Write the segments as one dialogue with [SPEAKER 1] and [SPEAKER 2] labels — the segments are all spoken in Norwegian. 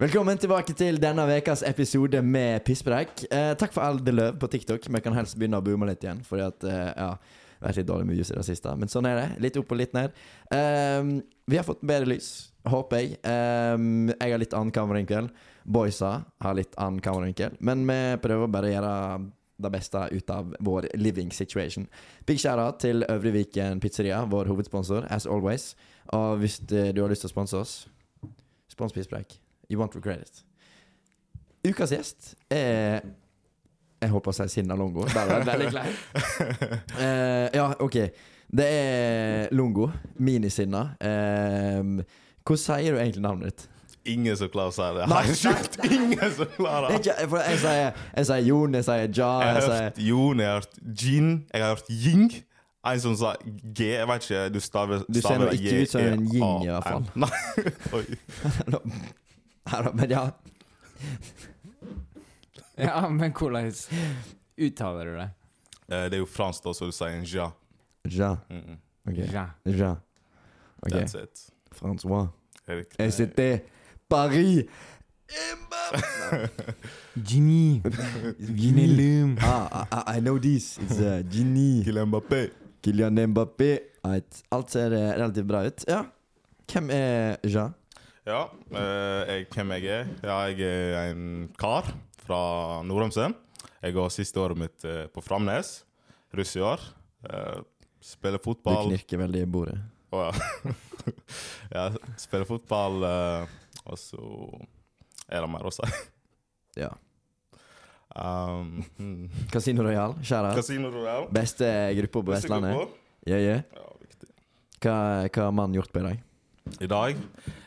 [SPEAKER 1] Velkommen tilbake til denne ukas episode med pisspreik. Eh, takk for all the love på TikTok. Vi kan helst begynne å boome litt igjen, fordi at eh, ja, det har vært litt dårlig med views i det siste. Men sånn er det. Litt opp og litt ned. Ehm, vi har fått bedre lys, håper jeg. Ehm, jeg har litt annen kameravinkel. Boysa har litt annen kameravinkel. Men vi prøver bare å gjøre det beste ut av vår living situation. Big shara til Øvre Viken Pizzeria, vår hovedsponsor, as always. Og hvis eh, du har lyst til å sponse oss, spons Pisspreik. You won't regret it. Ukas gjest er Jeg holdt på å si Sinna Longo. Der var jeg veldig klein. Eh, ja, OK. Det er Longo. Minisinna. Uh, hvordan sier du egentlig navnet ditt?
[SPEAKER 2] Ingen som klarer å si det.
[SPEAKER 1] Nei,
[SPEAKER 2] Helt sjukt! Ingen som klarer
[SPEAKER 1] Det er
[SPEAKER 2] det.
[SPEAKER 1] ikke, for jeg sier, jeg sier Jon, jeg sier Ja,
[SPEAKER 2] Jeg
[SPEAKER 1] jeg
[SPEAKER 2] har
[SPEAKER 1] sier
[SPEAKER 2] hørt Jon, jeg har hørt Jin, jeg har hørt Ying. En som sa G Jeg vet ikke, du staver
[SPEAKER 1] Du ser nå ikke ut som en Ying i hvert fall.
[SPEAKER 2] Nei. Oi.
[SPEAKER 1] Nei da, Men ja,
[SPEAKER 3] Ja, men hvordan uttaler du det?
[SPEAKER 2] Eh, Det er jo fransk, da, så du sier en ja.
[SPEAKER 1] Ja.
[SPEAKER 2] Mm -mm.
[SPEAKER 1] Ok.
[SPEAKER 3] Ja.
[SPEAKER 1] Ja. Ok.
[SPEAKER 2] That's it. Eh.
[SPEAKER 1] Francois.
[SPEAKER 2] Det er riktig.
[SPEAKER 1] Jeg sitter Paris.
[SPEAKER 3] Jimmy. Vinelum.
[SPEAKER 1] Ah, I- I, I know this. It's uh, Genie.
[SPEAKER 2] Kylian Mbappé.
[SPEAKER 1] Kylian Mbappé. Alt, alt ser eh, relativt bra ut. Ja. Hvem er Ja?
[SPEAKER 2] Ja, eh, jeg, hvem jeg er? Ja, jeg er en kar fra Nordheimsø. Jeg går siste året mitt eh, på Framnes. Russ i år. Eh, Spiller
[SPEAKER 1] Du
[SPEAKER 2] fotball.
[SPEAKER 1] knirker veldig i bordet.
[SPEAKER 2] Å ja. ja. Spiller fotball, eh, og så er det mer å si.
[SPEAKER 1] Ja.
[SPEAKER 2] Um, hmm.
[SPEAKER 1] Casino Royal, kjære.
[SPEAKER 2] Casino Royal.
[SPEAKER 1] Beste gruppa på
[SPEAKER 2] Beste
[SPEAKER 1] Vestlandet.
[SPEAKER 2] gruppe.
[SPEAKER 1] Ja, ja.
[SPEAKER 2] Ja, viktig.
[SPEAKER 1] Hva hva har mannen gjort på i dag?
[SPEAKER 2] I dag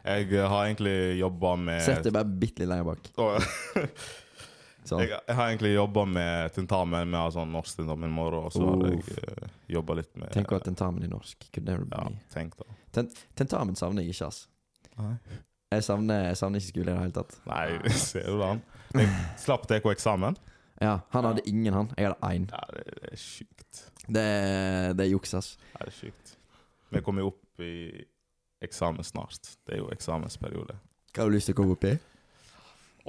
[SPEAKER 2] Jeg eh, har egentlig jobba med
[SPEAKER 1] Sett deg bare bitte litt lenger bak.
[SPEAKER 2] Å, ja.
[SPEAKER 1] Sånn.
[SPEAKER 2] jeg, jeg har egentlig jobba med tentamen. Vi har sånn norsk tentamen i morgen, og så har jeg jobba litt med
[SPEAKER 1] Tenk på tentamen i norsk. Kunne det
[SPEAKER 2] Ja,
[SPEAKER 1] bli?
[SPEAKER 2] tenk da.
[SPEAKER 1] Tentamen savner jeg ikke, ass.
[SPEAKER 2] Nei,
[SPEAKER 1] Jeg savner, jeg savner ikke skole i det hele tatt.
[SPEAKER 2] ser du det? Jeg slapp TK-eksamen.
[SPEAKER 1] Ja, Han hadde ingen, han. Jeg hadde én.
[SPEAKER 2] Ja, det, det er sjukt.
[SPEAKER 1] Det, er- det er juks, ass.
[SPEAKER 2] Ja, det er sjukt. Vi kommer jo opp i eksamen snart. Det er jo eksamensperiode.
[SPEAKER 1] Hva har du lyst til å komme opp i?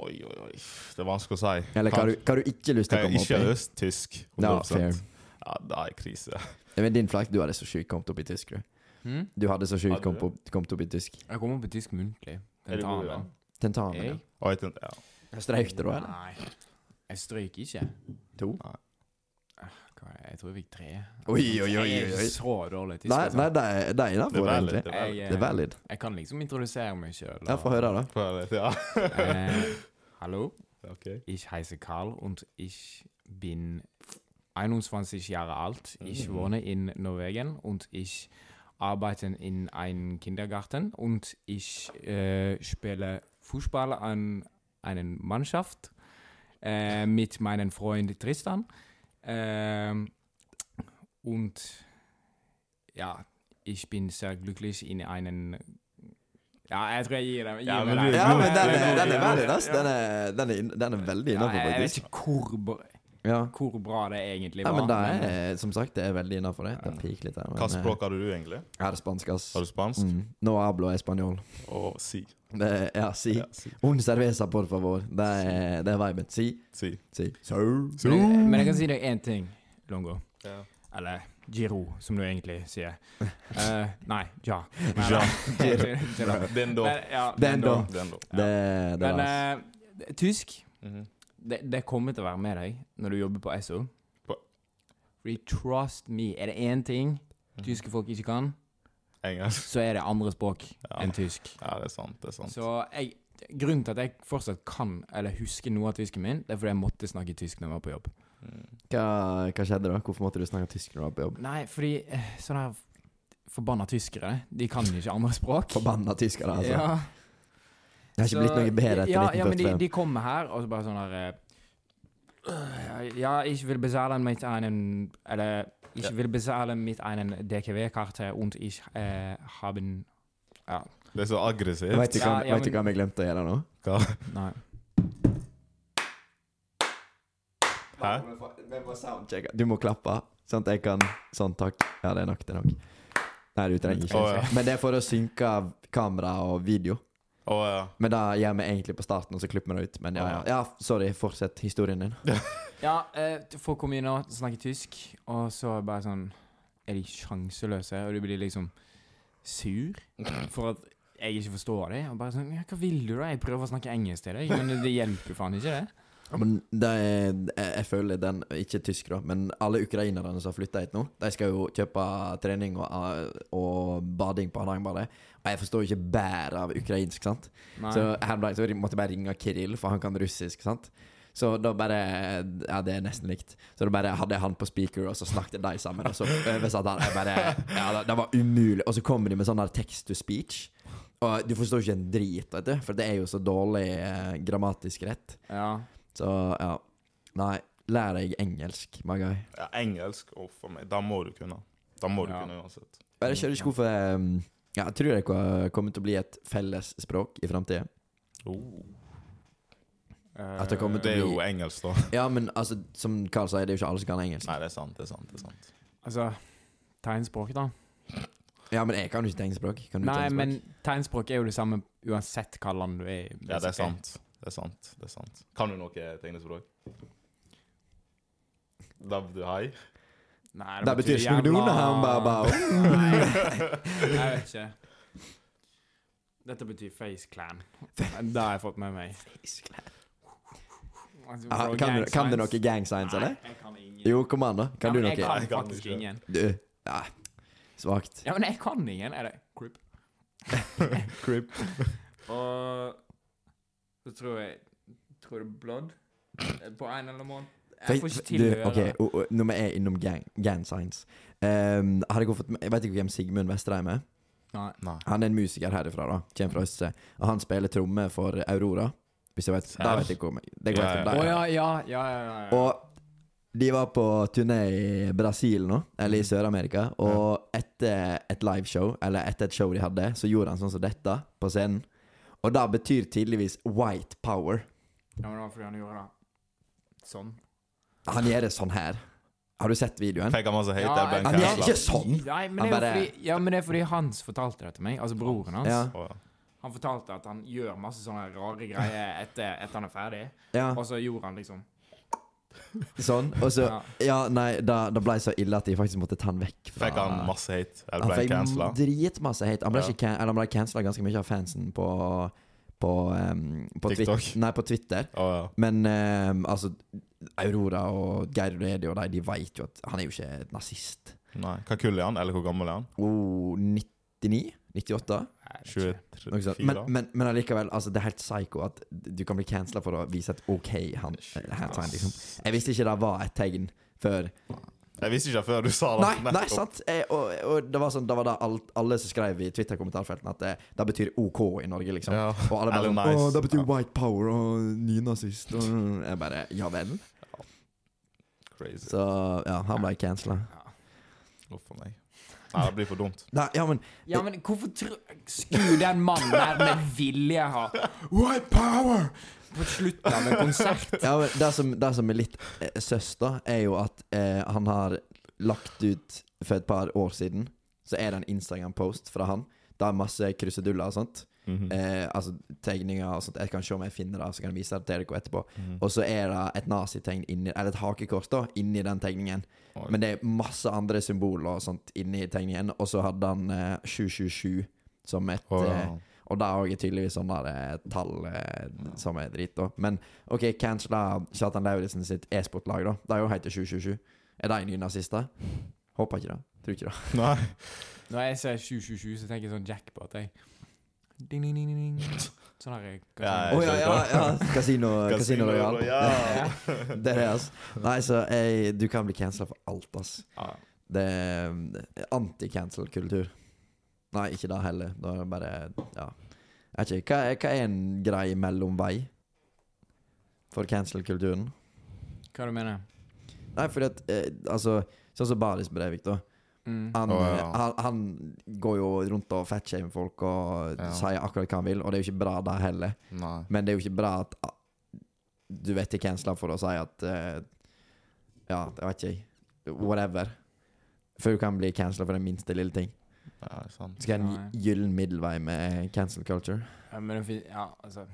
[SPEAKER 2] Oi, oi, oi. Det er vanskelig å si.
[SPEAKER 1] Eller hva har du, hva har du ikke lyst til å
[SPEAKER 2] Hva jeg
[SPEAKER 1] komme
[SPEAKER 2] ikke har
[SPEAKER 1] opp i?
[SPEAKER 2] lyst tysk.
[SPEAKER 1] Ja,
[SPEAKER 2] 100%.
[SPEAKER 1] fair.
[SPEAKER 2] Ja, det er krise.
[SPEAKER 1] Jeg vet, din flak, du hadde så sjukt kommet opp i tysk, du.
[SPEAKER 3] Hm?
[SPEAKER 1] Du hadde så sjukt
[SPEAKER 2] Hadde
[SPEAKER 1] kommet
[SPEAKER 2] du?
[SPEAKER 1] opp, kommet opp i tysk.
[SPEAKER 3] Jeg kommer på tysk muntlig.
[SPEAKER 2] Er du god i
[SPEAKER 3] Tentamen.
[SPEAKER 1] Tentamen,
[SPEAKER 3] Jeg?
[SPEAKER 1] ja.
[SPEAKER 2] Og jeg tenkte, ja.
[SPEAKER 1] Strøyk det da, eller?
[SPEAKER 3] Nei. Jeg strøyk ikke.
[SPEAKER 1] To?
[SPEAKER 2] Nei.
[SPEAKER 3] Ah, hva er det? Jeg tror jeg fikk tre.
[SPEAKER 1] Oi, oi, oi,
[SPEAKER 3] Jeg er
[SPEAKER 1] oi,
[SPEAKER 3] ikke
[SPEAKER 1] oi.
[SPEAKER 3] så dårlig i tysk.
[SPEAKER 1] Nei,
[SPEAKER 3] altså.
[SPEAKER 1] nei, det er det er
[SPEAKER 2] Det
[SPEAKER 1] innafor,
[SPEAKER 2] er valid.
[SPEAKER 1] egentlig.
[SPEAKER 2] Det er valid.
[SPEAKER 3] Jeg,
[SPEAKER 1] Det er
[SPEAKER 3] eh,
[SPEAKER 1] valid.
[SPEAKER 3] jeg kan liksom introdusere meg sjøl.
[SPEAKER 1] Ja, få høre, da.
[SPEAKER 2] Hva er det? Ja.
[SPEAKER 3] hallo,
[SPEAKER 2] Ok.
[SPEAKER 3] ich heiße Karl und ich bin 21 Jahre alt. Ich
[SPEAKER 2] Mhm.
[SPEAKER 3] wohne in Norwegen und ich arbeite in einem Kindergarten und ich äh, spiele Fußball an einer Mannschaft äh, mit meinem Freund Tristan. Ähm, und ja, ich bin sehr glücklich in einen. Ja, jeg tror jeg gir dem. Gir
[SPEAKER 2] Ja,
[SPEAKER 3] meg
[SPEAKER 2] men du-
[SPEAKER 3] den.
[SPEAKER 1] Ja, men den er, den er
[SPEAKER 3] Ja,
[SPEAKER 1] valid, ass. Den er, den er, inn- den er veldig
[SPEAKER 3] ja,
[SPEAKER 1] innafor,
[SPEAKER 3] jeg vet
[SPEAKER 1] faktisk.
[SPEAKER 3] ikke hvor, bra-
[SPEAKER 1] Ja.
[SPEAKER 3] hvor bra det egentlig
[SPEAKER 1] ja,
[SPEAKER 3] var.
[SPEAKER 1] men det er, som sagt, det er veldig innafor, det. Det piker litt her. men,
[SPEAKER 2] Hva
[SPEAKER 1] eh,
[SPEAKER 2] språk har du egentlig?
[SPEAKER 1] Jeg er spansk, ass.
[SPEAKER 2] Har du spansk?
[SPEAKER 1] Mm. No hablo espanol.
[SPEAKER 2] Å, si.
[SPEAKER 1] Det er, ja, si.
[SPEAKER 2] Ja, si.
[SPEAKER 1] Un cerveza, por favor. Det er, det er viben. Si.
[SPEAKER 2] si.
[SPEAKER 1] Si.
[SPEAKER 3] men, jeg- men jeg kan si deg én ting, Longo.
[SPEAKER 2] Ja.
[SPEAKER 3] Eller Giro, som du egentlig sier. Eh, nei, ja. Nei,
[SPEAKER 2] Ja.
[SPEAKER 3] nei. Giro.
[SPEAKER 2] Den
[SPEAKER 1] eh,
[SPEAKER 2] da.
[SPEAKER 3] Men, ja,
[SPEAKER 1] Den da.
[SPEAKER 2] Den da.
[SPEAKER 1] Det, det
[SPEAKER 3] Men
[SPEAKER 1] var ass.
[SPEAKER 3] eh, tysk,
[SPEAKER 2] Mhm.
[SPEAKER 3] det, det kommer til å være med deg når du jobber på SO.
[SPEAKER 2] På-
[SPEAKER 3] Fordi trust me, er det én ting
[SPEAKER 2] Mhm.
[SPEAKER 3] tyske folk ikke kan,
[SPEAKER 2] Engelsk.
[SPEAKER 3] så er det andre språk
[SPEAKER 2] Ja.
[SPEAKER 3] enn tysk.
[SPEAKER 2] Ja, det er sant, det er sant.
[SPEAKER 3] Så jeg, grunnen til at jeg fortsatt kan eller husker noe av tysken min, det er fordi jeg måtte snakke tysk når jeg var på jobb.
[SPEAKER 2] Mm.
[SPEAKER 1] Hva, hva skjedde da? Hvorfor måtte du snakke tysk når du var på jobb?
[SPEAKER 3] Nei, fordi eh, sånne her forbanna tyskere, de kan jo ikke andre språk.
[SPEAKER 1] Forbanna tyskere, altså.
[SPEAKER 3] Ja.
[SPEAKER 1] Det har ikke
[SPEAKER 3] Så-
[SPEAKER 1] blitt noe bedre etter
[SPEAKER 3] ja, Ja, men de,
[SPEAKER 1] 1945.
[SPEAKER 3] de kommer her, og så bare sånn her eh, Ja, ich will bezahlen mit einem Eller Ich
[SPEAKER 2] Ja.
[SPEAKER 3] will bezahlen mit einem DKW-karte und ich eh, haben Ja.
[SPEAKER 2] Det er så aggressivt.
[SPEAKER 1] Vet du hva,
[SPEAKER 3] Ja, ja,
[SPEAKER 1] vet du hva vi glemte å gjøre nå?
[SPEAKER 2] Hva?
[SPEAKER 3] Nei.
[SPEAKER 2] Hæ?
[SPEAKER 1] Du må klappe, sånn at jeg kan Sånn, takk. Ja, det er nok, det er nok. Nei, du trenger ikke.
[SPEAKER 2] Å, ja.
[SPEAKER 1] Men det er for å synke av kamera og video.
[SPEAKER 2] Og eh, ja.
[SPEAKER 1] Men det gjør vi egentlig på starten, og så klipper vi det ut. Men ja, ja. ja sorry, fortsett historien din.
[SPEAKER 3] Ja, eh, folk kommer inn og snakker tysk, og så er det bare sånn Er de sjanseløse, og du blir liksom sur for at jeg ikke forstår dem. Og bare sånn ja, 'Hva vil du, da?' Jeg prøver å snakke engelsk til deg, men det hjelper jo faen ikke, det.
[SPEAKER 1] Ja, men det er, jeg, jeg føler den Ikke tysk, da, men alle ukrainerne som har flytta hit nå, de skal jo kjøpe trening og, og bading på Hardangerbadet. Og jeg forstår jo ikke bæret av ukrainsk, sant?
[SPEAKER 3] Nei.
[SPEAKER 1] Så her om dagen så måtte jeg bare ringe Kirill, for han kan russisk, sant? Så da bare Ja, det er nesten likt. Så da bare hadde jeg han på speaker, og så snakket de sammen, og så oversatte han. Jeg bare Ja, det, det var umulig. Og så kommer de med sånn her text to speech. Og du forstår ikke en drit, vet du, for det er jo så dårlig eh, grammatisk rett.
[SPEAKER 3] ja.
[SPEAKER 1] Så ja. Nei, lær deg engelsk, Magai.
[SPEAKER 2] ja, engelsk oh, for meg. Da må du kunne. Da må du
[SPEAKER 3] Ja.
[SPEAKER 2] kunne uansett.
[SPEAKER 1] Jeg skjønner ikke hvorfor eh, ja, Jeg tror det kommer til å bli et felles språk i framtida. At
[SPEAKER 3] Eh,
[SPEAKER 1] det kommer
[SPEAKER 2] Eh, Det
[SPEAKER 1] til-
[SPEAKER 2] er jo engelsk, da.
[SPEAKER 1] Ja, men altså, som Carl sier, det er jo ikke alle som kan engelsk.
[SPEAKER 2] Nei, det er sant. det er sant, det er sant.
[SPEAKER 3] Altså Tegnspråk, da.
[SPEAKER 1] Ja, men jeg kan jo ikke tegnspråk. Kan du
[SPEAKER 3] Nei,
[SPEAKER 1] tegnspråk?
[SPEAKER 3] men tegnspråk er jo det samme uansett hva land du er i.
[SPEAKER 2] Ja, det er
[SPEAKER 3] basically.
[SPEAKER 2] sant. Det er sant. det er sant. Kan du noe tegnespråk? Dav du hei?
[SPEAKER 3] Nei,
[SPEAKER 1] Det betyr ikke noe
[SPEAKER 3] jævla-
[SPEAKER 1] nå, han bare- bare-
[SPEAKER 3] Nei, jeg vet ikke. Dette betyr face clan. Det har jeg fått med meg. Altså,
[SPEAKER 1] Ah,
[SPEAKER 3] for
[SPEAKER 1] kan,
[SPEAKER 3] gang
[SPEAKER 1] du, kan du noe
[SPEAKER 3] signs?
[SPEAKER 1] gang signs, eller?
[SPEAKER 3] Nei, jeg kan ingen.
[SPEAKER 1] Jo, kom an, da. Kan du
[SPEAKER 3] ja, men
[SPEAKER 1] noe?
[SPEAKER 2] Nei,
[SPEAKER 3] Jeg
[SPEAKER 2] kan
[SPEAKER 3] kan faktisk
[SPEAKER 2] ikke.
[SPEAKER 3] ingen.
[SPEAKER 1] Du Nei. Svakt.
[SPEAKER 3] Ja, men jeg kan ingen. Er det Crip?
[SPEAKER 2] Crip.
[SPEAKER 3] Og så tror jeg Tror det er Blood eh, på en eller annen måte. Jeg får ikke til å
[SPEAKER 1] Du,
[SPEAKER 3] gjøre
[SPEAKER 1] ok,
[SPEAKER 3] det.
[SPEAKER 1] og- og Når vi er innom gang, gang signs Ehm, har jeg gått fått- Jeg vet ikke hvem Sigmund Vestheim er.
[SPEAKER 3] Nei.
[SPEAKER 2] Nei.
[SPEAKER 1] Han er en musiker herifra, da. Kommer fra Østse. Og han spiller tromme for Aurora. Hvis jeg vet Da vet jeg hvor Det går
[SPEAKER 2] Ja,
[SPEAKER 1] jeg
[SPEAKER 2] ja.
[SPEAKER 3] Å
[SPEAKER 1] for
[SPEAKER 3] ja,
[SPEAKER 1] deg.
[SPEAKER 3] ja, ja, ja, ja.
[SPEAKER 1] Og de var på turné i Brasil nå, eller
[SPEAKER 2] Mm.
[SPEAKER 1] i Sør-Amerika, og etter et liveshow, eller etter et show de hadde, så gjorde han sånn som dette på scenen. Og det betyr tydeligvis white power.
[SPEAKER 3] ja, men det var fordi han gjorde det sånn.
[SPEAKER 1] Han gjør det sånn her. Har du sett videoen?
[SPEAKER 2] Fikk han masse hate?
[SPEAKER 3] Ja,
[SPEAKER 2] der, Ben
[SPEAKER 1] Han
[SPEAKER 3] Ja,
[SPEAKER 1] gjør
[SPEAKER 2] Castle?
[SPEAKER 1] ikke sånn!
[SPEAKER 3] Nei, men
[SPEAKER 1] Han
[SPEAKER 3] det er jo
[SPEAKER 1] bare-
[SPEAKER 3] fordi, ja, men det er fordi Hans fortalte det til meg. Altså broren hans.
[SPEAKER 1] Ja.
[SPEAKER 2] Å, ja.
[SPEAKER 3] Han fortalte at han gjør masse sånne rare greier etter, etter han er ferdig.
[SPEAKER 1] Ja,
[SPEAKER 3] Og så gjorde han liksom
[SPEAKER 1] sånn. Og så
[SPEAKER 3] ja.
[SPEAKER 1] Ja, nei, da, da ble jeg så ille at de faktisk måtte ta han vekk fra
[SPEAKER 2] Fikk han masse hate? Eller
[SPEAKER 1] Han
[SPEAKER 2] ble han cancela?
[SPEAKER 1] fikk dritmasse hate. Han ble,
[SPEAKER 2] Ja.
[SPEAKER 1] ikke can eller han ble cancela ganske mye av fansen på På, em, på Twit-
[SPEAKER 2] TikTok.
[SPEAKER 1] Nei, på Twitter.
[SPEAKER 2] Å, ja.
[SPEAKER 1] Men em, altså Aurora og Geir Redi og de, de veit jo at han er jo ikke nazist.
[SPEAKER 2] Nei. Hva kull er han? Eller hvor gammel er han?
[SPEAKER 1] Oh, 99? 98?
[SPEAKER 3] Nei,
[SPEAKER 2] 23?
[SPEAKER 1] Noe sånt. Men, men, men allikevel, altså, det er helt psycho at du kan bli cancela for å vise et OK hand, handsign. Liksom. Jeg visste ikke det var et tegn før
[SPEAKER 2] Jeg visste ikke før du sa det.
[SPEAKER 1] Nei, nei,
[SPEAKER 2] nettopp.
[SPEAKER 1] sant. Eh, og, og det var sånn, da var det alt, alle som skrev i Twitter-kommentarfeltene at det, det betyr OK i Norge, liksom.
[SPEAKER 2] Ja.
[SPEAKER 1] Og alle bare
[SPEAKER 2] Eller
[SPEAKER 1] sånn
[SPEAKER 2] nice.
[SPEAKER 1] Å, det betyr
[SPEAKER 2] Ja.
[SPEAKER 1] white power og nynazist og Jeg bare Ja vel?
[SPEAKER 2] Crazy.
[SPEAKER 1] Så ja, han ble cancela.
[SPEAKER 2] Uff a meg. Nei, det blir for dumt.
[SPEAKER 1] Nei, ja, men
[SPEAKER 3] Ja, men hvorfor tr skulle den mannen der med vilje ha White power! På slutten av en konsert.
[SPEAKER 1] Ja, men det som, det som er litt eh, søss, da, er jo at eh, han har lagt ut for et par år siden Så er det en Instagram-post fra han. Det er masse kruseduller og sånt.
[SPEAKER 2] Mhm. Mm.
[SPEAKER 1] eh, altså tegninger og sånt. Jeg kan se om jeg finner det, så kan jeg vise det til dere etterpå.
[SPEAKER 2] Mm.
[SPEAKER 1] Og så er det et nazitegn inni Eller et hakekors, da, inni den tegningen.
[SPEAKER 2] Oi.
[SPEAKER 1] Men det er masse andre symboler og sånt inni tegningen. Og så hadde han eh, 777 som et
[SPEAKER 2] Å, ja.
[SPEAKER 1] eh, og det er også tydeligvis sånne der, eh, tall eh, som er dritt, da. Men OK, cancela Kjartan Lauritzen sitt e-sportlag, da. Det er jo heter 727. Er de nye nazister? Håper ikke det. Tror ikke det.
[SPEAKER 2] Nei.
[SPEAKER 3] Når jeg ser 2027, så tenker jeg sånn jackpot. Jeg. Ding, ding, ding, ding, ding. Sånn her
[SPEAKER 1] Å
[SPEAKER 2] Ja,
[SPEAKER 1] ja, ja, ja. Casino, Casino
[SPEAKER 2] Casino
[SPEAKER 1] Royal.
[SPEAKER 2] Royale.
[SPEAKER 1] Det er det, altså. Nei, så jeg, du kan bli cancela for alt, ass.
[SPEAKER 2] Ja.
[SPEAKER 1] Det er eh, anti-cancel-kultur. Nei, ikke det heller. Da er det bare Ja. Jeg vet ikke. Hva, er- hva er en grei mellomvei for cancel-kulturen?
[SPEAKER 3] Hva du mener
[SPEAKER 1] Nei, fordi at eh, Altså, sånn som Baris Breivik, da.
[SPEAKER 3] Mm.
[SPEAKER 1] Han, eh,
[SPEAKER 2] Å, ja.
[SPEAKER 1] han, han går jo rundt og fatshamer folk og
[SPEAKER 2] Ja.
[SPEAKER 1] sier akkurat hva han vil, og det er jo ikke bra, det heller.
[SPEAKER 2] Nei.
[SPEAKER 1] Men det er jo ikke bra at ah, du vet ikke cancela for å si at eh, Ja, jeg vet ikke. Whatever. Før du kan bli cancela for den minste lille ting.
[SPEAKER 2] Ja, sant.
[SPEAKER 1] Skal jeg ha en
[SPEAKER 3] Nei.
[SPEAKER 1] gyllen middelvei med cancel culture?
[SPEAKER 3] Ja, men det fin- Ja, altså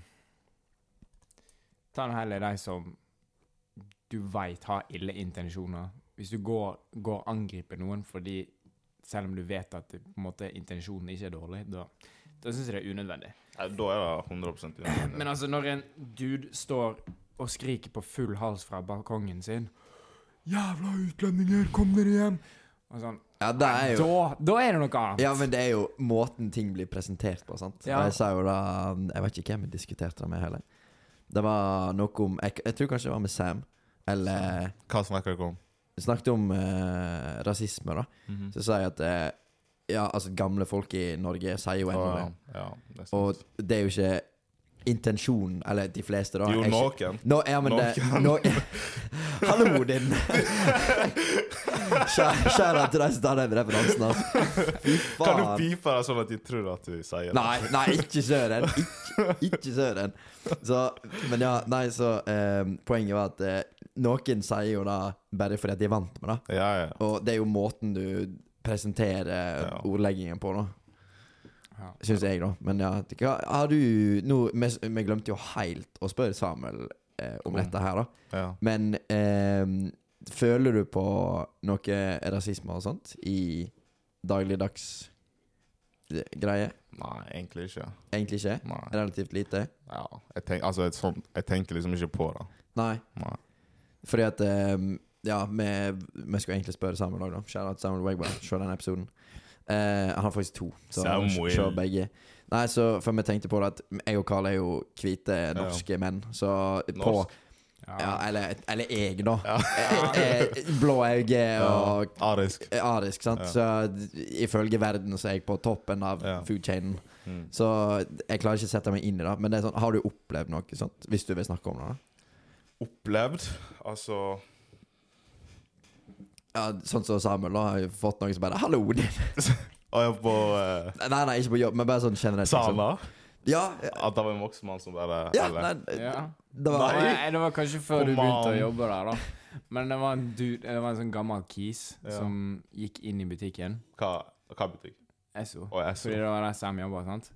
[SPEAKER 3] Ta nå heller de som du veit har ille intensjoner. Hvis du går, går og angriper noen fordi selv om du vet at det, på en måte, intensjonen ikke er dårlig, da, da syns jeg det er unødvendig.
[SPEAKER 2] Ja, da er det 100 uenig.
[SPEAKER 3] Men altså, når en dude står og skriker på full hals fra balkongen sin 'Jævla utlendinger, kom dere hjem!' Og sånn,
[SPEAKER 1] Ja, det er jo
[SPEAKER 3] da, da er det noe annet.
[SPEAKER 1] Ja, men det er jo måten ting blir presentert på, sant.
[SPEAKER 3] Ja.
[SPEAKER 1] Jeg sa jo da um, Jeg vet ikke hvem jeg diskuterte det med heller. Det var noe om Jeg, jeg tror kanskje det var med Sam. Eller
[SPEAKER 2] Hva snakker dere om?
[SPEAKER 1] vi snakket om eh, rasisme, da.
[SPEAKER 2] Mhm.
[SPEAKER 1] Så sa jeg at eh, Ja, altså, gamle folk i Norge sier jo
[SPEAKER 2] Å,
[SPEAKER 1] ennå det.
[SPEAKER 2] ja. Ja, det er sant.
[SPEAKER 1] Og det er jo ikke intensjonen, eller de fleste, da.
[SPEAKER 2] jo,
[SPEAKER 1] er ikke-
[SPEAKER 2] noen.
[SPEAKER 1] Nå, ja, men det, nå,
[SPEAKER 2] Noen.
[SPEAKER 1] Hallo, din Skjæ- Skjæra til deg som tar den referansen, altså. Fy
[SPEAKER 2] Kan du
[SPEAKER 1] faen.
[SPEAKER 2] pipe det sånn at de tror at du sier det?
[SPEAKER 1] Nei, nei, ikke Søren. Ikke, ikke Søren. Så, men ja, nei, så eh, Poenget var at eh, noen sier jo da bare fordi at de er vant med det.
[SPEAKER 2] Ja, ja.
[SPEAKER 1] Og det er jo måten du presenterer
[SPEAKER 2] Ja.
[SPEAKER 1] ordleggingen på, da.
[SPEAKER 3] Ja.
[SPEAKER 1] Syns jeg, da. Men ja, hva har du nå, vi, vi glemte jo helt å spørre Samuel eh, om
[SPEAKER 2] Om.
[SPEAKER 1] dette her, da.
[SPEAKER 2] ja.
[SPEAKER 1] Men eh, føler du på noe rasisme og sånt i dagligdags eh, greie?
[SPEAKER 2] Nei, egentlig ikke.
[SPEAKER 1] Egentlig ikke.
[SPEAKER 2] Nei.
[SPEAKER 1] Relativt lite.
[SPEAKER 2] Ja. Jeg, tenk, altså, et sånt, jeg tenker liksom ikke på det.
[SPEAKER 1] Nei.
[SPEAKER 2] Nei.
[SPEAKER 1] Fordi at eh, Ja, vi, vi skulle egentlig spørre Samuel òg, da. Shout out Samuel Wegberg. Se den episoden. Eh, han har faktisk to, så
[SPEAKER 2] Samuel.
[SPEAKER 1] se begge. Nei, så For vi tenkte på det at jeg og Carl er jo hvite norske menn, så på
[SPEAKER 2] Norsk.
[SPEAKER 1] ja, eller, eller jeg, da.
[SPEAKER 2] Ja.
[SPEAKER 1] Eh, eh, Blå øyne og eh,
[SPEAKER 2] Arisk.
[SPEAKER 1] arisk, sant. Så ifølge verden så er jeg på toppen av
[SPEAKER 2] Ja.
[SPEAKER 1] food chainen.
[SPEAKER 2] Mm.
[SPEAKER 1] Så jeg klarer ikke å sette meg inn i det. Men det er sånn, har du opplevd noe sånt? Hvis du vil snakke om det? da?
[SPEAKER 2] Opplevd. Altså
[SPEAKER 1] Ja, sånn som Samuel, da. Har jo fått noen som bare 'Hallo!' Nei,
[SPEAKER 2] Og jeg på eh,
[SPEAKER 1] nei, ikke på jobb, men bare sånn generelt.
[SPEAKER 2] Sa han
[SPEAKER 1] liksom.
[SPEAKER 2] da?
[SPEAKER 1] Ja, ja,
[SPEAKER 2] At det var en voksen mann som bare
[SPEAKER 1] ja
[SPEAKER 2] eller-
[SPEAKER 1] nei,
[SPEAKER 3] Ja.
[SPEAKER 1] det var
[SPEAKER 2] Nei.
[SPEAKER 3] Nei. det var kanskje før du
[SPEAKER 2] Kom
[SPEAKER 3] begynte å
[SPEAKER 2] an.
[SPEAKER 3] jobbe der, da. Men det var en, dude, det var en sånn gammel kis
[SPEAKER 2] Ja.
[SPEAKER 3] som gikk inn i butikken.
[SPEAKER 2] Hva, hva butikk?
[SPEAKER 3] SO.
[SPEAKER 2] Og jeg så
[SPEAKER 3] Fordi det var der Sam jobba, sant.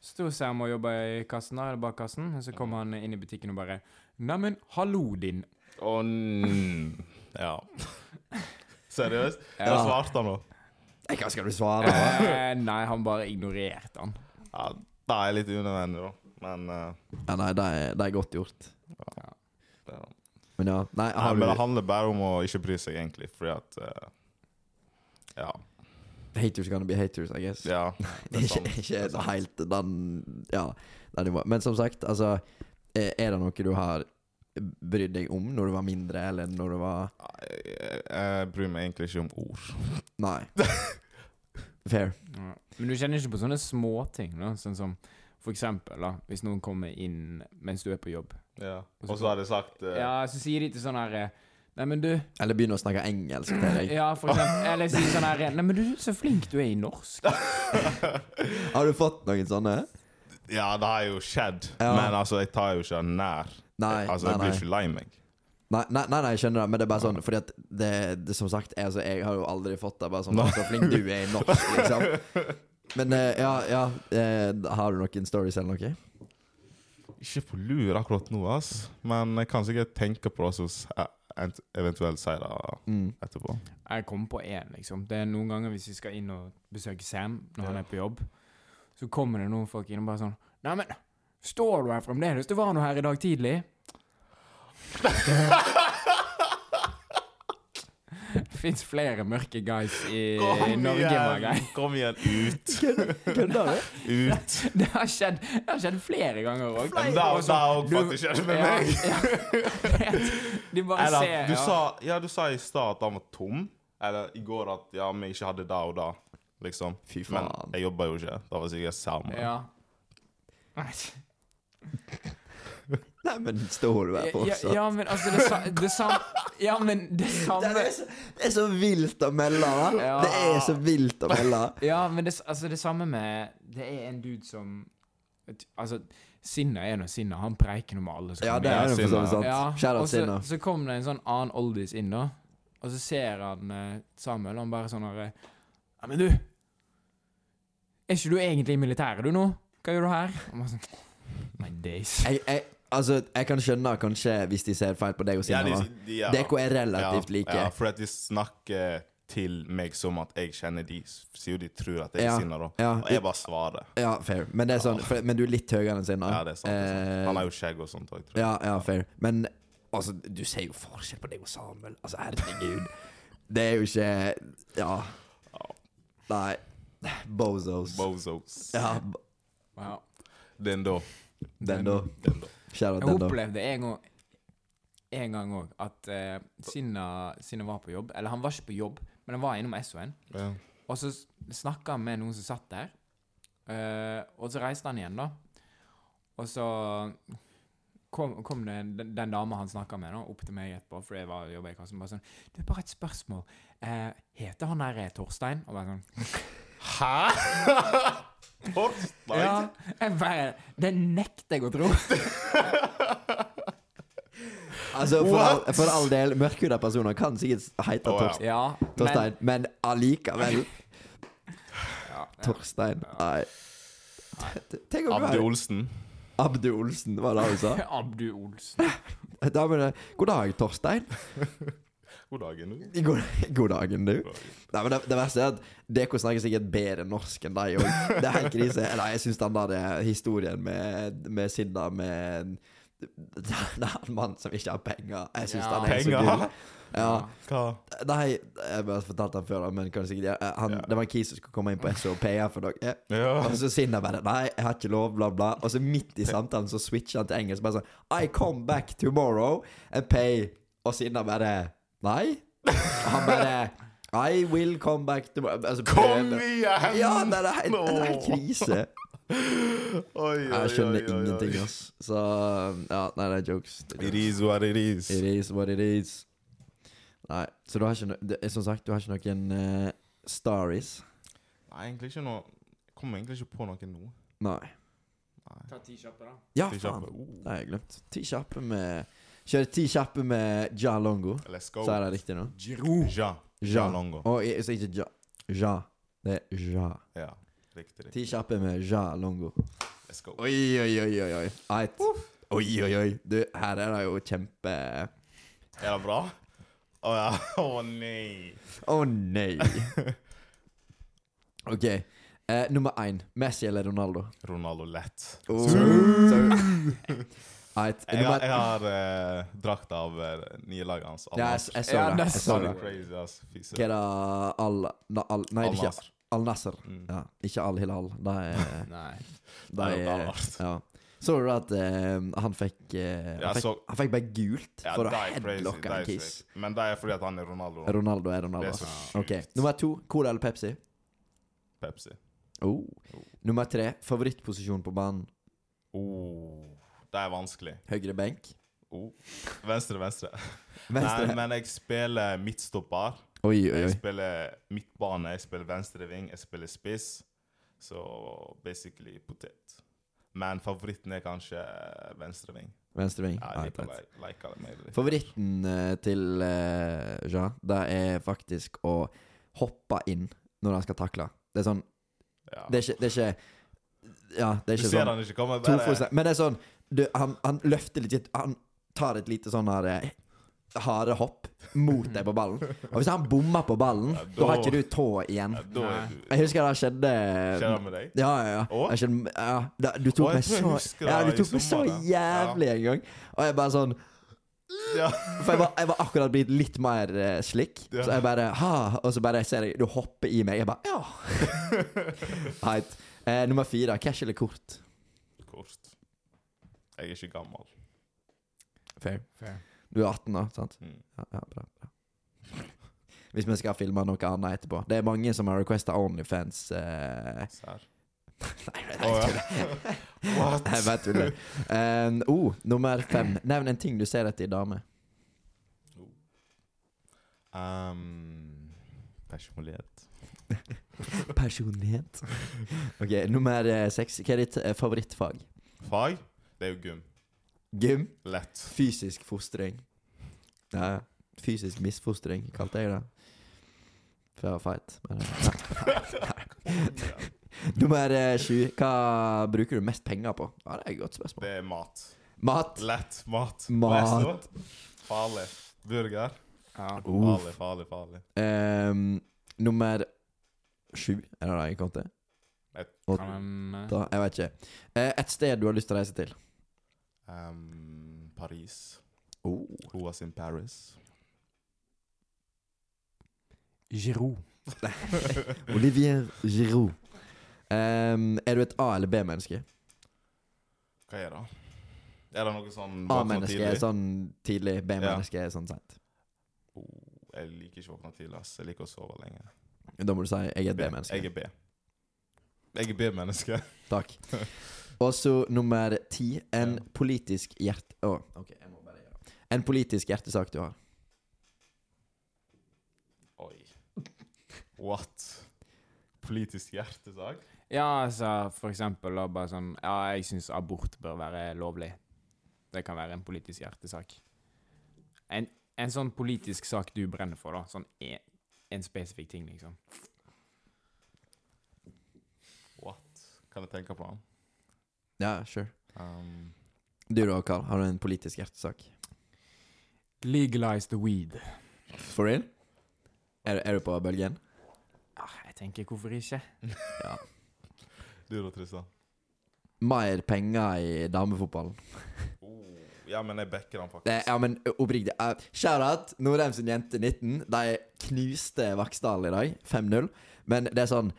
[SPEAKER 3] Så sto Sam og jobba i kassen, da, eller bak kassen, og så kom han inn i butikken og bare Neimen, hallo, din
[SPEAKER 2] Og n- Ja. Seriøst?
[SPEAKER 3] Ja.
[SPEAKER 2] Hva svarte han nå?
[SPEAKER 1] Nei, Hva skal du svare? da?
[SPEAKER 3] eh, Nei, han bare ignorerte han.
[SPEAKER 2] Ja, det er litt unødvendig, da. Men eh,
[SPEAKER 1] Ja, nei, det er, det er godt gjort.
[SPEAKER 2] det er
[SPEAKER 1] Men ja, nei,
[SPEAKER 2] Nei,
[SPEAKER 1] har
[SPEAKER 2] men
[SPEAKER 1] du
[SPEAKER 2] det handler bare om å ikke bry seg, egentlig, fordi at eh, Ja.
[SPEAKER 1] Haters gonna be haters, I guess.
[SPEAKER 2] ja det er
[SPEAKER 1] Ikke,
[SPEAKER 2] sant.
[SPEAKER 1] ikke helt den Ja, det nivået. Men som sagt, altså eh, Er det noe du har brydd deg om når du var mindre, eller når du var
[SPEAKER 2] Nei, Jeg, jeg bryr meg egentlig ikke om ord.
[SPEAKER 1] Nei. Fair.
[SPEAKER 3] Ja. Men du kjenner ikke på sånne småting, da? Sånn som for eksempel, da, hvis noen kommer inn mens du er på jobb.
[SPEAKER 2] Ja. Og så hadde jeg sagt eh,
[SPEAKER 3] Ja, så sier de til sånn her eh, Neimen, du
[SPEAKER 1] Eller begynne å snakke engelsk til deg.
[SPEAKER 3] Ja, for eksempel. Eller si sånn her Nei, men du, så flink du er i norsk.
[SPEAKER 1] Har du fått noen sånne?
[SPEAKER 2] Ja, det har jo skjedd,
[SPEAKER 1] Ja.
[SPEAKER 2] men altså, jeg tar jo ikke den nær.
[SPEAKER 1] Nei,
[SPEAKER 2] altså, jeg
[SPEAKER 1] nei,
[SPEAKER 2] blir
[SPEAKER 1] nei.
[SPEAKER 2] ikke lei meg.
[SPEAKER 1] Nei, nei, nei, nei, jeg skjønner det, men det er bare sånn Fordi at det, det som sagt, jeg, altså, jeg har jo aldri fått det. Bare sånn Så flink du er i norsk, liksom. Men eh, ja, ja eh, Har du noen stories eller noe?
[SPEAKER 2] Ikke på lur akkurat nå, ass. men jeg kan sikkert tenke på det, så s- eh, ent- eventuelt si det
[SPEAKER 1] Mm.
[SPEAKER 2] etterpå.
[SPEAKER 3] Jeg kom på én, liksom. Det er noen ganger hvis vi skal inn og besøke Sam når han
[SPEAKER 2] Ja.
[SPEAKER 3] er på jobb, så kommer det noen folk inn og bare sånn Neimen, står du her fremdeles? Du var nå her i dag tidlig. Fins flere mørke guys i Eh, Norge, my guy.
[SPEAKER 2] kom igjen, ut!
[SPEAKER 1] Kødder du?
[SPEAKER 2] Ut!
[SPEAKER 3] Det har skjedd, det har skjedd flere ganger òg.
[SPEAKER 2] Men det har òg faktisk skjedd med meg.
[SPEAKER 3] De bare
[SPEAKER 2] Eller,
[SPEAKER 3] ser
[SPEAKER 2] du
[SPEAKER 3] ja.
[SPEAKER 2] sa, ja, du sa i stad at den var tom, eller i går at ja, vi ikke hadde det og det, liksom.
[SPEAKER 1] Fy
[SPEAKER 2] Men
[SPEAKER 1] faen.
[SPEAKER 2] jeg jobba jo ikke. Det var sikkert sammen.
[SPEAKER 3] ja.
[SPEAKER 1] Nei, men står du her
[SPEAKER 3] Ja,
[SPEAKER 1] fortsatt?
[SPEAKER 3] ja, men altså det, sa, det samme Ja, men det samme
[SPEAKER 1] Det er, så, det er så vilt å melde, da.
[SPEAKER 3] Ja.
[SPEAKER 1] Det er så vilt å melde.
[SPEAKER 3] Ja, men det, altså det samme med Det er en dude som Altså, Sinna er nå Sinna. Han preiker nå med alle som
[SPEAKER 1] Ja,
[SPEAKER 3] kommer
[SPEAKER 1] det
[SPEAKER 2] Ja,
[SPEAKER 1] er jo for så
[SPEAKER 2] Sinna.
[SPEAKER 1] vidt sant.
[SPEAKER 3] Ja,
[SPEAKER 1] Shout
[SPEAKER 3] og
[SPEAKER 1] out
[SPEAKER 3] så,
[SPEAKER 1] Sinna.
[SPEAKER 3] så kom det en sånn annen oldies inn, da. Og så ser han eh, Samuel, og han bare sånn her eh, Ja, men du! Er ikke du egentlig i militæret, du nå? Hva gjør du her? Og man sånn, My days.
[SPEAKER 1] Jeg, jeg, altså, jeg kan skjønne kanskje hvis de ser feil på deg og
[SPEAKER 2] Ja,
[SPEAKER 1] Sinnava.
[SPEAKER 2] de- de- ja.
[SPEAKER 1] Dere er relativt
[SPEAKER 2] ja,
[SPEAKER 1] like.
[SPEAKER 2] Ja, for at de snakker til meg som at jeg kjenner de, sier jo de tror at jeg
[SPEAKER 1] Ja,
[SPEAKER 2] er sinna, da.
[SPEAKER 1] ja.
[SPEAKER 2] og jeg bare svarer.
[SPEAKER 1] Ja, fair. Men, det er sånn, for, men du er litt høyere enn Sinna.
[SPEAKER 2] Ja, det er sant. Det er sant. Han har jo skjegg og sånt òg, tror jeg.
[SPEAKER 1] Eh, Ja, ja, fair. Men altså, du ser jo forskjell på deg og Samuel. Altså, herregud. Det er jo ikke Ja. Nei. Bozos.
[SPEAKER 2] Bozos.
[SPEAKER 1] Ja, b-
[SPEAKER 3] Wow.
[SPEAKER 2] Den da.
[SPEAKER 1] den, da.
[SPEAKER 2] Den da.
[SPEAKER 1] Shout out
[SPEAKER 3] Jeg
[SPEAKER 1] den, da.
[SPEAKER 3] opplevde en gang En gang òg at eh, Sinna, Sinna var på jobb. Eller han var ikke på jobb, men han var innom SO-en.
[SPEAKER 2] Ja.
[SPEAKER 3] Og så snakka han med noen som satt der. Eh, og så reiste han igjen, da. Og så kom, kom det en- den, den dama han snakka med, da, opp til meg etterpå, for jeg var jobba i kassen. Bare sånn 'Du, bare et spørsmål. Eh, heter han der Torstein?' Og bare sånn
[SPEAKER 2] Hæ?! Torstein?
[SPEAKER 3] Ja. Jeg bare, det nekter jeg å tro.
[SPEAKER 1] Altså, for all,
[SPEAKER 2] What?
[SPEAKER 1] for all del, mørkhuda personer kan sikkert heite
[SPEAKER 2] Å, ja.
[SPEAKER 1] Torstein,
[SPEAKER 3] Ja, men,
[SPEAKER 1] Torstein, men allikevel
[SPEAKER 3] ja,
[SPEAKER 1] Torstein. Nei. Tenk om du
[SPEAKER 2] Abdi
[SPEAKER 1] er
[SPEAKER 2] Olsen.
[SPEAKER 1] Abdu Olsen, var det hun sa?
[SPEAKER 3] Abdu Olsen.
[SPEAKER 1] Da mener jeg, God dag, Torstein.
[SPEAKER 2] God dagen, du.
[SPEAKER 1] God, god dagen, du.
[SPEAKER 2] God dagen.
[SPEAKER 1] Nei, men det, det verste er at DK snakker sikkert bedre norsk enn deg òg. Det er helt krise. Nei, jeg syns den der eh, historien med, med Sinda med Det er en mann som ikke har penger. Jeg syns
[SPEAKER 3] Ja.
[SPEAKER 1] den er så
[SPEAKER 2] Penger?
[SPEAKER 1] gull. Ja.
[SPEAKER 2] Hva?
[SPEAKER 1] Nei, jeg har fortalt den før, da, men kan sikkert eh, han,
[SPEAKER 2] Ja.
[SPEAKER 1] Det var en kis som skulle komme inn på SO og PF for dere.
[SPEAKER 2] Ja.
[SPEAKER 1] Og så Sinda bare Nei, jeg har ikke lov, bla, bla. Og så midt i samtalen så switcher han til engelsk. Bare sånn I come back tomorrow and pay. Og Sinda bare Nei. Han bare I will come back tomorrow. Altså,
[SPEAKER 2] Kom
[SPEAKER 1] prøver.
[SPEAKER 2] igjen!
[SPEAKER 1] Ja, nei, det er helt, det er helt
[SPEAKER 2] Nå.
[SPEAKER 1] krise.
[SPEAKER 2] Oi, oi,
[SPEAKER 1] Jeg skjønner
[SPEAKER 2] oi, oi, oi.
[SPEAKER 1] ingenting, ass. Så Ja, nei, det er jokes. Det er
[SPEAKER 2] It
[SPEAKER 1] jokes.
[SPEAKER 2] is what it is.
[SPEAKER 1] It is what it is. Nei, så du har ikke no det, er Som sagt, du har ikke noen eh, stories?
[SPEAKER 2] Nei, egentlig ikke noe Jeg kommer egentlig ikke på noe nå.
[SPEAKER 1] Nei.
[SPEAKER 2] Nei.
[SPEAKER 3] Ta ti kjappe, da.
[SPEAKER 1] Ja,
[SPEAKER 2] Ikke
[SPEAKER 1] faen.
[SPEAKER 2] kjappe. Oh,
[SPEAKER 1] Det har jeg glemt. Ti kjappe med Kjøre ti kjappe med Ja Longo.
[SPEAKER 2] Let's go.
[SPEAKER 1] Så er det riktig nå.
[SPEAKER 3] Giroud.
[SPEAKER 2] Ja.
[SPEAKER 1] Ja.
[SPEAKER 2] Ja, Longo.
[SPEAKER 1] Og i- så ikke Ja. Ja. Det er Ja.
[SPEAKER 2] Ja, riktig. riktig.
[SPEAKER 1] Ti kjappe med Ja Longo.
[SPEAKER 2] Let's go.
[SPEAKER 1] Oi, oi, oi, oi. oi. Eit. Oi, oi, oi. Du, her er det jo kjempe
[SPEAKER 2] Er det bra? Å ja. Å nei.
[SPEAKER 1] Å nei. OK. Eh, nummer én. Messi eller Ronaldo?
[SPEAKER 2] Ronaldo lett.
[SPEAKER 1] Oh. Eit.
[SPEAKER 2] Jeg har,
[SPEAKER 1] Nummer
[SPEAKER 2] jeg har eh, drakt av eh, nye laget hans. Al
[SPEAKER 1] Ja, jeg,
[SPEAKER 2] Nassr.
[SPEAKER 1] jeg så
[SPEAKER 3] Ja,
[SPEAKER 1] det.
[SPEAKER 3] det
[SPEAKER 1] Jeg så
[SPEAKER 3] så
[SPEAKER 1] det.
[SPEAKER 3] jeg.
[SPEAKER 2] Crazy, ass. Fy
[SPEAKER 1] Hva er
[SPEAKER 2] søren.
[SPEAKER 1] det Al... na- al nei, det er ikke
[SPEAKER 2] Al-Nassr.
[SPEAKER 1] Al-Nasser.
[SPEAKER 2] Mm.
[SPEAKER 1] Ja, ikke Al-Hilal. Det er
[SPEAKER 3] Nei.
[SPEAKER 1] Det
[SPEAKER 2] Det er jo
[SPEAKER 1] er
[SPEAKER 2] galt.
[SPEAKER 1] ja. Så du at eh, han fikk eh,
[SPEAKER 2] Ja,
[SPEAKER 1] han, fikk,
[SPEAKER 2] så-
[SPEAKER 1] han fikk bare gult
[SPEAKER 2] Ja,
[SPEAKER 1] for å
[SPEAKER 2] det er crazy.
[SPEAKER 1] headlocke
[SPEAKER 2] det er
[SPEAKER 1] en kiss.
[SPEAKER 2] sykt. Men det er fordi at han er Ronaldo. da.
[SPEAKER 1] Ronaldo er Ronaldo.
[SPEAKER 2] Det er så
[SPEAKER 1] ass.
[SPEAKER 2] sjukt.
[SPEAKER 1] Ok, Nummer to Cola eller Pepsi?
[SPEAKER 2] Pepsi.
[SPEAKER 1] Oh. Nummer tre favorittposisjon på banen.
[SPEAKER 2] Oh, det er vanskelig.
[SPEAKER 1] Høyre benk.
[SPEAKER 2] Oh. Venstre, venstre.
[SPEAKER 1] Venstre.
[SPEAKER 2] Nei, men jeg spiller midtstopper.
[SPEAKER 1] Oi, oi,
[SPEAKER 2] Jeg
[SPEAKER 1] oi.
[SPEAKER 2] spiller midtbane, jeg spiller venstreving, jeg spiller spiss. Så basically potet. Men favoritten er kanskje venstreving.
[SPEAKER 1] Venstre ving.
[SPEAKER 2] Ja,
[SPEAKER 1] Ah,
[SPEAKER 2] jeg liker
[SPEAKER 1] teit.
[SPEAKER 2] li- liker det mer. litt.
[SPEAKER 1] Favoritten eh, til eh, Ja, det er faktisk å hoppe inn når han skal takle. Det er sånn
[SPEAKER 2] Ja.
[SPEAKER 1] Det er ikke, det er ikke Ja, det er
[SPEAKER 2] Du
[SPEAKER 1] ikke
[SPEAKER 2] ser
[SPEAKER 1] sånn
[SPEAKER 2] han ikke komme,
[SPEAKER 1] To
[SPEAKER 2] bare
[SPEAKER 1] fotstek. Men det er sånn du, han, han løfter litt Han tar et lite sånn her eh, harde hopp mot deg på ballen. Og hvis han bommer på ballen,
[SPEAKER 2] Ja,
[SPEAKER 1] da har
[SPEAKER 2] da-
[SPEAKER 1] ikke du tå igjen.
[SPEAKER 2] Ja, Da er du
[SPEAKER 1] Jeg husker det skjedde
[SPEAKER 2] Skjer det med deg?
[SPEAKER 1] Ja, ja, ja.
[SPEAKER 2] Å?
[SPEAKER 1] Jeg skjønner, ja da, du tok
[SPEAKER 2] Å, jeg
[SPEAKER 1] meg
[SPEAKER 2] tror jeg
[SPEAKER 1] så
[SPEAKER 2] husker det
[SPEAKER 1] Ja, du
[SPEAKER 2] i
[SPEAKER 1] tok meg så
[SPEAKER 2] sommer, da. Ja.
[SPEAKER 1] jævlig en gang. Og jeg bare sånn
[SPEAKER 2] Ja.
[SPEAKER 1] For jeg var, jeg var akkurat blitt litt mer eh, slik.
[SPEAKER 2] Ja.
[SPEAKER 1] Så jeg bare ha, Og så bare ser jeg du hopper i meg. Jeg bare ja. Heit. Eh, nummer fire. Cash eller kort?
[SPEAKER 2] Kort. Jeg er ikke gammel.
[SPEAKER 1] Fair.
[SPEAKER 3] Fair.
[SPEAKER 1] Du er 18 nå, sant?
[SPEAKER 2] Mm.
[SPEAKER 1] Ja, ja, bra, bra. Hvis vi skal filme noe annet etterpå. Det er mange som har requesta Onlyfans. eh,
[SPEAKER 2] Serr.
[SPEAKER 1] Nei, nei,
[SPEAKER 2] Å,
[SPEAKER 1] nei,
[SPEAKER 2] ja. What?
[SPEAKER 1] jeg bare tuller. Um, oh, nummer fem. Nevn en ting du ser etter i dame.
[SPEAKER 2] Um, personlighet.
[SPEAKER 1] Personlighet. Ok, Nummer eh, seks. Hva er ditt eh, favorittfag?
[SPEAKER 2] Fag? Det er jo gym.
[SPEAKER 1] Gym.
[SPEAKER 2] Lett.
[SPEAKER 1] Fysisk fostring. Ja, ja. fysisk misfostring, kalte jeg det. For jeg var feit. Men, eh, Nummer eh, sju. Hva bruker du mest penger på? Ja, det er et godt spørsmål.
[SPEAKER 2] Det er mat.
[SPEAKER 1] Mat.
[SPEAKER 2] Lett mat.
[SPEAKER 1] Mat.
[SPEAKER 2] Restaurant. Farlig. Burger.
[SPEAKER 3] Ja.
[SPEAKER 1] Uff.
[SPEAKER 2] Farlig, farlig, farlig.
[SPEAKER 1] Ehm, nummer sju, er det det jeg kom til?
[SPEAKER 2] Et-
[SPEAKER 1] Åtta,
[SPEAKER 3] Kan man, eh,
[SPEAKER 1] jeg vet ikke. Eh, et sted du har lyst til å reise til?
[SPEAKER 2] Ehm, Paris.
[SPEAKER 1] Oh.
[SPEAKER 2] Who was in Paris?
[SPEAKER 3] Giroud.
[SPEAKER 1] Olivier Giroud. Ehm, er du et A- eller B-menneske?
[SPEAKER 2] Hva er det? Er det noe sånn våkne
[SPEAKER 1] A-menneske er
[SPEAKER 2] tidlig?
[SPEAKER 1] sånn tidlig, B-menneske er sånn sent.
[SPEAKER 2] Oh, jeg liker ikke å våkne tidlig. ass. Jeg liker å sove lenge.
[SPEAKER 1] Da må du si 'jeg er et
[SPEAKER 2] B. Jeg
[SPEAKER 1] B-menneske'.
[SPEAKER 2] er B. Jeg er B-menneske.
[SPEAKER 1] Takk. Og så nummer ti. En
[SPEAKER 2] Ja.
[SPEAKER 1] politisk hjerte... Å, OK, jeg må bare gjøre det. En politisk hjertesak du har.
[SPEAKER 2] Oi. What? Politisk hjertesak?
[SPEAKER 3] Ja, altså for eksempel da, bare sånn Ja, jeg syns abort bør være lovlig. Det kan være en politisk hjertesak. En, en sånn politisk sak du brenner for, da. Sånn en, en spesifikk ting, liksom.
[SPEAKER 2] What? Kan jeg tenke på han?
[SPEAKER 1] Ja, sure.
[SPEAKER 2] Um,
[SPEAKER 1] Du da, Carl. Har du en politisk hjertesak?
[SPEAKER 3] Legalize the weed.
[SPEAKER 1] For real? Er, er du på bølgen?
[SPEAKER 3] Ah, jeg tenker, hvorfor ikke?
[SPEAKER 2] du da, Tristan?
[SPEAKER 1] Mer penger i damefotballen.
[SPEAKER 2] Oh, ja, men jeg backer han faktisk.
[SPEAKER 1] Det, ja, men oppriktig. Uh, Shout-out Norheim sin jente 19. De knuste Vaksdal i dag. 5-0. Men det er sånn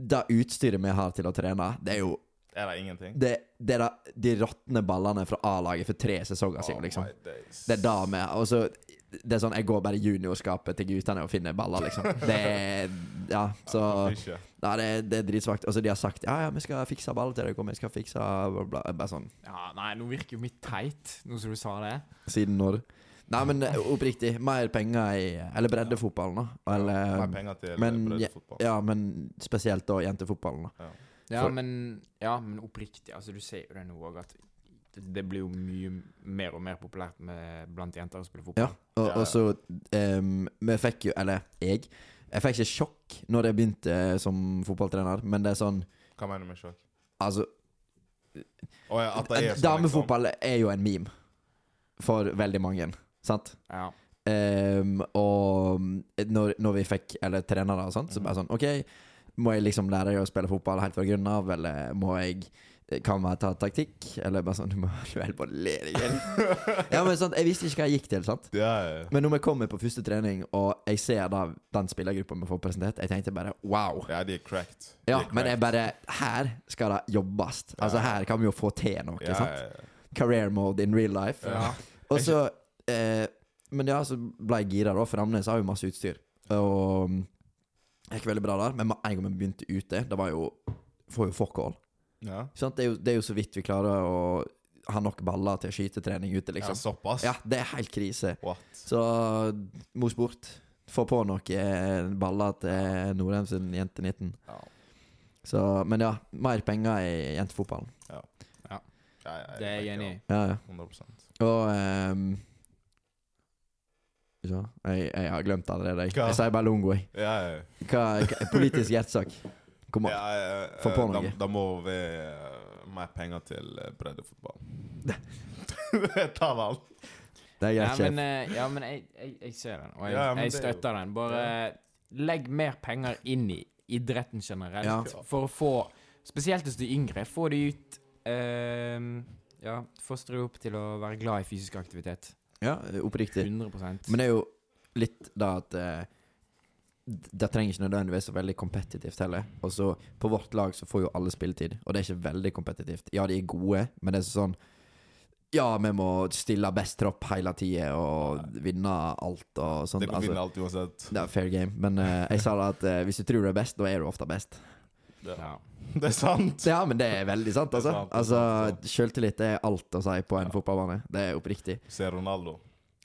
[SPEAKER 1] Det utstyret vi har til å trene, det er jo
[SPEAKER 2] Er det ingenting?
[SPEAKER 1] Det, det er da, de råtne ballene fra A-laget for tre sesonger
[SPEAKER 2] Oh,
[SPEAKER 1] siden, liksom. Det er da vi Og så Det er sånn Jeg går bare juniorskapet til guttene og finner baller, liksom. Det er Ja, så
[SPEAKER 2] ikke.
[SPEAKER 1] Nei, det, det er dritsvakt. Og så de har sagt ja, ja, vi skal fikse ball til deg, og vi skal fikse bla, bla. Bare sånn.
[SPEAKER 3] Ja, Nei, nå virker jo mitt teit, nå som du sa det.
[SPEAKER 1] Siden når? Nei, men eh, oppriktig. Mer penger i Eller breddefotballen, da.
[SPEAKER 2] Mer
[SPEAKER 1] Eller
[SPEAKER 2] penger til
[SPEAKER 1] eh,
[SPEAKER 2] eh,
[SPEAKER 1] men-
[SPEAKER 2] breddefotball.
[SPEAKER 1] Ja, men spesielt da jentefotballen, da.
[SPEAKER 2] Ja.
[SPEAKER 3] Ja,
[SPEAKER 1] For-
[SPEAKER 3] men, ja, men oppriktig, altså du ser jo det nå òg, at det, det blir jo mye mer og mer populært med, blant jenter å spille
[SPEAKER 1] Ja.
[SPEAKER 3] fotball.
[SPEAKER 1] Og,
[SPEAKER 2] Ja, ja.
[SPEAKER 1] og så em, Vi fikk jo Eller jeg. Jeg fikk ikke sjokk når jeg begynte eh, som fotballtrener, men det er sånn
[SPEAKER 2] Hva mener du med sjokk?
[SPEAKER 1] Altså,
[SPEAKER 2] Å ja, at det er sånn,
[SPEAKER 1] damefotball er jo en meme for veldig mange, sant?
[SPEAKER 3] Ja.
[SPEAKER 1] Ehm, og når, når vi fikk Eller trenere og sånt,
[SPEAKER 2] Mhm.
[SPEAKER 1] så bare sånn OK, må jeg liksom lære deg å spille fotball helt fra grunnen av, eller må jeg eh, kan man ta taktikk? Eller bare sånn Du må du holder på å le deg i hjel. ja, men sånn, jeg visste ikke hva jeg gikk til, sant?
[SPEAKER 2] Liksom. Ja, ja.
[SPEAKER 1] Men når vi kommer på første trening, og jeg ser da den spillergruppa vi får presentert, jeg tenkte bare wow.
[SPEAKER 2] ja, de er cracked. De
[SPEAKER 1] Ja,
[SPEAKER 2] er
[SPEAKER 1] men jeg
[SPEAKER 2] cracked.
[SPEAKER 1] bare Her skal det jobbes. Altså, her kan vi jo få til noe,
[SPEAKER 2] ja,
[SPEAKER 1] sant?
[SPEAKER 2] ja, ja.
[SPEAKER 1] Career mode in real life.
[SPEAKER 2] Ja.
[SPEAKER 1] Og så eh, Men ja, så ble jeg gira, da. Framnes har jo masse utstyr. Og mm, det gikk veldig bra der. Men med en gang vi begynte ute, det var jo Får jo fuck all.
[SPEAKER 2] Ja.
[SPEAKER 1] Ikke Sant? Det, er jo, det er jo så vidt vi klarer å ha nok baller til skytetrening ute,
[SPEAKER 2] ja,
[SPEAKER 1] liksom.
[SPEAKER 2] såpass?
[SPEAKER 1] Ja, det er helt krise.
[SPEAKER 2] What?
[SPEAKER 1] Så mos bort. Få på noen eh, baller til Norheim sin jente 19.
[SPEAKER 2] Ja.
[SPEAKER 1] Så, men ja, mer penger i jentefotballen.
[SPEAKER 2] Ja, ja,
[SPEAKER 3] Det er jeg
[SPEAKER 2] backer
[SPEAKER 3] enig i.
[SPEAKER 2] han.
[SPEAKER 1] Ja, ja.
[SPEAKER 2] 100
[SPEAKER 1] Og ehm, Skal vi se. jeg, jeg har glemt allerede. Jeg,
[SPEAKER 2] Hva?
[SPEAKER 1] jeg sier bare Longo. jeg.
[SPEAKER 2] Ja, ja.
[SPEAKER 1] Hva, hva, politisk hjertesak. Kom an.
[SPEAKER 2] ja, ja, ja.
[SPEAKER 1] Få på
[SPEAKER 2] Da-
[SPEAKER 1] noe.
[SPEAKER 2] Da må vi eh, mer penger til eh, breddefotball. Jeg tar den.
[SPEAKER 1] Det er
[SPEAKER 3] Ja,
[SPEAKER 1] greit, sjef.
[SPEAKER 3] men, eh, ja, men jeg, jeg, jeg ser den, og jeg,
[SPEAKER 2] Ja, men
[SPEAKER 3] jeg
[SPEAKER 2] det er jo-
[SPEAKER 3] støtter den. Bare legg mer penger inn i idretten generelt,
[SPEAKER 1] Ja.
[SPEAKER 3] for å få Spesielt hos de yngre. Få de ut ehm, Ja, fostre de opp til å være glad i fysisk aktivitet.
[SPEAKER 1] Ja, oppriktig.
[SPEAKER 3] 100
[SPEAKER 1] Men det er jo litt da at eh, d- Det trenger ikke nødvendigvis så veldig kompetitivt heller. Og så på vårt lag så får jo alle spilletid, og det er ikke veldig kompetitivt. Ja, de er gode, men det er sånn Ja, vi må stille best tropp hele tida og vinne alt og sånt.
[SPEAKER 2] Det kan
[SPEAKER 1] altså.
[SPEAKER 2] vinne alt uansett.
[SPEAKER 1] Det er fair game, men eh, jeg sa da at eh, hvis du tror du er best, da er du ofte best.
[SPEAKER 2] Ja.
[SPEAKER 3] ja.
[SPEAKER 2] Det er sant.
[SPEAKER 1] Så ja, men det er veldig sant,
[SPEAKER 2] Det
[SPEAKER 1] altså.
[SPEAKER 2] er sant, det er sant,
[SPEAKER 1] Altså, Sjøltillit er alt å si på en fotballbane. Det er oppriktig.
[SPEAKER 2] Se Ronaldo.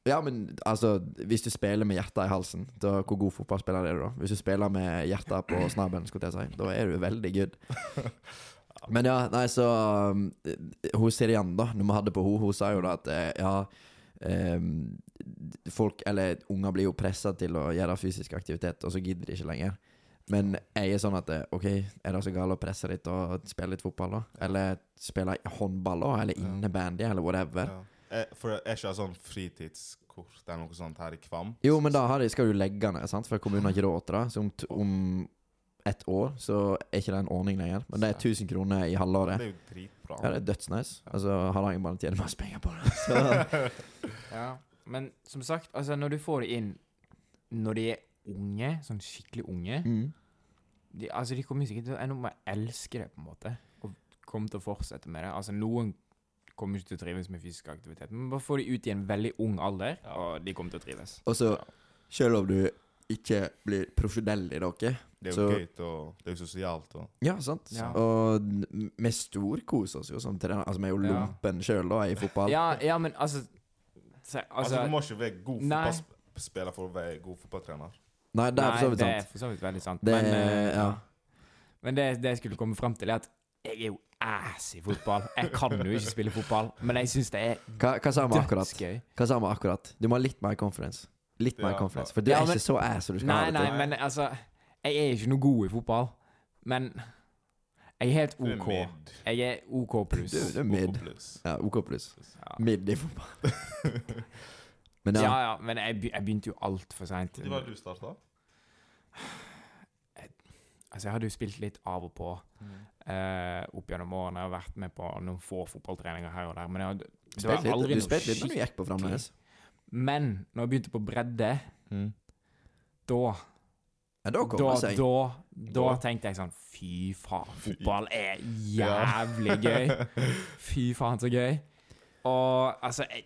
[SPEAKER 1] Ja, men altså, hvis du spiller med hjertet i halsen, da hvor god fotballspiller er du da? Hvis du spiller med hjertet på snabelen, skulle jeg si, da er du veldig good. Men ja, nei, så um, Hun Sirian, da, når vi hadde på henne, hun sa jo da at eh, ja em, Folk, eller unger blir jo pressa til å gjøre fysisk aktivitet, og så gidder de ikke lenger. Men jeg er sånn at eh, OK, er det så galt å presse litt og spille litt fotball, da? Eller spille håndball, da? Eller innebandy, eller whatever?
[SPEAKER 2] Ja. Eh, For jeg ikke har sånn fritidskort eller noe sånt her i Kvam.
[SPEAKER 1] Jo, men da har de, skal du legge ned, sant? for kommunen har ikke råd til det. Så om, t om ett år så er ikke det en ordning lenger. Men det er 1000 kroner i
[SPEAKER 2] Det
[SPEAKER 1] halvåret.
[SPEAKER 2] er jo dritbra.
[SPEAKER 1] Ja, det er dødsnice. Altså, Hardangerbanen tjener masse penger på det. Så
[SPEAKER 3] Ja, men som sagt, altså når du får det inn Når de er unge, sånn skikkelig unge
[SPEAKER 1] mm.
[SPEAKER 3] de, Altså de kommer sikkert til å ende opp med å elske det, på en måte. Og komme til å fortsette med det. Altså noen kommer ikke til å trives med fysisk aktivitet, men bare få de ut i en veldig ung alder, og de kommer til å trives.
[SPEAKER 1] Og så, selv om du ikke blir profesjonell i dere
[SPEAKER 2] Det er
[SPEAKER 1] Så-
[SPEAKER 2] jo gøy, og det er jo sosialt. Og.
[SPEAKER 1] Ja, sant.
[SPEAKER 3] Ja.
[SPEAKER 1] Og n- vi storkoser oss jo som trenere. Altså, vi er jo
[SPEAKER 3] Ja.
[SPEAKER 1] lompen sjøl, da, i fotball.
[SPEAKER 3] Ja, ja, men altså se,
[SPEAKER 2] Altså,
[SPEAKER 3] Altså,
[SPEAKER 2] du må ikke være god
[SPEAKER 3] Nei.
[SPEAKER 2] fotballspiller for å være god fotballtrener.
[SPEAKER 1] Nei, det er for så vidt
[SPEAKER 3] det er
[SPEAKER 1] sant.
[SPEAKER 3] for så vidt veldig sant.
[SPEAKER 1] Det,
[SPEAKER 3] men eh,
[SPEAKER 1] ja.
[SPEAKER 3] Men det, det jeg skulle komme frem til, er at jeg er jo ass i fotball. Jeg kan jo ikke spille fotball, men jeg syns det er
[SPEAKER 1] hva, hva sa vi akkurat?
[SPEAKER 3] dødsgøy.
[SPEAKER 1] Hva sa vi akkurat? Du må ha litt mer confidence. Litt mer
[SPEAKER 2] Ja.
[SPEAKER 1] confidence. For du
[SPEAKER 3] Ja,
[SPEAKER 1] er
[SPEAKER 3] men-
[SPEAKER 1] ikke så ass som du skal ha
[SPEAKER 3] Nei,
[SPEAKER 1] det
[SPEAKER 3] nei,
[SPEAKER 1] til.
[SPEAKER 3] men altså Jeg er ikke noe god i fotball, men jeg er helt
[SPEAKER 2] Du er
[SPEAKER 3] OK.
[SPEAKER 2] mid.
[SPEAKER 3] Jeg er OK pluss.
[SPEAKER 1] Du, du er
[SPEAKER 2] OK
[SPEAKER 1] mid.
[SPEAKER 2] pluss.
[SPEAKER 1] Ja, OK pluss.
[SPEAKER 3] Ja.
[SPEAKER 1] Mid i fotball. men
[SPEAKER 3] ja
[SPEAKER 1] ja.
[SPEAKER 3] ja, men jeg, be- jeg begynte jo altfor seint.
[SPEAKER 2] Når var det du starta?
[SPEAKER 3] Altså, jeg hadde jo spilt litt av og på
[SPEAKER 2] Mm.
[SPEAKER 3] eh, opp gjennom årene. Jeg har vært med på noen få fotballtreninger her og der, men jeg hadde,
[SPEAKER 1] Du
[SPEAKER 3] det var
[SPEAKER 1] spilte litt,
[SPEAKER 3] aldri
[SPEAKER 1] du
[SPEAKER 3] noe
[SPEAKER 1] spilte litt når du
[SPEAKER 3] skikkelig.
[SPEAKER 1] gikk på Framnes.
[SPEAKER 3] Men når jeg begynte på bredde,
[SPEAKER 1] Mm.
[SPEAKER 3] da
[SPEAKER 1] Ja, da kom
[SPEAKER 3] da,
[SPEAKER 1] det seg.
[SPEAKER 3] da, da
[SPEAKER 2] Da.
[SPEAKER 3] tenkte jeg sånn Fy faen, fotball er jævlig gøy. Fy faen, så gøy. Og altså Jeg,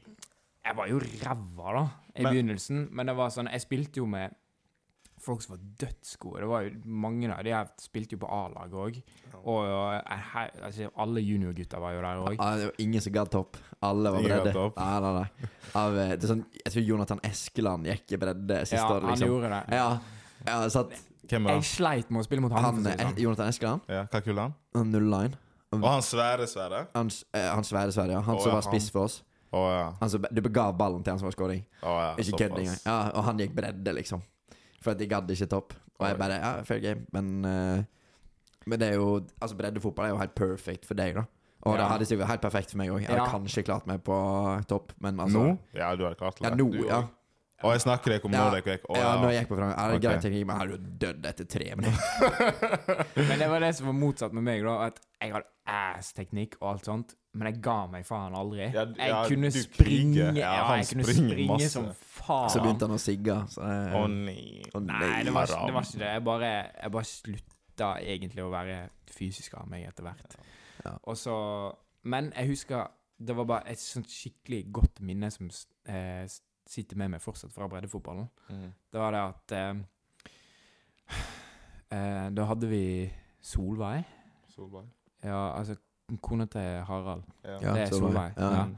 [SPEAKER 3] jeg var jo ræva, da, i
[SPEAKER 2] Men-
[SPEAKER 3] begynnelsen. Men det var sånn Jeg spilte jo med folk som var dødsgode. Det var jo mange av de her spilte jo på A-laget òg. Og, og jeg, her- altså, alle juniorgutta var jo der òg.
[SPEAKER 1] Ja, det var ingen som gadd topp. Alle var
[SPEAKER 2] Ingen gadd
[SPEAKER 1] bredde.
[SPEAKER 2] topp.
[SPEAKER 1] Nei, nei, nei. Av, eh, det er sånn, jeg tror Jonathan Eskeland gikk i bredde siste
[SPEAKER 3] Ja,
[SPEAKER 1] året,
[SPEAKER 3] han
[SPEAKER 1] liksom.
[SPEAKER 3] gjorde det.
[SPEAKER 1] Ja, ja sant.
[SPEAKER 2] Hvem er
[SPEAKER 3] Jeg
[SPEAKER 2] han?
[SPEAKER 3] sleit med å spille mot han.
[SPEAKER 1] Han,
[SPEAKER 3] for å si det
[SPEAKER 1] eh,
[SPEAKER 3] sånn.
[SPEAKER 1] Jonathan Eskeland,
[SPEAKER 2] Ja, hva kull er han?
[SPEAKER 1] han 09.
[SPEAKER 2] Og han svære, svære?
[SPEAKER 1] Han, s- eh, han svære Sverige, ja. han
[SPEAKER 2] Å,
[SPEAKER 1] som
[SPEAKER 2] ja,
[SPEAKER 1] var spiss for oss.
[SPEAKER 2] Å ja.
[SPEAKER 1] Han som, du ga ballen til han som var scoring.
[SPEAKER 2] Å, ja.
[SPEAKER 1] Ikke kødd engang.
[SPEAKER 2] såpass.
[SPEAKER 1] Ja, og han gikk bredde, liksom. For at de gadd ikke topp. Og jeg
[SPEAKER 2] Oi.
[SPEAKER 1] bare Ja, fair game, men eh, Men det er jo Altså, breddefotball er jo helt perfect for deg, da. Og det
[SPEAKER 3] Ja.
[SPEAKER 1] hadde sikkert vært helt perfekt for meg òg. Jeg hadde
[SPEAKER 3] Ja.
[SPEAKER 1] kanskje klart meg på topp, men altså
[SPEAKER 2] Nå? Ja, du har klart
[SPEAKER 1] Ja,
[SPEAKER 2] det.
[SPEAKER 1] nå,
[SPEAKER 2] Du-
[SPEAKER 1] ja.
[SPEAKER 2] Å, jeg snakker ikke om
[SPEAKER 1] Ja.
[SPEAKER 2] nå, det er ikke- Å,
[SPEAKER 1] ja. Når
[SPEAKER 2] ja.
[SPEAKER 1] jeg gikk på framgang. Ja, det er
[SPEAKER 2] Ok.
[SPEAKER 1] greit, teknikk, men jeg hadde jo dødd etter tre minutter.
[SPEAKER 3] Men det var det som var motsatt med meg, da. At jeg hadde ass-teknikk og alt sånt, men jeg ga meg faen aldri.
[SPEAKER 2] Ja, d-
[SPEAKER 3] jeg
[SPEAKER 2] ja,
[SPEAKER 3] kunne
[SPEAKER 2] du
[SPEAKER 3] springe
[SPEAKER 2] kriger.
[SPEAKER 3] Ja,
[SPEAKER 2] Ja, han
[SPEAKER 3] jeg kunne
[SPEAKER 2] springer
[SPEAKER 3] springe
[SPEAKER 2] masse.
[SPEAKER 3] som faen.
[SPEAKER 1] Så begynte han å sigge. Så jeg,
[SPEAKER 2] Å nei.
[SPEAKER 1] å nei.
[SPEAKER 3] Nei, det var,
[SPEAKER 2] haram.
[SPEAKER 3] det var ikke det. Jeg bare, jeg bare slutta egentlig å være fysisk av meg etter hvert.
[SPEAKER 1] Ja.
[SPEAKER 3] Og så Men jeg husker det var bare et sånt skikkelig godt minne som s- eh, s- sitter med meg fortsatt fra breddefotballen.
[SPEAKER 2] Mm.
[SPEAKER 3] Det var det at eh, eh, Da hadde vi Solveig.
[SPEAKER 2] Solberg.
[SPEAKER 3] Ja, altså kona til Harald.
[SPEAKER 1] Ja,
[SPEAKER 3] det er
[SPEAKER 1] så var
[SPEAKER 3] Solveig.
[SPEAKER 1] det. Ja.
[SPEAKER 2] Mm.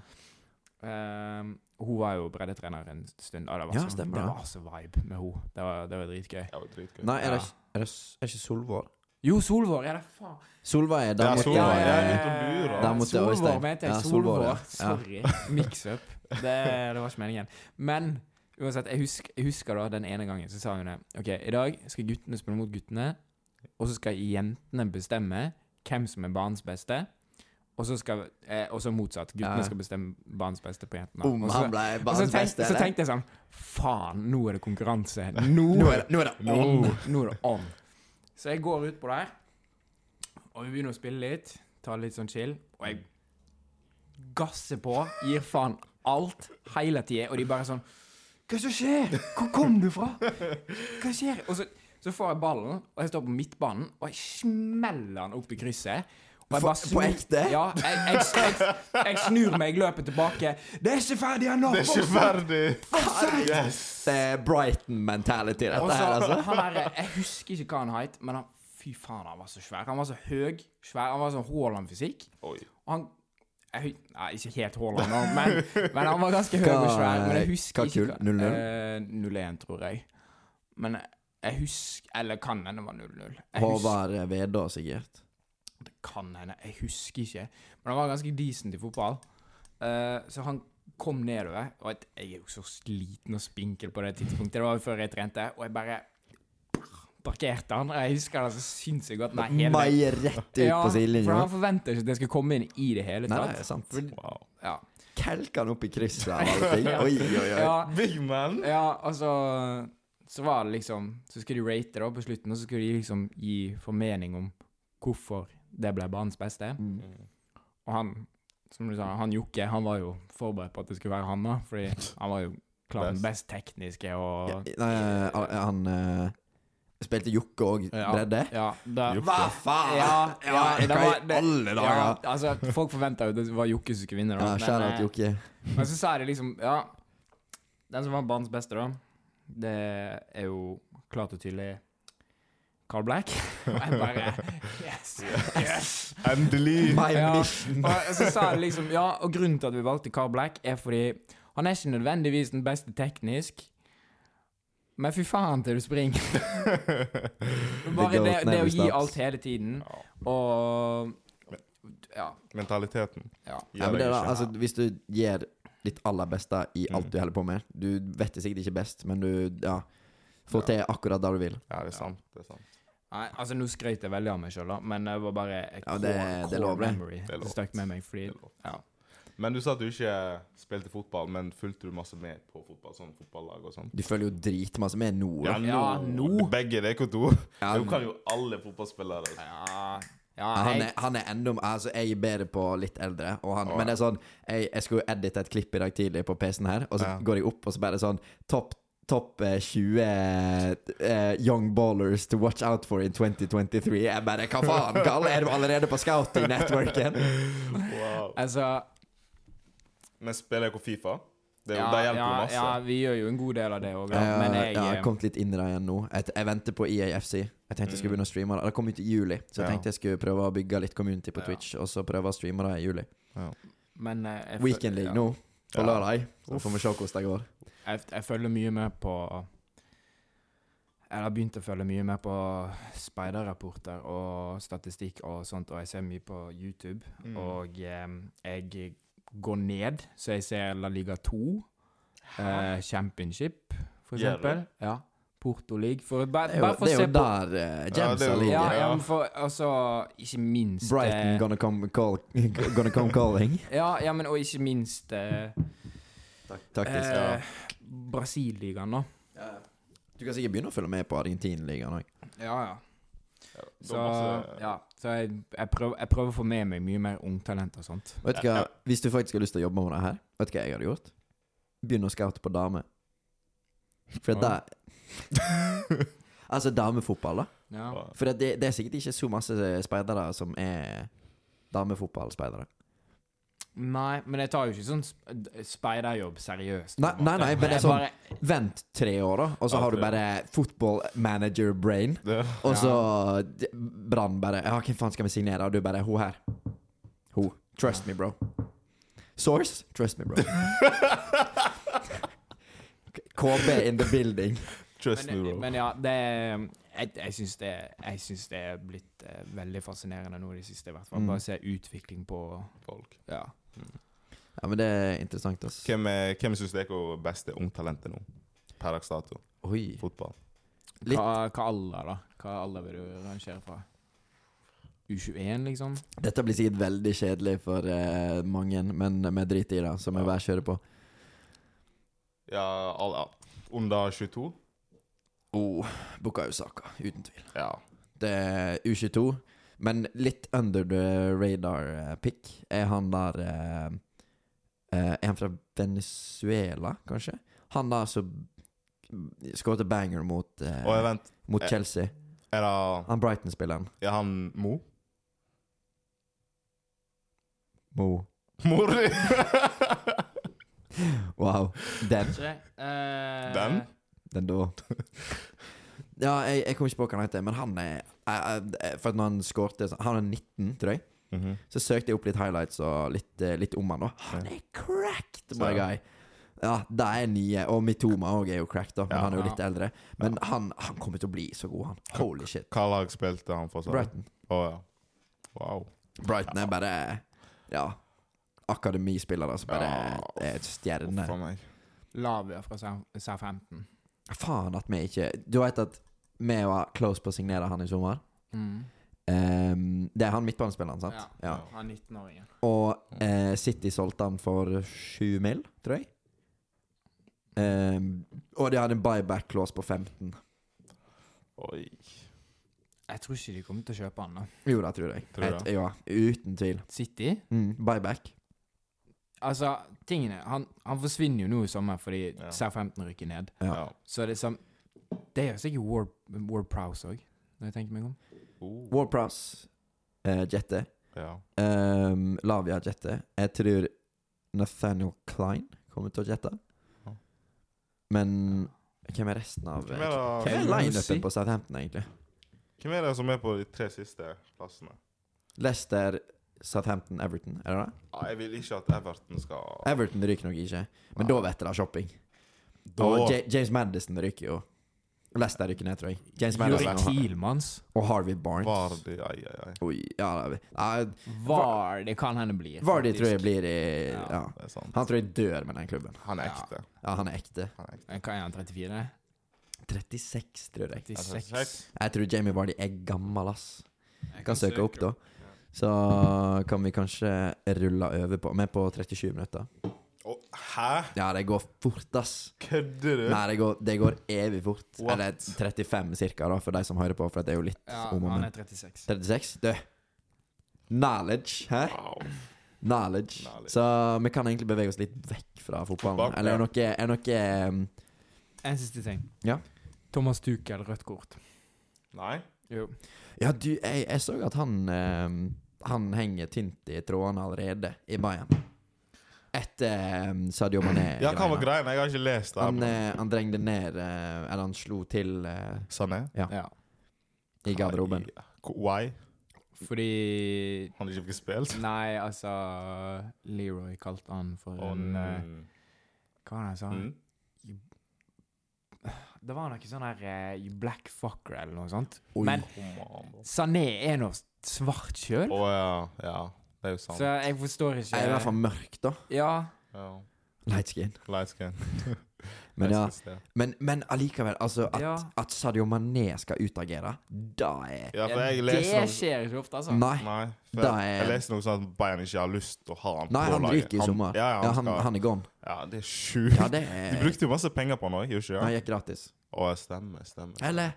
[SPEAKER 3] Ja. Ehm, hun var jo breddetrener en stund, og det var,
[SPEAKER 1] Ja,
[SPEAKER 3] sånn,
[SPEAKER 1] stemmer
[SPEAKER 3] det
[SPEAKER 1] det.
[SPEAKER 3] var så vibe med henne. Det var, det var dritgøy.
[SPEAKER 2] Ja, det var dritgøy.
[SPEAKER 1] Nei, er det,
[SPEAKER 3] Ja.
[SPEAKER 1] er det er ikke Solvår?
[SPEAKER 3] Jo, Solvår! Ja, det er faen
[SPEAKER 1] Solveig er dama
[SPEAKER 2] Ja,
[SPEAKER 1] til
[SPEAKER 2] Solvår,
[SPEAKER 1] Ja, ja, ja.
[SPEAKER 2] ute og lurer.
[SPEAKER 1] Der måtte jeg også
[SPEAKER 3] Solvår
[SPEAKER 1] stenge.
[SPEAKER 3] mente jeg.
[SPEAKER 1] Ja, Solvår,
[SPEAKER 3] Solvår.
[SPEAKER 1] ja.
[SPEAKER 3] Sorry. Mix up. Det, det var ikke meningen. Men uansett, jeg husker, jeg husker da den ene gangen så sa hun det. OK, i dag skal guttene spille mot guttene, og så skal jentene bestemme hvem som er banens beste. Og så skal eh, Og så motsatt.
[SPEAKER 1] Ja.
[SPEAKER 3] Guttene skal bestemme banens beste på jentene.
[SPEAKER 1] Om
[SPEAKER 3] Og så-
[SPEAKER 1] han ble
[SPEAKER 3] og så
[SPEAKER 1] banens
[SPEAKER 3] tenk-
[SPEAKER 1] beste,
[SPEAKER 3] Så
[SPEAKER 1] eller?
[SPEAKER 3] tenkte jeg sånn Faen, nå er det konkurranse. Nå
[SPEAKER 1] Nå er det- nå er det
[SPEAKER 3] on.
[SPEAKER 1] on!
[SPEAKER 3] Nå er det on. Så jeg går utpå der, og vi begynner å spille litt. Ta litt sånn chill. Og jeg gasser på, gir faen alt hele tida, og de bare sånn Hva er det som skjer? Hvor kom du fra? Hva skjer? Og så, så får jeg ballen, og jeg står på midtbanen, og jeg smeller den opp i krysset. Og jeg
[SPEAKER 1] For-
[SPEAKER 3] bare
[SPEAKER 1] på ekte?
[SPEAKER 3] Ja. Jeg, jeg, jeg, jeg snur meg, løper tilbake. Det er ikke ferdig ennå!
[SPEAKER 2] Det er ikke ferdig!
[SPEAKER 3] Offside!
[SPEAKER 2] Yes!
[SPEAKER 1] Det er
[SPEAKER 3] eh,
[SPEAKER 1] Brighton-mentality,
[SPEAKER 3] Og
[SPEAKER 1] dette
[SPEAKER 3] så,
[SPEAKER 1] her, altså.
[SPEAKER 3] han der, jeg husker ikke hva han het, men han, fy faen, han var så svær. Han var så høy, svær, han var sånn Haaland-fysikk.
[SPEAKER 2] Oi.
[SPEAKER 3] Og han jeg, hu- Nei, ikke helt Haaland, da, men, men han var ganske høy og
[SPEAKER 1] Hva-
[SPEAKER 3] svær. Men jeg husker
[SPEAKER 1] hva kull?
[SPEAKER 3] ikke
[SPEAKER 1] 00?
[SPEAKER 3] Eh, 01, tror jeg. Men jeg husker Eller kan hende det var 00. Jeg husker,
[SPEAKER 1] Håvard eh, Vedå, sikkert.
[SPEAKER 3] det kan hende, jeg husker ikke. Men han var ganske decent i fotball. Eh, så han kom nedover, og et- jeg er jo så sliten og spinkel på det tidspunktet. Det var jo før jeg trente, og jeg bare parkert han. og Jeg husker det så sinnssykt godt. Nei, hele-
[SPEAKER 1] Mai rett ut
[SPEAKER 3] Ja,
[SPEAKER 1] på sidelinja.
[SPEAKER 3] For han forventer ikke at den skal komme inn i det hele
[SPEAKER 1] Nei, det
[SPEAKER 3] tatt.
[SPEAKER 1] er sant.
[SPEAKER 2] Wow.
[SPEAKER 3] Ja.
[SPEAKER 1] Kelka han opp i krysset av alle ting. Oi, oi, oi.
[SPEAKER 3] Ja,
[SPEAKER 2] Big man!
[SPEAKER 3] ja, og så Så var det liksom Så skulle de rate det da på slutten, og så skulle de liksom gi formening om hvorfor det ble banens beste.
[SPEAKER 1] Mm.
[SPEAKER 3] Og han som du sa, han Jokke, han var jo forberedt på at det skulle være han, da. Fordi han var jo klart den best tekniske og
[SPEAKER 1] Ja, Nei, eh, han eh, spilte jokke og
[SPEAKER 3] Ja.
[SPEAKER 1] bredde.
[SPEAKER 3] Ja, da,
[SPEAKER 2] Jo.
[SPEAKER 1] Hva faen?!
[SPEAKER 3] Ja, ja, det
[SPEAKER 1] hva
[SPEAKER 3] var-
[SPEAKER 1] i
[SPEAKER 3] det-
[SPEAKER 1] alle
[SPEAKER 3] ja,
[SPEAKER 1] dager!
[SPEAKER 3] altså, folk forventa jo at det var Jokke som skulle vinne, da.
[SPEAKER 1] Ja,
[SPEAKER 3] men,
[SPEAKER 1] Kjære
[SPEAKER 3] eh,
[SPEAKER 1] at Jokke.
[SPEAKER 3] Men så sa de liksom Ja, den som vant banens beste, da, det er jo klart og tydelig Carl Black. Og jeg bare Yes! yes.
[SPEAKER 2] Endelig!
[SPEAKER 1] My
[SPEAKER 3] Ja.
[SPEAKER 1] mission!
[SPEAKER 3] Og så sa de liksom Ja, og grunnen til at vi valgte Carl Black, er fordi han er ikke nødvendigvis den beste teknisk. Men fy faen til du springer. Bare det, det å gi alt hele tiden, og Ja.
[SPEAKER 2] Mentaliteten.
[SPEAKER 3] ja.
[SPEAKER 1] Ja, men det er da,
[SPEAKER 2] ikke.
[SPEAKER 1] altså, hvis du gir ditt aller beste i alt du holder på med Du vet det sikkert ikke best, men du ja, får til akkurat det du vil.
[SPEAKER 2] Ja, det er sant. Det er sant.
[SPEAKER 3] Nei, altså Nå skrøt jeg veldig av meg sjøl, men det var bare et
[SPEAKER 1] Ja, det- det er lov, det.
[SPEAKER 3] memory
[SPEAKER 2] er
[SPEAKER 3] som
[SPEAKER 2] lov.
[SPEAKER 3] stakk med meg. Fordi, ja.
[SPEAKER 2] Men du sa at du ikke spilte fotball, men fulgte du masse med på fotball? Sånn fotballag og sånn?
[SPEAKER 1] Du følger jo dritmasse med nå. da.
[SPEAKER 3] Ja, nå.
[SPEAKER 2] Begge dere to.
[SPEAKER 1] Ja,
[SPEAKER 2] Du kan jo alle fotballspillere.
[SPEAKER 3] Ja, ja
[SPEAKER 1] Han
[SPEAKER 3] jeg,
[SPEAKER 1] er, han er enda Altså, jeg er bedre på litt eldre, og han, men det er sånn Jeg, jeg skulle edite et klipp i dag tidlig på PC-en her, og så
[SPEAKER 2] Ja.
[SPEAKER 1] går jeg opp, og så bare sånn Topp topp, eh, 20 eh, young ballers to watch out for in 2023. Jeg bare Hva faen? Kalle, er du allerede på scouting-networken?
[SPEAKER 2] Wow.
[SPEAKER 3] altså
[SPEAKER 2] Men spiller dere Fifa? Det, er jo-
[SPEAKER 3] ja,
[SPEAKER 2] det hjelper jo
[SPEAKER 3] ja,
[SPEAKER 2] masse.
[SPEAKER 3] ja, vi gjør jo en god del av det òg,
[SPEAKER 1] Ja,
[SPEAKER 3] men jeg
[SPEAKER 1] Eh,
[SPEAKER 3] eh,
[SPEAKER 1] ja,
[SPEAKER 3] ja,
[SPEAKER 1] jeg kom litt inn i det igjen nå. Jeg, jeg venter på E EAFC. Jeg tenkte jeg
[SPEAKER 3] Mm.
[SPEAKER 1] skulle begynne å streame det. Det kom ut i juli, så jeg
[SPEAKER 2] Ja.
[SPEAKER 1] tenkte jeg skulle prøve å bygge litt community på
[SPEAKER 3] Ja.
[SPEAKER 1] Twitch, og så prøve å streame det i juli.
[SPEAKER 3] men, eh, jeg, føl-
[SPEAKER 1] Weekend League
[SPEAKER 3] ja,
[SPEAKER 1] nå, på
[SPEAKER 2] Ja.
[SPEAKER 1] lørdag. Så får vi se hvordan det går.
[SPEAKER 3] Jeg, jeg følger mye med på Jeg har begynt å følge mye med på speiderrapporter og statistikk og sånt, og jeg ser mye på YouTube.
[SPEAKER 2] Mm.
[SPEAKER 3] Og eh, jeg går ned, så jeg ser La Liga 2, eh, Championship,
[SPEAKER 2] Gjør
[SPEAKER 3] for
[SPEAKER 2] du?
[SPEAKER 3] eksempel. Ja. Porto League. For, bare,
[SPEAKER 1] Det er jo,
[SPEAKER 3] bare for
[SPEAKER 1] det er
[SPEAKER 3] å se
[SPEAKER 1] jo
[SPEAKER 3] på
[SPEAKER 1] der uh, James
[SPEAKER 2] det er jo-
[SPEAKER 1] ligger.
[SPEAKER 3] Ja,
[SPEAKER 2] Ja.
[SPEAKER 3] ja, men for, altså, ikke minst eh,
[SPEAKER 1] Brighton gonna come, call, gonna come calling.
[SPEAKER 3] Ja, ja, men og ikke minst eh,
[SPEAKER 1] Taktisk.
[SPEAKER 3] eh, Brasilligaen, da.
[SPEAKER 1] Du kan sikkert begynne å følge med på Argentinligaen òg.
[SPEAKER 3] Ja, ja.
[SPEAKER 2] Ja, det er
[SPEAKER 3] Så,
[SPEAKER 2] masse-
[SPEAKER 3] ja, så jeg, jeg, prøver, jeg prøver å få med meg mye mer ungtalent og sånt.
[SPEAKER 1] Vet du hva, hvis du faktisk har lyst til å jobbe med det her, vet du hva jeg hadde gjort? Begynne å scoute på damer. For at
[SPEAKER 3] Ja.
[SPEAKER 1] det Altså damefotball, da.
[SPEAKER 3] Ja.
[SPEAKER 1] For at det, det er sikkert ikke så masse speidere som er damefotballspeidere.
[SPEAKER 3] Nei, men jeg tar jo ikke sånn sp- speiderjobb seriøst. på
[SPEAKER 1] Nei,
[SPEAKER 3] en
[SPEAKER 1] nei,
[SPEAKER 3] måte.
[SPEAKER 1] nei, men det er
[SPEAKER 3] Jeg
[SPEAKER 1] sånn
[SPEAKER 3] bare-
[SPEAKER 1] Vent tre år, da, og så
[SPEAKER 2] Ja,
[SPEAKER 1] har du
[SPEAKER 2] tre.
[SPEAKER 1] bare football manager brain.
[SPEAKER 2] Det,
[SPEAKER 1] Og så d- Brann bare Ja, hvem faen skal vi signere? Og du bare Hun her. Hun. Trust me, bro. Source? Trust me, bro. KB in the building.
[SPEAKER 2] trust me,
[SPEAKER 3] men,
[SPEAKER 2] bro.
[SPEAKER 3] men ja, det er- Jeg, jeg syns det, jeg syns det er blitt eh, veldig fascinerende nå i det siste, i hvert fall.
[SPEAKER 1] Mm.
[SPEAKER 3] Bare se utvikling på
[SPEAKER 2] Folk.
[SPEAKER 3] Ja.
[SPEAKER 1] Ja, men det er interessant, ass.
[SPEAKER 2] Hvem, er- hvem syns dere er beste ungtalentet nå? Per dags dato.
[SPEAKER 1] Oi.
[SPEAKER 2] Fotball.
[SPEAKER 1] Litt.
[SPEAKER 3] Hva, hva alder, da? Hva alder vil du rangere fra? U21, liksom?
[SPEAKER 1] Dette blir sikkert veldig kjedelig for eh, mange, men vi driter i det, så vi bare kjører på.
[SPEAKER 2] Ja, alle. Under 22?
[SPEAKER 1] Oh, Bukayo Saka, uten tvil.
[SPEAKER 2] Ja.
[SPEAKER 1] Det er U22, eh, men litt under the radar-pick. Er han der eh, eh, Er han fra Venezuela, kanskje? Han der som skåret banger mot, eh,
[SPEAKER 2] Og jeg vent,
[SPEAKER 1] mot
[SPEAKER 2] eh.
[SPEAKER 1] Chelsea.
[SPEAKER 2] er det
[SPEAKER 1] Han Brighton-spilleren.
[SPEAKER 2] Er han Mo?
[SPEAKER 1] Mo.
[SPEAKER 2] Mor di!
[SPEAKER 1] Wow. Den.
[SPEAKER 3] Tre.
[SPEAKER 2] Den?
[SPEAKER 1] Den da. Ja, jeg, jeg kom ikke på hva han heter, men han er eh, eh, For at når han skårte Han er 19, tror jeg.
[SPEAKER 2] Mhm.
[SPEAKER 1] Så søkte jeg opp litt highlights og litt, eh, litt om han da. Han er cracked, my
[SPEAKER 2] Så-
[SPEAKER 1] guy! Ja, det er nye. Og Mitoma òg er jo cracked, da, men
[SPEAKER 2] Ja.
[SPEAKER 1] han er jo
[SPEAKER 3] Ja.
[SPEAKER 1] litt eldre. Men han, han kommer til å bli så god, han. Holy shit.
[SPEAKER 2] Hva lag spilte han for? sa du?
[SPEAKER 1] Brighton.
[SPEAKER 2] Å ja. Wow.
[SPEAKER 1] Brighton er bare Ja. Akademispillere som bare
[SPEAKER 2] Ja.
[SPEAKER 1] er et stjerne.
[SPEAKER 2] Uff a meg.
[SPEAKER 3] Lavia fra Sa- Southampton.
[SPEAKER 1] Faen at vi ikke Du vet at Vi var close på å signere han i sommer.
[SPEAKER 3] Mm.
[SPEAKER 1] Ehm, det er han midtbanespilleren, sant? Ja.
[SPEAKER 3] Han 19-åringen.
[SPEAKER 1] Og eh, City solgte han for sju mil, tror jeg. Ehm, og de hadde en buyback-clause på 15.
[SPEAKER 2] Oi.
[SPEAKER 3] Jeg tror ikke de kommer til å kjøpe han da.
[SPEAKER 1] Jo, det tror jeg.
[SPEAKER 2] Tror du
[SPEAKER 1] Et, ja, uten tvil.
[SPEAKER 3] City?
[SPEAKER 1] Mm, buyback.
[SPEAKER 3] Altså, tingene Han, han forsvinner jo nå i sommer fordi
[SPEAKER 2] Ja.
[SPEAKER 3] Southampton rykker ned.
[SPEAKER 1] Ja.
[SPEAKER 2] Ja.
[SPEAKER 3] Så det er som Det gjør sikkert Ward, Ward Prowse òg, når jeg tenker meg om.
[SPEAKER 2] Oh.
[SPEAKER 1] Warprouse, eh, Jette.
[SPEAKER 2] Ja.
[SPEAKER 1] Ehm, Lavia Jette. Jeg tror Nathaniel Klein kommer til å jette.
[SPEAKER 2] Ja.
[SPEAKER 1] Men hvem er resten av eh,
[SPEAKER 2] Hvem er det-
[SPEAKER 1] Hvem er lineupen
[SPEAKER 3] Ramsey?
[SPEAKER 1] på Southampton, egentlig?
[SPEAKER 2] Hvem er det som er på de tre siste plassene?
[SPEAKER 1] Leicester, Southampton, Everton. Er det det?
[SPEAKER 2] Ja, jeg vil ikke at Everton skal
[SPEAKER 1] Everton ryker nok ikke, men
[SPEAKER 2] Nei.
[SPEAKER 1] da vet dere shopping.
[SPEAKER 2] Da-
[SPEAKER 1] Og Ja- James Madison ryker jo. Leicester ryker ned, tror jeg. James
[SPEAKER 3] Juri
[SPEAKER 1] Madison og,
[SPEAKER 3] Tielmanns.
[SPEAKER 1] og Harvey Barnes.
[SPEAKER 2] Vardy, ai, ai, ai.
[SPEAKER 1] Oi, ja, det er- nei,
[SPEAKER 3] Var det kan hende blir.
[SPEAKER 1] Vardy
[SPEAKER 3] faktisk.
[SPEAKER 1] tror jeg blir i
[SPEAKER 3] Ja.
[SPEAKER 1] ja.
[SPEAKER 2] Det er sant.
[SPEAKER 1] Han tror jeg dør med den klubben.
[SPEAKER 2] Han er
[SPEAKER 3] Ja.
[SPEAKER 2] ekte.
[SPEAKER 1] Ja, han er ekte.
[SPEAKER 2] Han er ekte.
[SPEAKER 3] Men Hva er han, 34?
[SPEAKER 1] 36, tror jeg.
[SPEAKER 2] altså,
[SPEAKER 3] 36?
[SPEAKER 1] Jeg tror Jamie Vardy er gammel, ass.
[SPEAKER 3] Jeg
[SPEAKER 1] Kan søke opp, da. Så kan vi kanskje rulle over på Vi er på 37 minutter.
[SPEAKER 2] Å, hæ?
[SPEAKER 1] Ja, det går fort, ass.
[SPEAKER 2] Kødder du?
[SPEAKER 1] Nei, det går, det går evig fort.
[SPEAKER 2] What?
[SPEAKER 1] Eller 35 cirka, da, for de som hører på, for det er jo litt
[SPEAKER 3] Ja,
[SPEAKER 1] om og
[SPEAKER 3] han
[SPEAKER 1] men.
[SPEAKER 3] er 36.
[SPEAKER 1] 36? Du. Knowledge, hæ?
[SPEAKER 2] Wow.
[SPEAKER 1] Knowledge.
[SPEAKER 2] Knowledge.
[SPEAKER 1] Så vi kan egentlig bevege oss litt vekk fra fotballen.
[SPEAKER 2] Fotball,
[SPEAKER 1] Eller er
[SPEAKER 2] ja.
[SPEAKER 1] noe, er noe um,
[SPEAKER 3] En siste ting.
[SPEAKER 1] Ja.
[SPEAKER 3] Thomas Tuchel, rødt kort.
[SPEAKER 2] Nei?
[SPEAKER 3] Jo.
[SPEAKER 1] Ja, du, jeg, jeg så at han ehm, Han henger tynt i trådene allerede i Bayern. Etter ehm, Sadio Mané.
[SPEAKER 2] Ja, hva var
[SPEAKER 1] greiene.
[SPEAKER 2] greia? Jeg har ikke lest det. her,
[SPEAKER 1] Han,
[SPEAKER 2] men-
[SPEAKER 1] eh, han drengde ned eh, Eller han slo til eh,
[SPEAKER 2] Sané?
[SPEAKER 3] Ja.
[SPEAKER 1] i garderoben.
[SPEAKER 2] Ai, Why?
[SPEAKER 3] Fordi
[SPEAKER 2] Han har ikke fått spilt?
[SPEAKER 3] Nei, altså Leroy kalte han
[SPEAKER 1] Mm.
[SPEAKER 3] for
[SPEAKER 2] Å,
[SPEAKER 3] en eh,
[SPEAKER 2] nei.
[SPEAKER 3] Hva var det han sa?
[SPEAKER 2] Mm.
[SPEAKER 3] Det var noe sånn her eh, You black fucker eller noe sånt.
[SPEAKER 1] Oi.
[SPEAKER 3] Men
[SPEAKER 2] Kom an, bro.
[SPEAKER 3] Sané er nå svart sjøl,
[SPEAKER 2] Å ja. Ja, det er jo sant.
[SPEAKER 3] så jeg forstår
[SPEAKER 1] Jeg
[SPEAKER 3] ikke
[SPEAKER 1] er i hvert fall mørk, da.
[SPEAKER 3] Ja.
[SPEAKER 2] Ja.
[SPEAKER 1] Light skin.
[SPEAKER 2] Light skin.
[SPEAKER 1] Men, ja,
[SPEAKER 2] Light skin.
[SPEAKER 1] men, men allikevel, altså at,
[SPEAKER 3] Ja.
[SPEAKER 1] at Sadio Mané skal utagere, da er
[SPEAKER 2] ja, for jeg
[SPEAKER 3] det
[SPEAKER 2] leser noe
[SPEAKER 3] skjer ikke ofte, altså.
[SPEAKER 1] Nei.
[SPEAKER 2] Nei. For
[SPEAKER 1] Da
[SPEAKER 2] jeg,
[SPEAKER 1] er-
[SPEAKER 2] jeg leser noe sånn at Bayern ikke har lyst til å ha han
[SPEAKER 1] Nei,
[SPEAKER 2] på
[SPEAKER 1] han
[SPEAKER 2] laget.
[SPEAKER 1] ryker i sommer.
[SPEAKER 2] Ja, ja, han,
[SPEAKER 1] han,
[SPEAKER 2] skal,
[SPEAKER 1] han er gone.
[SPEAKER 2] ja, det er sjukt.
[SPEAKER 1] Ja, det
[SPEAKER 2] De
[SPEAKER 1] er
[SPEAKER 2] brukte jo masse penger på han òg, gjorde
[SPEAKER 1] Han
[SPEAKER 2] ikke det?
[SPEAKER 1] gikk gratis.
[SPEAKER 2] Å, stemmer, stemmer.
[SPEAKER 1] Eller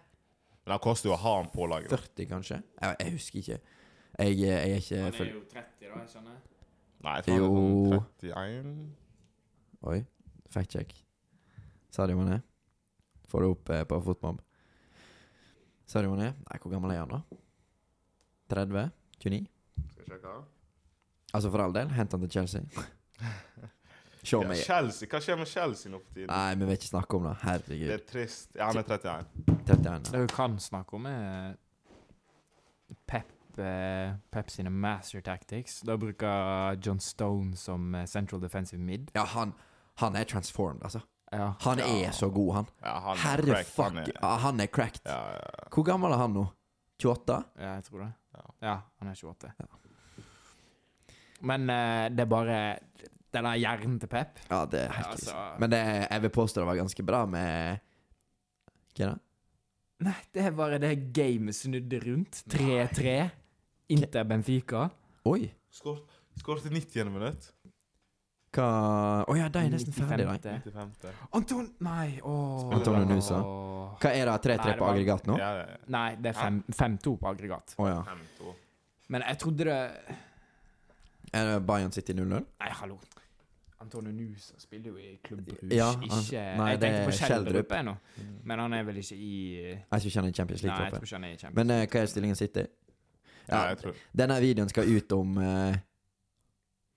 [SPEAKER 2] Men det koster jo å ha han på laget. da.
[SPEAKER 1] 40, kanskje? Jeg, jeg husker ikke. Jeg, eh, jeg er ikke full...
[SPEAKER 3] jo 30, da, jeg skjønner.
[SPEAKER 2] Nei, jeg tror han
[SPEAKER 1] Jo.
[SPEAKER 2] er sånn 31
[SPEAKER 1] Oi. Fact check. Sadio Mané. Får det opp eh, på fotmobb. Sadio Mané Nei, hvor gammel er han, da? 30? 29?
[SPEAKER 2] Skal jeg sjekke?
[SPEAKER 1] Altså for all del, hent han til Chelsea. Show
[SPEAKER 2] Ja,
[SPEAKER 1] me.
[SPEAKER 2] Chelsea. Hva skjer med Chelsea nå for tiden?
[SPEAKER 1] Nei, vi vil ikke snakke om det.
[SPEAKER 2] Det
[SPEAKER 1] Herregud.
[SPEAKER 2] er trist. Ja, han er 31.
[SPEAKER 1] 31.
[SPEAKER 3] Det du kan snakke om, er Pep, eh, Pep sine master tactics. Da bruker John Stone som eh, central defensive mid.
[SPEAKER 1] Ja, han, han er transformed, altså.
[SPEAKER 3] Ja.
[SPEAKER 1] Han er så god, han.
[SPEAKER 2] Ja, han er
[SPEAKER 1] Herre
[SPEAKER 2] crack,
[SPEAKER 1] fuck.
[SPEAKER 2] han er-
[SPEAKER 1] Ja, han er cracked.
[SPEAKER 2] Ja, ja, ja.
[SPEAKER 1] Hvor gammel er han nå? 28?
[SPEAKER 3] Ja, jeg tror det.
[SPEAKER 2] Ja.
[SPEAKER 3] Ja, han er 28. Men eh, det er bare denne hjernen til Pep.
[SPEAKER 1] Ja, det er helt krise.
[SPEAKER 3] Altså,
[SPEAKER 1] Men det, jeg vil påstå det var ganske bra med Hva er det?
[SPEAKER 3] nei, det er bare det gamet snudd rundt. 3-3. Inter Benfica.
[SPEAKER 1] Oi!
[SPEAKER 2] Skår- Skåret i 90. minutt.
[SPEAKER 1] Hva Å ja, de er nesten ferdig, de.
[SPEAKER 3] 95..
[SPEAKER 2] 95.
[SPEAKER 3] Anton Nei, åh.
[SPEAKER 1] Antonio Nusa. Hva er det? 3-3
[SPEAKER 3] Nei, det
[SPEAKER 1] på
[SPEAKER 3] var-
[SPEAKER 1] aggregat nå? Å
[SPEAKER 2] Ja, ja, ja.
[SPEAKER 3] Nei, det er fem- 5-2 på aggregat.
[SPEAKER 1] ja.
[SPEAKER 2] 5-2.
[SPEAKER 3] Men jeg trodde det
[SPEAKER 1] Er det Bayern City 0-0?
[SPEAKER 3] Nei, hallo. Antonio Nusa spiller jo i Klubb Bruges,
[SPEAKER 1] Ja, han-
[SPEAKER 3] ikke
[SPEAKER 1] nei,
[SPEAKER 3] Jeg
[SPEAKER 1] det
[SPEAKER 3] tenkte på
[SPEAKER 1] er Kjeldrup.
[SPEAKER 3] Kjeldrup jeg nå, men han er vel ikke i
[SPEAKER 1] Jeg tror ikke han er i Champions
[SPEAKER 3] Nei, jeg
[SPEAKER 1] League-troppen.
[SPEAKER 3] tror ikke han er i Champions.
[SPEAKER 1] Men eh, hva er stillingen City?
[SPEAKER 2] Ja,
[SPEAKER 1] Ja,
[SPEAKER 2] jeg tror
[SPEAKER 1] Denne videoen skal ut om eh,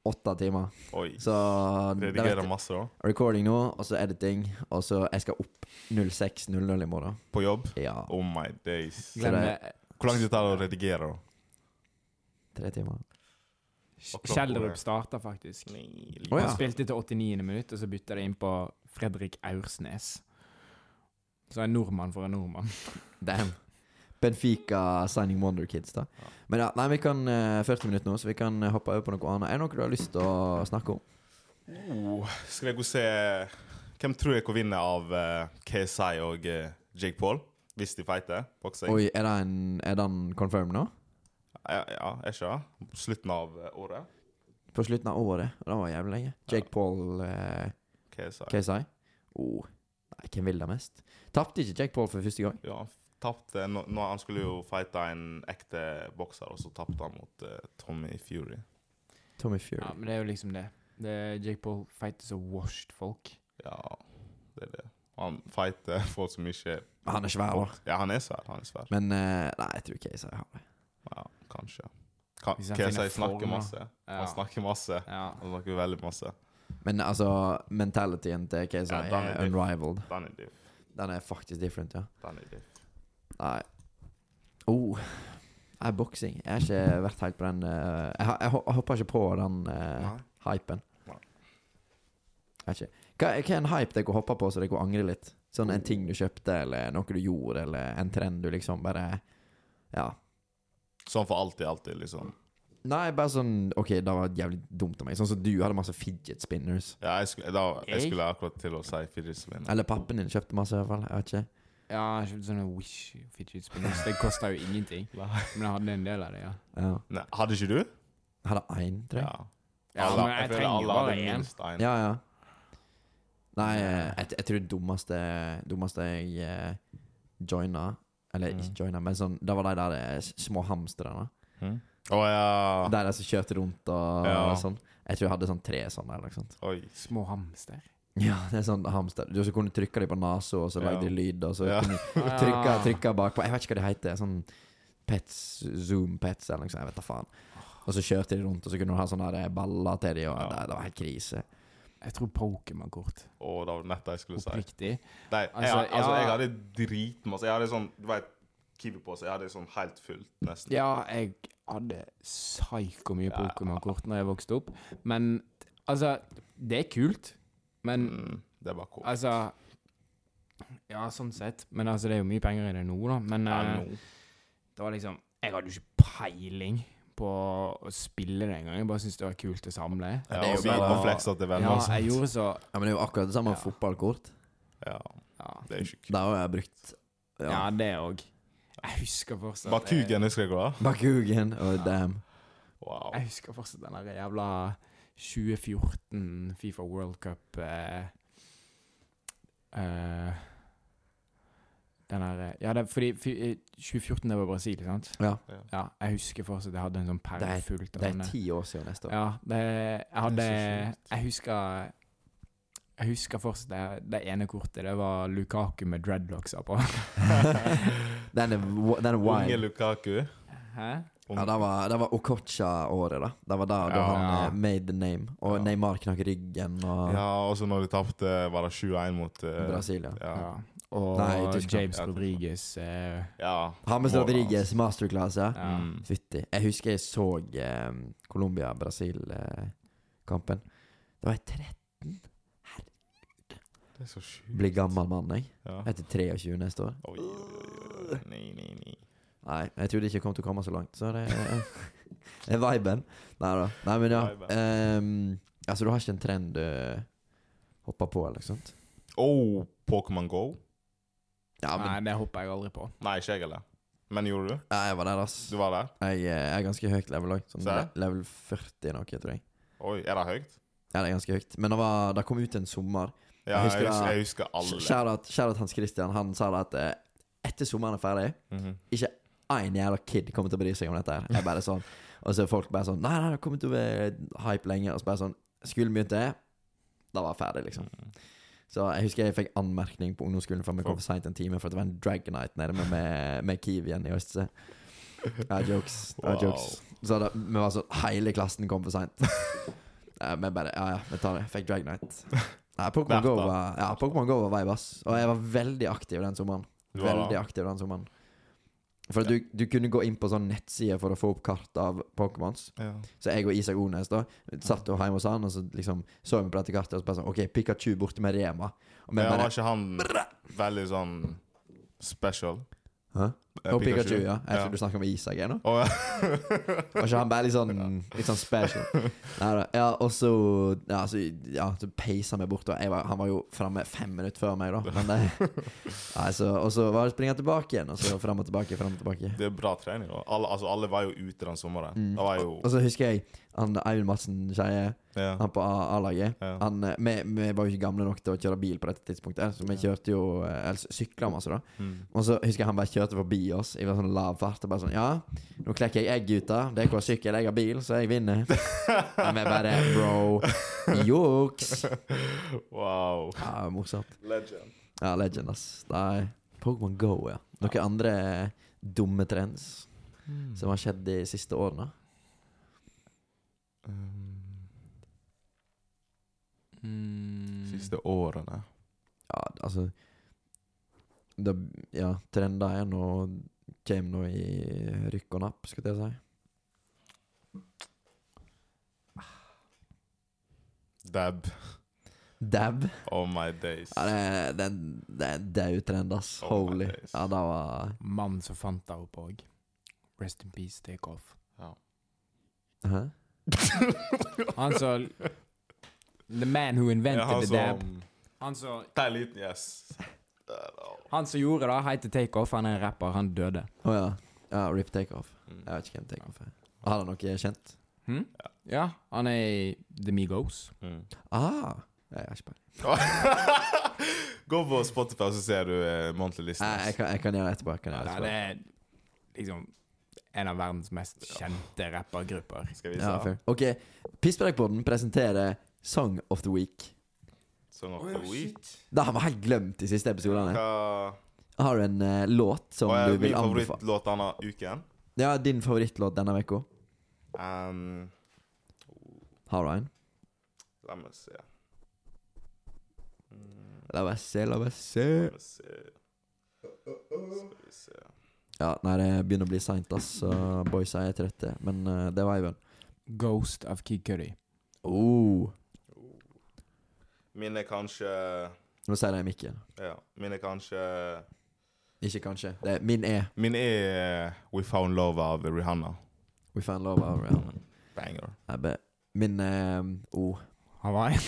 [SPEAKER 1] åtte timer.
[SPEAKER 2] Oi.
[SPEAKER 1] Så det
[SPEAKER 2] Redigerer
[SPEAKER 1] vet-
[SPEAKER 2] masse, da.
[SPEAKER 1] recording nå, og så editing. Og så jeg skal opp 06.00 i morgen.
[SPEAKER 2] På jobb.
[SPEAKER 1] Ja,
[SPEAKER 2] Oh my days.
[SPEAKER 1] Glem-
[SPEAKER 3] Glem
[SPEAKER 1] så
[SPEAKER 3] det.
[SPEAKER 2] Hvor lang tid tar det å redigere, da?
[SPEAKER 1] tre timer.
[SPEAKER 2] Og klokka er-
[SPEAKER 3] Kjeldrup starta faktisk.
[SPEAKER 1] Å,
[SPEAKER 3] Han
[SPEAKER 1] ja.
[SPEAKER 3] spilte til 89. minutt, og så bytta de inn på Fredrik Aursnes. Så en nordmann for en nordmann.
[SPEAKER 1] Damn. Benfica signing Wonder Kids, da.
[SPEAKER 2] Ja.
[SPEAKER 1] Men ja, nei, vi kan eh, 40 minutter nå, så vi kan eh, hoppe over på noe annet. Er det noe du har lyst til å snakke om?
[SPEAKER 2] Oh, skal jeg gå se Hvem tror jeg kan vinne av uh, KSI og eh, Jake Paul? Hvis de fighter. Boksing.
[SPEAKER 1] Oi, er den, er den confirmed nå?
[SPEAKER 2] Ja, ja, er ikke det? Slutten av eh, året.
[SPEAKER 1] På slutten av året. Det var jævlig lenge. Jake Paul eh,
[SPEAKER 2] Hva jeg sa jeg?
[SPEAKER 1] KSI. Oh. Nei, hvem vil det mest? Tapte ikke Jake Paul for første gang?
[SPEAKER 2] Ja, han tapte nå- nå- Han skulle jo fighte en ekte bokser, og så tapte han mot eh, Tommy Fury.
[SPEAKER 1] Tommy Fury.
[SPEAKER 3] Ja, men det er jo liksom det. det er Jake Paul fighter så washed folk.
[SPEAKER 2] Ja, det er det. Han fighter folk som ikke
[SPEAKER 1] Han er svær, da.
[SPEAKER 2] Ja, han er svær. Han er svær.
[SPEAKER 1] Men eh, nei, jeg tror KSI har det.
[SPEAKER 2] Ja, kanskje. Ka
[SPEAKER 3] Hvis han
[SPEAKER 2] Hva
[SPEAKER 3] finner
[SPEAKER 2] sier snakker
[SPEAKER 3] form, da.
[SPEAKER 2] masse?
[SPEAKER 3] Ja.
[SPEAKER 2] Han snakker masse.
[SPEAKER 3] Ja.
[SPEAKER 2] Han snakker veldig masse.
[SPEAKER 1] Men altså, mentalityen til KSI
[SPEAKER 2] Ja, den er
[SPEAKER 1] er
[SPEAKER 2] diff.
[SPEAKER 1] unrivaled.
[SPEAKER 2] Den er diff.
[SPEAKER 1] Den er faktisk different, ja.
[SPEAKER 2] Den er diff.
[SPEAKER 1] Nei. Oh. Nei, boksing. Jeg har ikke vært helt på den eh, Jeg, ha- jeg, ho- jeg hoppa ikke på den eh,
[SPEAKER 2] Nei.
[SPEAKER 1] hypen.
[SPEAKER 2] Nei.
[SPEAKER 1] Jeg vet ikke. Hva, hva er en hype dere hopper på så dere angrer litt? Sånn en ting du kjøpte, eller noe du gjorde, eller en trend du liksom bare Ja.
[SPEAKER 2] Sånn for alltid, alltid, liksom.
[SPEAKER 1] Nei, bare sånn OK, det var jævlig dumt av meg. Sånn som du hadde masse fidget spinners.
[SPEAKER 2] Ja, jeg skulle, da, jeg
[SPEAKER 3] Jeg?
[SPEAKER 2] skulle akkurat til å si fidgetspinn.
[SPEAKER 1] Eller pappen din kjøpte masse, i hvert fall. Jeg vet ikke.
[SPEAKER 3] ja, jeg kjøpte sånne Wish fidget spinners. Det kosta jo ingenting. Men jeg hadde en del av det, ja.
[SPEAKER 1] Ja.
[SPEAKER 2] Nei, Hadde ikke du?
[SPEAKER 1] Jeg hadde én, tror jeg.
[SPEAKER 2] Ja.
[SPEAKER 3] Ja,
[SPEAKER 2] Alle-
[SPEAKER 3] men jeg
[SPEAKER 2] føler
[SPEAKER 3] trenger
[SPEAKER 2] alle
[SPEAKER 3] bare
[SPEAKER 2] hadde
[SPEAKER 3] en.
[SPEAKER 2] minst en.
[SPEAKER 1] Ja, ja. Nei, eh, jeg, jeg tror det dummeste Dummeste jeg eh, joina Eller
[SPEAKER 2] Mm.
[SPEAKER 1] ikke joina, men sånn Det var de der eh, s- små hamstrene.
[SPEAKER 2] Hm? Å ja.
[SPEAKER 1] De der som kjørte rundt og,
[SPEAKER 2] Ja.
[SPEAKER 1] sånn. Jeg tror jeg hadde sånn tre sånne. Eller noe sånt.
[SPEAKER 2] Oi.
[SPEAKER 3] Små hamster.
[SPEAKER 1] Ja, det er sånn hamster Du så kunne trykke dem på nesa, og så
[SPEAKER 2] Ja.
[SPEAKER 1] lagde de lyd, og så
[SPEAKER 2] Ja.
[SPEAKER 1] kunne
[SPEAKER 3] Ah.
[SPEAKER 1] du trykke, trykke bakpå. Jeg vet ikke hva de heter. Sånn pets, Zoom Pets eller noe sånt. Jeg vet da faen. Og så kjørte de rundt, og så kunne du ha sånne der baller til dem, og
[SPEAKER 2] Ja.
[SPEAKER 1] det, det var helt krise.
[SPEAKER 3] Jeg tror Pokémon-kort.
[SPEAKER 2] Å, det var nett det jeg skulle si.
[SPEAKER 3] Oppriktig.
[SPEAKER 2] Nei, jeg,
[SPEAKER 3] Altså,
[SPEAKER 2] altså,
[SPEAKER 3] ja.
[SPEAKER 2] jeg hadde dritmasse. Jeg hadde sånn Du vet, Kiwi-pose. Jeg hadde sånn helt fullt, nesten.
[SPEAKER 3] Ja, jeg hadde psyko mye Pokémon-kort når jeg vokste opp. Men altså Det er kult, men
[SPEAKER 2] Mm, det var cool.
[SPEAKER 3] altså Ja, sånn sett. Men altså, det er jo mye penger i det nå, da. Men
[SPEAKER 2] Ja,
[SPEAKER 3] eh,
[SPEAKER 2] nå.
[SPEAKER 3] det var liksom Jeg hadde jo ikke peiling på å spille det engang. Jeg bare syntes det var kult å samle.
[SPEAKER 1] det
[SPEAKER 2] Ja, sånn.
[SPEAKER 1] er jo
[SPEAKER 2] og vi
[SPEAKER 1] bare-
[SPEAKER 2] har fleksa til venner. altså.
[SPEAKER 3] Ja,
[SPEAKER 2] og sånt.
[SPEAKER 3] jeg gjorde så
[SPEAKER 1] Ja, Men det er jo akkurat det samme
[SPEAKER 3] Ja.
[SPEAKER 1] med fotballkort.
[SPEAKER 2] Ja,
[SPEAKER 3] Ja,
[SPEAKER 2] det er jo ikke kult.
[SPEAKER 1] Det har jeg brukt.
[SPEAKER 3] ja
[SPEAKER 1] Ja.
[SPEAKER 3] det òg. Jeg husker fortsatt
[SPEAKER 2] Bakugen husker jeg godt.
[SPEAKER 1] Bakugen og damn.
[SPEAKER 2] Wow.
[SPEAKER 3] Jeg husker fortsatt den der jævla 2014 Fifa World Cup eh, eh, Den der eh, Ja, det, er fordi fi, eh, 2014 det var Brasil, sant?
[SPEAKER 1] Ja.
[SPEAKER 3] Ja, jeg husker fortsatt jeg hadde en sånn perle
[SPEAKER 1] Det
[SPEAKER 3] fullt av
[SPEAKER 1] Det er
[SPEAKER 3] sånne.
[SPEAKER 1] ti år siden neste år.
[SPEAKER 3] Ja, det, jeg hadde
[SPEAKER 2] Det er så sjukt.
[SPEAKER 3] Jeg husker jeg husker fortsatt det, det ene kortet. Det var Lukaku med dreadlocks på.
[SPEAKER 1] Den er, wi- den er
[SPEAKER 2] Unge
[SPEAKER 1] wild.
[SPEAKER 2] Lukaku.
[SPEAKER 3] Hæ?
[SPEAKER 1] Ja, det var, det var Okocha-året, da. Det var da, da
[SPEAKER 2] Ja.
[SPEAKER 1] han eh, made the name. Og
[SPEAKER 2] Ja.
[SPEAKER 1] Neymar knakk ryggen og
[SPEAKER 2] Ja, og så når de tapte, var det 7-1 mot eh,
[SPEAKER 1] Brasil, ja.
[SPEAKER 2] Ja.
[SPEAKER 3] Ja. Og
[SPEAKER 1] Nei, Tyskland.
[SPEAKER 3] James
[SPEAKER 2] Ja, Tyskland.
[SPEAKER 3] Rodriguez. Eh,
[SPEAKER 2] ja.
[SPEAKER 1] James
[SPEAKER 2] Målet
[SPEAKER 1] Rodriguez, masterclass, ja.
[SPEAKER 3] ja.
[SPEAKER 2] Mm.
[SPEAKER 1] Fytti. Jeg husker jeg så eh, Colombia-Brasil-kampen. Da var jeg 30.
[SPEAKER 2] Det er så sjukt.
[SPEAKER 1] Blir gammel mann, jeg.
[SPEAKER 2] Ja.
[SPEAKER 1] Jeg heter 23 neste år.
[SPEAKER 2] Oi, oi, oi, oi. Nei, nei, nei.
[SPEAKER 1] Nei, jeg trodde ikke jeg kom til å komme så langt, så det er, det er viben. Nei da. Nei, men ja.
[SPEAKER 2] Viben.
[SPEAKER 1] ehm, altså, du har ikke en trend du hopper på, eller noe sånt?
[SPEAKER 2] Oh, Pokémon Go?
[SPEAKER 1] Ja, men
[SPEAKER 3] Nei, det hopper jeg aldri på.
[SPEAKER 2] Nei, ikke jeg heller. Men gjorde du?
[SPEAKER 1] Nei, jeg var der, ass.
[SPEAKER 2] Du var der?
[SPEAKER 1] Jeg, eh, jeg er ganske høyt level òg. Sånn
[SPEAKER 2] Så er
[SPEAKER 1] le- level 40 noe, tror jeg.
[SPEAKER 2] Oi, er det høyt?
[SPEAKER 1] Ja, det er ganske høyt. Men det, var, det kom ut en sommer. Jeg
[SPEAKER 2] Ja, jeg
[SPEAKER 1] husker
[SPEAKER 2] husker,
[SPEAKER 1] det-
[SPEAKER 2] jeg husker alle.
[SPEAKER 1] Shout-out shout-out Hans Christian. Han sa det at eh, etter sommeren er ferdig
[SPEAKER 2] Mhm.
[SPEAKER 1] én jævla kid kommer til å bry seg om dette her. Jeg bare sånn Og så er folk bare sånn Nei, nei, det har kommet til å være hype lenge. Og så bare sånn Skolen begynte, da var jeg ferdig, liksom. Så jeg husker jeg fikk anmerkning på ungdomsskolen for at vi kom for seint en time for at det var en Dragonite nede med, med, med Kiwien i Østse. Ja, jokes. Ja,
[SPEAKER 2] Wow.
[SPEAKER 1] jokes. Så da, vi var sånn Hele klassen kom for seint. Vi bare Ja, ja, vi tar det. Fikk Dragonite. Nei, Pokémon
[SPEAKER 2] Verdt
[SPEAKER 1] Go
[SPEAKER 2] det.
[SPEAKER 1] var Ja, Pokémon Go var vibe, ass. Og jeg var veldig aktiv den sommeren.
[SPEAKER 2] Du var
[SPEAKER 1] Veldig
[SPEAKER 2] der.
[SPEAKER 1] aktiv den sommeren. For at du, du kunne gå inn på sånn nettside for å få opp kart av Pokémons.
[SPEAKER 2] Ja.
[SPEAKER 1] Så jeg og Isak Ones da satt jo hjemme hos han, og så liksom så vi på dette kartet og så bare sånn OK, Pikachu borte med Rema. Og vi
[SPEAKER 2] Men
[SPEAKER 1] bare
[SPEAKER 2] var ikke han veldig sånn special?
[SPEAKER 1] Hæ?
[SPEAKER 2] Eh,
[SPEAKER 1] Og Pikachu, ja. Jeg
[SPEAKER 2] Ja.
[SPEAKER 1] tror du snakker om Isak her nå.
[SPEAKER 2] Å, ja.
[SPEAKER 1] Var ikke han bare litt sånn, litt sånn special? Neida. Ja, og så Ja, så, ja, så peisa meg bort. Og jeg var, han var jo framme fem minutter før meg, da. Men det, nei, så, og så var det å springe tilbake igjen, og så fram og tilbake, fram og tilbake.
[SPEAKER 2] Det er bra trening. da. Alle, altså, alle var jo ute den sommeren.
[SPEAKER 1] Mm.
[SPEAKER 2] Det var jo
[SPEAKER 1] Og så husker jeg han Eivind Madsen Skeie,
[SPEAKER 2] ja.
[SPEAKER 1] han på A- A-laget.
[SPEAKER 2] Ja.
[SPEAKER 1] Han, eh, Vi, vi var jo ikke gamle nok til å kjøre bil på dette tidspunktet, så vi kjørte jo eh, Eller sykla masse, da.
[SPEAKER 2] Mm.
[SPEAKER 1] Og så husker jeg han bare kjørte forbi oss i sånn lav fart. Og bare sånn Ja, nå klekker jeg egg, gutta. Det er hva sykkel jeg har bil, så jeg vinner. Men vi bare Bro, juks.
[SPEAKER 2] Wow.
[SPEAKER 1] Ja, morsomt.
[SPEAKER 2] Legend.
[SPEAKER 1] Ja, legend, ass. Nei. Pokémon Go, ja. Noen andre dumme trends
[SPEAKER 2] Mm.
[SPEAKER 1] som har skjedd de siste årene?
[SPEAKER 3] Mm.
[SPEAKER 2] Siste årene.
[SPEAKER 1] Ja, altså det, Ja, trender er nå Kjem nå i rykk og napp, skulle jeg si.
[SPEAKER 2] Dab.
[SPEAKER 1] Dab.
[SPEAKER 2] Oh my days.
[SPEAKER 1] Ja, det, er- det, er- det er en daud trend, ass.
[SPEAKER 2] Oh my
[SPEAKER 1] Holy.
[SPEAKER 2] days.
[SPEAKER 1] Ja, det var
[SPEAKER 3] Mannen som fant deg opp òg. Rest in peace, take off.
[SPEAKER 1] Hæ?
[SPEAKER 3] Han som The man who invented
[SPEAKER 2] Ja, han
[SPEAKER 3] the dab.
[SPEAKER 2] som-
[SPEAKER 3] Han som
[SPEAKER 2] Ta en sånn- liten yes. Der, oh.
[SPEAKER 3] han som gjorde det, heter Take Off. Han er en rapper. Han døde.
[SPEAKER 1] Å ja. ja. Rip Takeoff.
[SPEAKER 2] Mm.
[SPEAKER 1] Jeg vet ikke hvem Takeoff er. Har han noe kjent?
[SPEAKER 3] Hm? Ja, han er i The Migos.
[SPEAKER 2] Mm.
[SPEAKER 1] Ah! Jeg har ikke peiling.
[SPEAKER 2] Gå på Spotify, så ser du eh, Monthly
[SPEAKER 1] Nei, Jeg,
[SPEAKER 2] Listeners.
[SPEAKER 1] kan- jeg kan gjøre det etterpå. Jeg kan gjøre
[SPEAKER 3] Ja,
[SPEAKER 1] det
[SPEAKER 3] det
[SPEAKER 1] etterpå.
[SPEAKER 3] er liksom en av verdens mest kjente rappergrupper.
[SPEAKER 2] Skal jeg vise
[SPEAKER 1] Ja,
[SPEAKER 2] deg?
[SPEAKER 1] fair. OK. Pisspreikpodden presenterer Song of the Week.
[SPEAKER 2] Song of the Week.
[SPEAKER 1] Det har vi helt glemt i siste episodene.
[SPEAKER 2] Hva
[SPEAKER 1] Har du en eh, låt som
[SPEAKER 2] hva er
[SPEAKER 1] du vil
[SPEAKER 2] min
[SPEAKER 1] anbefale?
[SPEAKER 2] favorittlåt denne uken?
[SPEAKER 1] Ja, din favorittlåt denne uka.
[SPEAKER 2] Um,
[SPEAKER 1] Har du en?
[SPEAKER 2] la meg se.
[SPEAKER 1] La meg se, la meg se.
[SPEAKER 2] La meg se. Skal vi se.
[SPEAKER 1] Ja, nei, det begynner å bli seint, ass. Så boysa er trøtte. Men eh, det var Ivan.
[SPEAKER 3] Ghost of Kid Cudi.
[SPEAKER 1] Oh.
[SPEAKER 2] Min er kanskje
[SPEAKER 1] Nå sier jeg mikken.
[SPEAKER 2] Ja, min er kanskje
[SPEAKER 1] Ikke kanskje. Det er min er
[SPEAKER 2] Min er eh, We Found Love av Rihanna.
[SPEAKER 1] We Found Love Our Realm.
[SPEAKER 2] Banger.
[SPEAKER 1] Nei, be- Min eh, O.
[SPEAKER 3] Hawaii.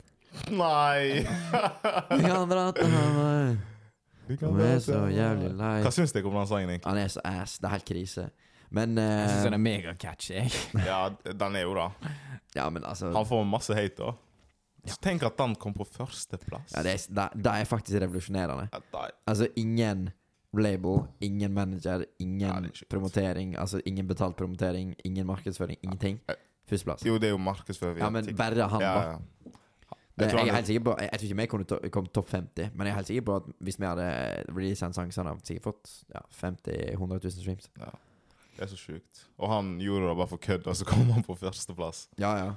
[SPEAKER 2] Nei!
[SPEAKER 1] Vi kan dra til Hawaii. Hun er så jævlig lei.
[SPEAKER 2] Hva syns dere om den sangen? egentlig?
[SPEAKER 1] Han er så ass. Det er helt krise. Men
[SPEAKER 3] Jeg
[SPEAKER 1] eh,
[SPEAKER 3] syns den er megacatchy, jeg.
[SPEAKER 2] Ja, den er jo da.
[SPEAKER 1] Ja, men altså
[SPEAKER 2] Han får masse hate, da. Så tenk at den kom på førsteplass.
[SPEAKER 1] ja, det, er, det, det er faktisk revolusjonerende.
[SPEAKER 2] At de-
[SPEAKER 1] Altså, ingen label, ingen manager,
[SPEAKER 2] Ja,
[SPEAKER 1] ingen
[SPEAKER 2] det er sjukt.
[SPEAKER 1] promotering. Altså, ingen betalt promotering, ingen markedsføring, ingenting. Førsteplass.
[SPEAKER 2] Eh, Jo, det er jo markedsføring.
[SPEAKER 1] Ja, men bare han,
[SPEAKER 2] ja,
[SPEAKER 1] da.
[SPEAKER 2] ja.
[SPEAKER 1] Det,
[SPEAKER 2] Jeg tror
[SPEAKER 1] jeg, er
[SPEAKER 2] han
[SPEAKER 1] helt sikker på, jeg, jeg tror ikke vi kunne to, kom topp 50, men jeg er helt sikker på at hvis vi hadde releaset en sang, så hadde han sikkert fått ja, 50 100 000 streams.
[SPEAKER 2] det er så sjukt. Og han gjorde det bare for kødd, og så kom han på førsteplass.
[SPEAKER 1] Ja, ja.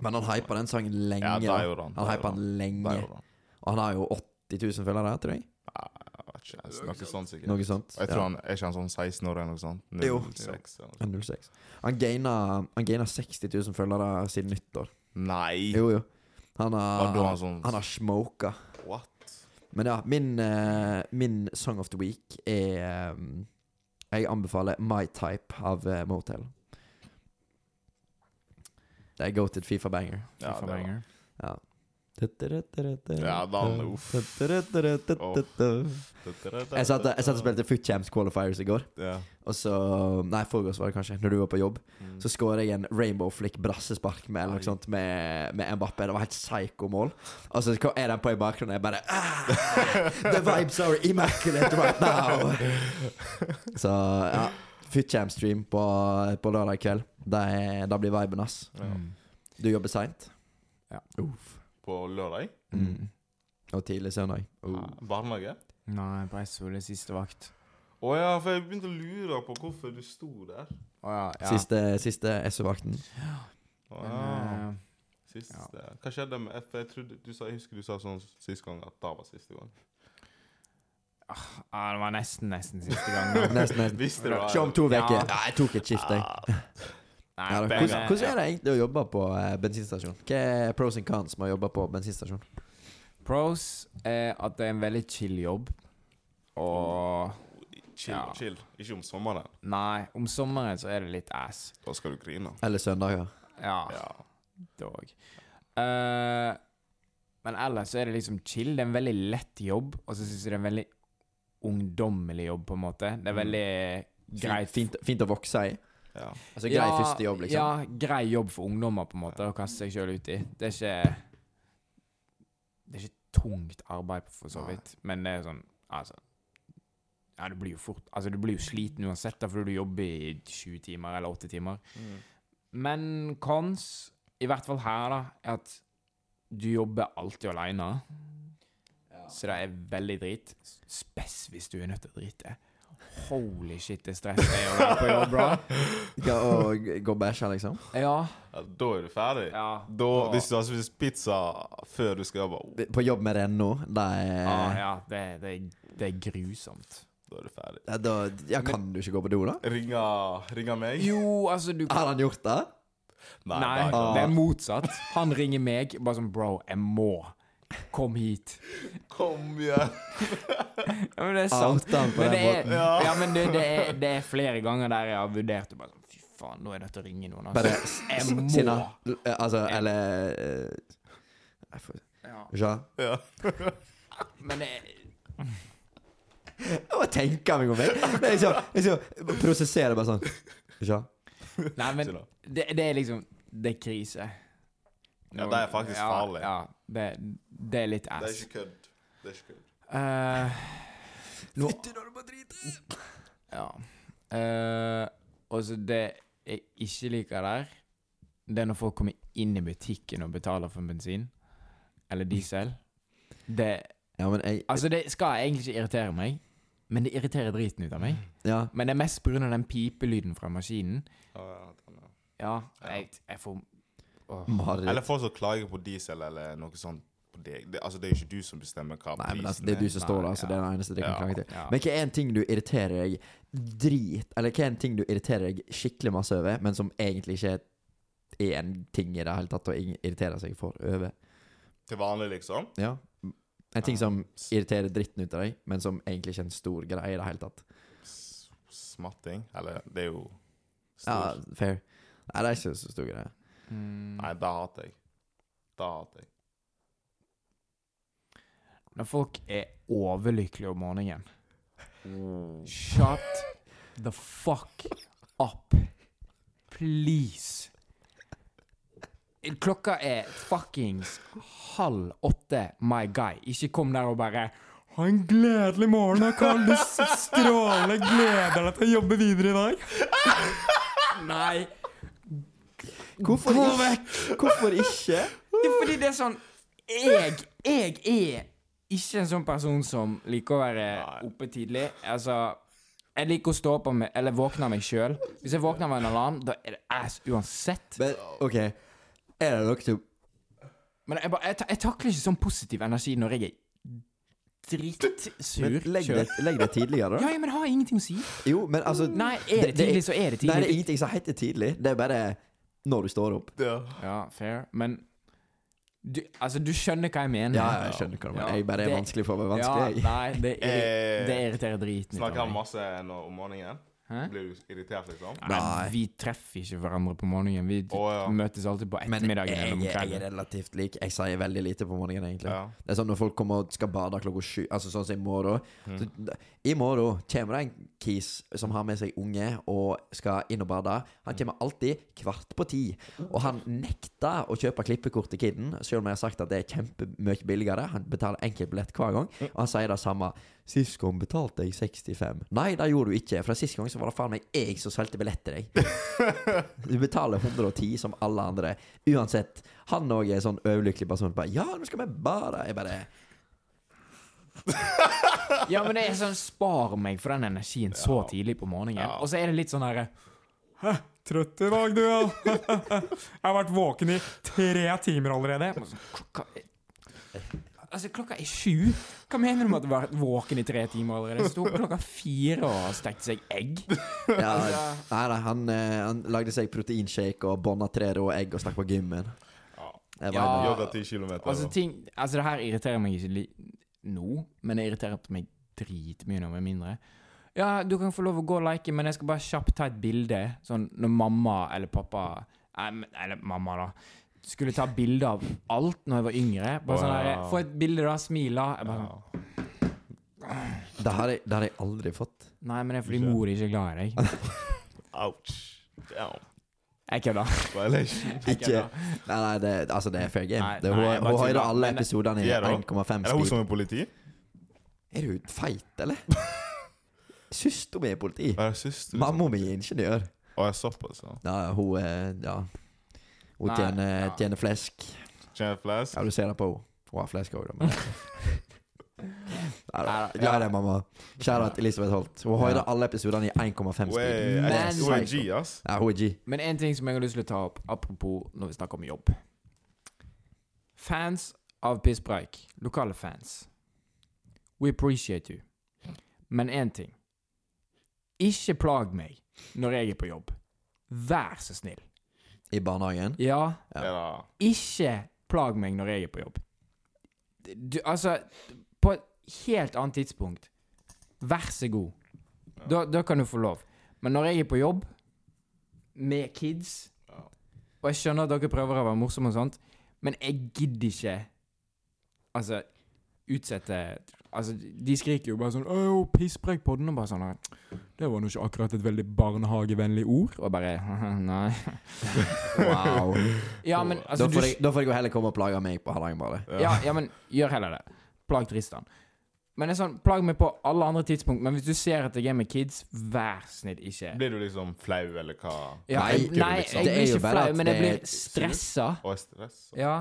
[SPEAKER 1] Men han hypa den sangen lenge.
[SPEAKER 2] Ja, det
[SPEAKER 1] da.
[SPEAKER 2] gjorde han.
[SPEAKER 1] han
[SPEAKER 2] det
[SPEAKER 1] hypa
[SPEAKER 2] gjorde
[SPEAKER 1] den
[SPEAKER 2] Det
[SPEAKER 1] lenge.
[SPEAKER 2] gjorde han.
[SPEAKER 1] Og han har jo 80 000 følgere, tror jeg.
[SPEAKER 2] Jeg vet ikke, jeg- Noe sånt, sikkert.
[SPEAKER 1] Noe sånt.
[SPEAKER 2] Og jeg tror
[SPEAKER 1] Ja.
[SPEAKER 2] han, Er ikke han sånn 16 år eller noe sånt?
[SPEAKER 1] Jo.
[SPEAKER 2] 06 eller noe sånt.
[SPEAKER 1] Han 06. Han gaina, han gaina 60 000 følgere siden nyttår.
[SPEAKER 2] Nei!
[SPEAKER 1] Jo, jo. Han har,
[SPEAKER 2] Var da han sånn
[SPEAKER 1] han har smoka.
[SPEAKER 2] What?
[SPEAKER 1] Men ja, min, eh, min Song of the Week er eh, Jeg anbefaler My Type av eh, Motel. Det er goated Fifa-banger.
[SPEAKER 2] Ja, det var.
[SPEAKER 3] Banger.
[SPEAKER 1] Ja.
[SPEAKER 2] Ja, den, uff.
[SPEAKER 1] Jeg satt, jeg satt og spilte Foot Champs Qualifiers i går.
[SPEAKER 2] Ja.
[SPEAKER 1] Og så Nei, forgårs var det kanskje, når du var på jobb.
[SPEAKER 2] Mm.
[SPEAKER 1] Så skåra jeg en rainbow flick brassespark med eller
[SPEAKER 2] Oi.
[SPEAKER 1] noe sånt med, med Mbappé. Det var helt psycho-mål. Og så kom- er den på i bakgrunnen, og jeg bare ah, The vibes are immaculate right now! Så ja. Footjam-stream på, på lørdag kveld. Det, er- det blir viben, ass.
[SPEAKER 2] Ja.
[SPEAKER 3] Mm.
[SPEAKER 1] Du jobber seint.
[SPEAKER 3] Ja.
[SPEAKER 1] Uff.
[SPEAKER 2] På lørdag?
[SPEAKER 3] Mm.
[SPEAKER 1] Og tidlig søndag. Uh.
[SPEAKER 2] Ja, Barnehage?
[SPEAKER 3] Nei, på SO, det er siste vakt.
[SPEAKER 2] Å ja, for jeg begynte å lure på hvorfor du sto der.
[SPEAKER 3] Å ja. ja.
[SPEAKER 1] Siste, siste SU-vakten.
[SPEAKER 2] Å,
[SPEAKER 3] Men,
[SPEAKER 2] ja.
[SPEAKER 3] eh,
[SPEAKER 2] Siste.
[SPEAKER 3] Ja.
[SPEAKER 2] Hva skjedde med for jeg, trodde, du sa, jeg husker du sa sånn sist gang at det var siste gang.
[SPEAKER 3] ja, Ah, det var nesten, nesten siste gang. nå.
[SPEAKER 1] Nesten, nesten.
[SPEAKER 2] Visste du hva?
[SPEAKER 1] Ikke om to
[SPEAKER 3] Ja.
[SPEAKER 1] uker. Ja. jeg tok et skift, jeg.
[SPEAKER 3] Nei,
[SPEAKER 1] Ja, da.
[SPEAKER 3] men,
[SPEAKER 1] hvordan,
[SPEAKER 3] eh,
[SPEAKER 1] hvordan er det egentlig å jobbe på eh, bensinstasjon? Hva er pros and cons med å jobbe på bensinstasjon?
[SPEAKER 3] Pros er at det er en veldig chill jobb. Og
[SPEAKER 2] Chill,
[SPEAKER 3] Ja.
[SPEAKER 2] chill. Ikke om sommeren.
[SPEAKER 3] Nei, om sommeren så er det litt ass.
[SPEAKER 2] Da skal du grine.
[SPEAKER 1] Eller søndager.
[SPEAKER 3] Ja,
[SPEAKER 2] Ja.
[SPEAKER 3] dog. Eh, men ellers så er det liksom chill. Det er en veldig lett jobb, og så syns jeg det er en veldig ungdommelig jobb, på en måte. Det er
[SPEAKER 1] Mm.
[SPEAKER 3] veldig greit.
[SPEAKER 1] Fint, fint, fint å vokse i.
[SPEAKER 2] ja.
[SPEAKER 1] Altså grei
[SPEAKER 3] Ja,
[SPEAKER 1] første jobb, liksom.
[SPEAKER 3] Ja, grei jobb for ungdommer, på en måte, å kaste seg sjøl ut i. Det er ikke Det er ikke tungt arbeid, for så
[SPEAKER 2] Nei.
[SPEAKER 3] vidt, men det er sånn Altså Ja, du blir jo fort Altså, du blir jo sliten uansett, da, fordi du jobber i sju timer eller åtte timer.
[SPEAKER 2] Mm.
[SPEAKER 3] Men cons, i hvert fall her, da, er at du jobber alltid aleine. Så det er veldig drit. Spes hvis du er nødt til å drite. Holy shit, det stresser meg å være på jobb, bro.
[SPEAKER 1] Ja, og g- gå og bæsje, liksom.
[SPEAKER 3] Ja.
[SPEAKER 2] Ja, da er du ferdig.
[SPEAKER 3] ja.
[SPEAKER 2] Da, hvis du har spist pizza før du skal jobbe, oh,
[SPEAKER 1] På jobb med Renno, det er
[SPEAKER 3] ah, Ja, det, det, det er grusomt.
[SPEAKER 2] da er du ferdig.
[SPEAKER 1] ja, da, ja, kan du ikke gå på do, da?
[SPEAKER 2] Ringer, ringer meg?
[SPEAKER 3] Jo, altså, du
[SPEAKER 1] Har han gjort det?
[SPEAKER 2] Nei,
[SPEAKER 3] Nei,
[SPEAKER 2] da-
[SPEAKER 1] Ah.
[SPEAKER 3] det er motsatt. Han ringer meg bare sånn Bro, jeg må. Kom hit.
[SPEAKER 2] Kom igjen!
[SPEAKER 3] Ja, men det er sant.
[SPEAKER 1] Outa han Ah, på
[SPEAKER 3] Men
[SPEAKER 1] den
[SPEAKER 3] det er,
[SPEAKER 1] måten?
[SPEAKER 2] Ja.
[SPEAKER 3] ja, men det, det, er, det er flere ganger der jeg har vurdert det bare sånn Fy faen, nå er jeg nødt til å ringe noen.
[SPEAKER 1] Bare
[SPEAKER 3] Altså.
[SPEAKER 1] s-
[SPEAKER 3] Jeg
[SPEAKER 1] s-
[SPEAKER 3] må.
[SPEAKER 1] Sinna. L- eh, Altså, eller eh, jeg får-
[SPEAKER 3] Ja.
[SPEAKER 1] Ja.
[SPEAKER 2] Ja.
[SPEAKER 3] Men jeg,
[SPEAKER 1] Hva tenker han meg om? Jeg Det er liksom, liksom prosesserer bare sånn. Ja.
[SPEAKER 3] Nei, men
[SPEAKER 2] Sinna.
[SPEAKER 3] det, det er liksom Det er krise.
[SPEAKER 2] Ja, det er faktisk
[SPEAKER 3] ja,
[SPEAKER 2] farlig.
[SPEAKER 3] Ja, det, det er litt
[SPEAKER 2] Det er
[SPEAKER 3] ass.
[SPEAKER 2] ikke kødd. Det er ikke kødd.
[SPEAKER 3] Eh, nå
[SPEAKER 1] Fytti når du må drite!
[SPEAKER 3] Ja. Eh, og så det jeg ikke liker der, det er når folk kommer inn i butikken og betaler for bensin. Eller diesel. Det
[SPEAKER 1] Ja, men jeg
[SPEAKER 3] Altså, det skal egentlig ikke irritere meg, men det irriterer driten ut av meg.
[SPEAKER 1] Ja.
[SPEAKER 3] Men det er mest pga. den pipelyden fra maskinen.
[SPEAKER 2] Ja, ja, den er-
[SPEAKER 3] Ja, jeg, jeg får Åh.
[SPEAKER 2] Eller
[SPEAKER 1] Mareritt.
[SPEAKER 2] folk som klager på diesel eller noe sånt. på deg. Det, altså, det er ikke du som bestemmer hva
[SPEAKER 1] Nei, men altså, det er du som står der, så det er den eneste det kan
[SPEAKER 2] Ja.
[SPEAKER 1] klage til.
[SPEAKER 3] Ja.
[SPEAKER 1] Men hva er en ting du irriterer deg drit Eller hva er en ting du irriterer deg skikkelig masse over, men som egentlig ikke er en ting i det hele tatt å ing- irritere seg for over?
[SPEAKER 2] Til vanlig, liksom.
[SPEAKER 1] Ja. En ting
[SPEAKER 2] Ja.
[SPEAKER 1] som irriterer dritten ut av deg, men som egentlig ikke er en stor greie i det hele tatt.
[SPEAKER 2] S- Smatting. Eller, det er jo stor.
[SPEAKER 1] Ja, fair. Nei, det er ikke så stor greie.
[SPEAKER 3] Mm.
[SPEAKER 2] Nei, da hater jeg. Da hater jeg.
[SPEAKER 3] Når folk er overlykkelige om morgenen. Shut the fuck up. Please. Klokka er fuckings halv åtte, my guy. Ikke kom der og bare ha en gledelig morgen, da, Karl. Du s- stråler. Gleder deg til å jobbe videre i dag. Nei.
[SPEAKER 1] Hvorfor
[SPEAKER 3] Gå
[SPEAKER 1] ikke? Hvorfor ikke?
[SPEAKER 3] Det er fordi det er sånn Jeg, jeg er ikke en sånn person som liker å være
[SPEAKER 2] Nei.
[SPEAKER 3] oppe tidlig. Altså Jeg liker å stå opp om- eller våkne av meg sjøl. Hvis jeg våkner av en alarm, da er det ass uansett.
[SPEAKER 1] Men OK, er det noe du
[SPEAKER 3] Men jeg, bare, jeg, ta- jeg takler ikke sånn positiv energi når jeg er dritsur.
[SPEAKER 1] Men legg det,
[SPEAKER 3] selv.
[SPEAKER 1] legg det tidligere,
[SPEAKER 3] Ja,
[SPEAKER 1] da.
[SPEAKER 3] ja, men har jeg ingenting å si?
[SPEAKER 1] Jo, men altså
[SPEAKER 3] Nei, er det tidlig, så er det
[SPEAKER 1] Nei, det er
[SPEAKER 3] tidlig.
[SPEAKER 1] ingenting som heter tidlig. Det er bare når du står opp.
[SPEAKER 2] Ja.
[SPEAKER 3] Ja, fair. Men du, altså, du skjønner hva jeg mener.
[SPEAKER 1] Ja, jeg skjønner hva du mener.
[SPEAKER 3] Ja,
[SPEAKER 1] Jeg bare er
[SPEAKER 3] det-
[SPEAKER 1] vanskelig for å være
[SPEAKER 3] Ja,
[SPEAKER 1] vanskelig. jeg.
[SPEAKER 3] nei, det, irri- det irriterer driten
[SPEAKER 2] Snakker han masse nå om morgenen?
[SPEAKER 3] Hæ?
[SPEAKER 2] Blir du irritert, liksom?
[SPEAKER 3] Nei.
[SPEAKER 1] Nei.
[SPEAKER 3] Vi treffer ikke hverandre på morgenen. Vi
[SPEAKER 2] Å, ja.
[SPEAKER 3] møtes alltid på
[SPEAKER 1] Men jeg,
[SPEAKER 3] ettermiddagen eller om
[SPEAKER 1] jeg er
[SPEAKER 3] kvelden.
[SPEAKER 1] relativt lik. Jeg sier veldig lite på morgenen, egentlig.
[SPEAKER 2] Ja.
[SPEAKER 1] Det er sånn når folk kommer og skal bade klokka sju, altså sånn som i morgen.
[SPEAKER 3] Mm.
[SPEAKER 1] Så, I morgen kommer det en kis som har med seg unge og skal inn og bade.
[SPEAKER 3] Mm.
[SPEAKER 1] Han kommer alltid kvart på ti. Og han nekter å kjøpe klippekort til kiden, selv om jeg har sagt at det er kjempemye billigere. Han betaler enkeltbillett hver gang,
[SPEAKER 3] Mm.
[SPEAKER 1] og han sier det samme. Sist gang betalte jeg 65. Nei, det gjorde du ikke, for sist gang så var det faen meg jeg som solgte billett til deg. Du betaler 110 som alle andre. Uansett. Han òg er en sånn overlykkelig person. Bare, ja, nå skal vi bare Jeg bare
[SPEAKER 3] Ja, men det er sånn Spar meg for den energien så tidlig på morgenen.
[SPEAKER 2] Ja.
[SPEAKER 3] Og så er det litt sånn herre Hæ, trøtt i dag, du, ja? Jeg har vært våken i tre timer allerede. Men så, sånn, Klokka er Altså, klokka er sju. Hva mener du med at du har vært våken i tre timer allerede? Jeg Sto opp klokka fire og har stekt seg egg.
[SPEAKER 1] ja, Nei, nei, han, eh, han lagde seg proteinshake og bånda tre rå egg og stakk på gymmen.
[SPEAKER 2] Ja.
[SPEAKER 1] Jeg
[SPEAKER 3] Ja.
[SPEAKER 1] bare,
[SPEAKER 2] Jogga ti kilometer.
[SPEAKER 3] Altså, ting, altså det her irriterer meg ikke li nå, men det irriterer meg dritmye når vi er mindre. Ja, du kan få lov å gå og like, men jeg skal bare kjapt ta et bilde. Sånn når mamma eller pappa eh, men- Eller mamma, da. Skulle ta bilde av alt når jeg var yngre. Bare sånn der,
[SPEAKER 2] Wow.
[SPEAKER 3] Få et bilde, da. Smil, da. Jeg bare, sånn,
[SPEAKER 2] Ja.
[SPEAKER 1] Det har jeg, det har jeg aldri fått.
[SPEAKER 3] Nei, men det er fordi mor ikke er glad i deg.
[SPEAKER 2] Ouch. Damn.
[SPEAKER 3] Jeg kødder.
[SPEAKER 2] Violation.
[SPEAKER 1] Ikke Nei, nei, det, altså, det er fair game.
[SPEAKER 3] Nei,
[SPEAKER 1] det,
[SPEAKER 3] nei,
[SPEAKER 1] hun
[SPEAKER 3] jeg bare
[SPEAKER 1] hun hører
[SPEAKER 3] tuller,
[SPEAKER 1] alle
[SPEAKER 3] men-
[SPEAKER 1] episodene i
[SPEAKER 2] Ja, da.
[SPEAKER 1] 1,5
[SPEAKER 2] Er det hun
[SPEAKER 1] speed.
[SPEAKER 2] som er politi?
[SPEAKER 1] Er du feit, eller? Søstera mi er politi.
[SPEAKER 2] Er det søster?
[SPEAKER 1] Mamma mi er ingeniør.
[SPEAKER 2] Å, jeg er såpass, ja.
[SPEAKER 1] Ja, hun er Ja. Hun
[SPEAKER 3] Nei,
[SPEAKER 1] tjener,
[SPEAKER 3] ja.
[SPEAKER 1] tjener flesk.
[SPEAKER 2] Kjenner flask?
[SPEAKER 1] Ja, du ser det på henne. Hun har flesk òg, da. Men... Nei da.
[SPEAKER 3] Nei da,
[SPEAKER 1] Glad i deg, mamma. Kjære til Elisabeth Holt. Hun hører alle episodene i 1,5 speed.
[SPEAKER 2] Hun er-
[SPEAKER 1] Men-
[SPEAKER 2] er- hun er G, ass.
[SPEAKER 1] Ja, hun er G.
[SPEAKER 3] Men en ting som jeg har lyst til å ta opp, apropos når vi snakker om jobb. Fans av Pisspreik, lokale fans, we appreciate you. Men én ting. Ikke plag meg når jeg er på jobb. Vær så snill.
[SPEAKER 1] I barnehagen.
[SPEAKER 3] Ja,
[SPEAKER 1] Ja.
[SPEAKER 2] Ja. da.
[SPEAKER 3] ikke plag meg når jeg er på jobb. Du, altså, på et helt annet tidspunkt. Vær så god. Da, da kan du få lov. Men når jeg er på jobb med kids
[SPEAKER 2] Ja.
[SPEAKER 3] Og jeg skjønner at dere prøver å være morsomme og sånt, men jeg gidder ikke Altså, utsette Altså, de skriker jo bare sånn 'Å, pisspreik på den', og bare sånn «Nei, Det var nå ikke akkurat et veldig barnehagevennlig ord. Og bare Nei.
[SPEAKER 1] Wow.
[SPEAKER 3] Ja, men altså,
[SPEAKER 1] da,
[SPEAKER 3] du
[SPEAKER 1] får jeg, da får jeg jo heller komme og plage meg på Hardanger, bare.
[SPEAKER 3] Ja, ja, men gjør heller det. Plag Tristan. Men det er sånn, Plag meg på alle andre tidspunkt, men hvis du ser at jeg er med kids, vær snill, ikke
[SPEAKER 2] Blir du liksom flau, eller hva?
[SPEAKER 3] ja,
[SPEAKER 1] Nei,
[SPEAKER 3] jeg,
[SPEAKER 1] ikke du,
[SPEAKER 3] Nei,
[SPEAKER 1] liksom.
[SPEAKER 3] jeg
[SPEAKER 1] Det er
[SPEAKER 3] blir
[SPEAKER 1] jo
[SPEAKER 3] ikke
[SPEAKER 1] bare
[SPEAKER 3] flau,
[SPEAKER 1] at
[SPEAKER 3] men jeg
[SPEAKER 1] det er
[SPEAKER 3] blir stressa.
[SPEAKER 2] Og er stress?
[SPEAKER 3] Ja.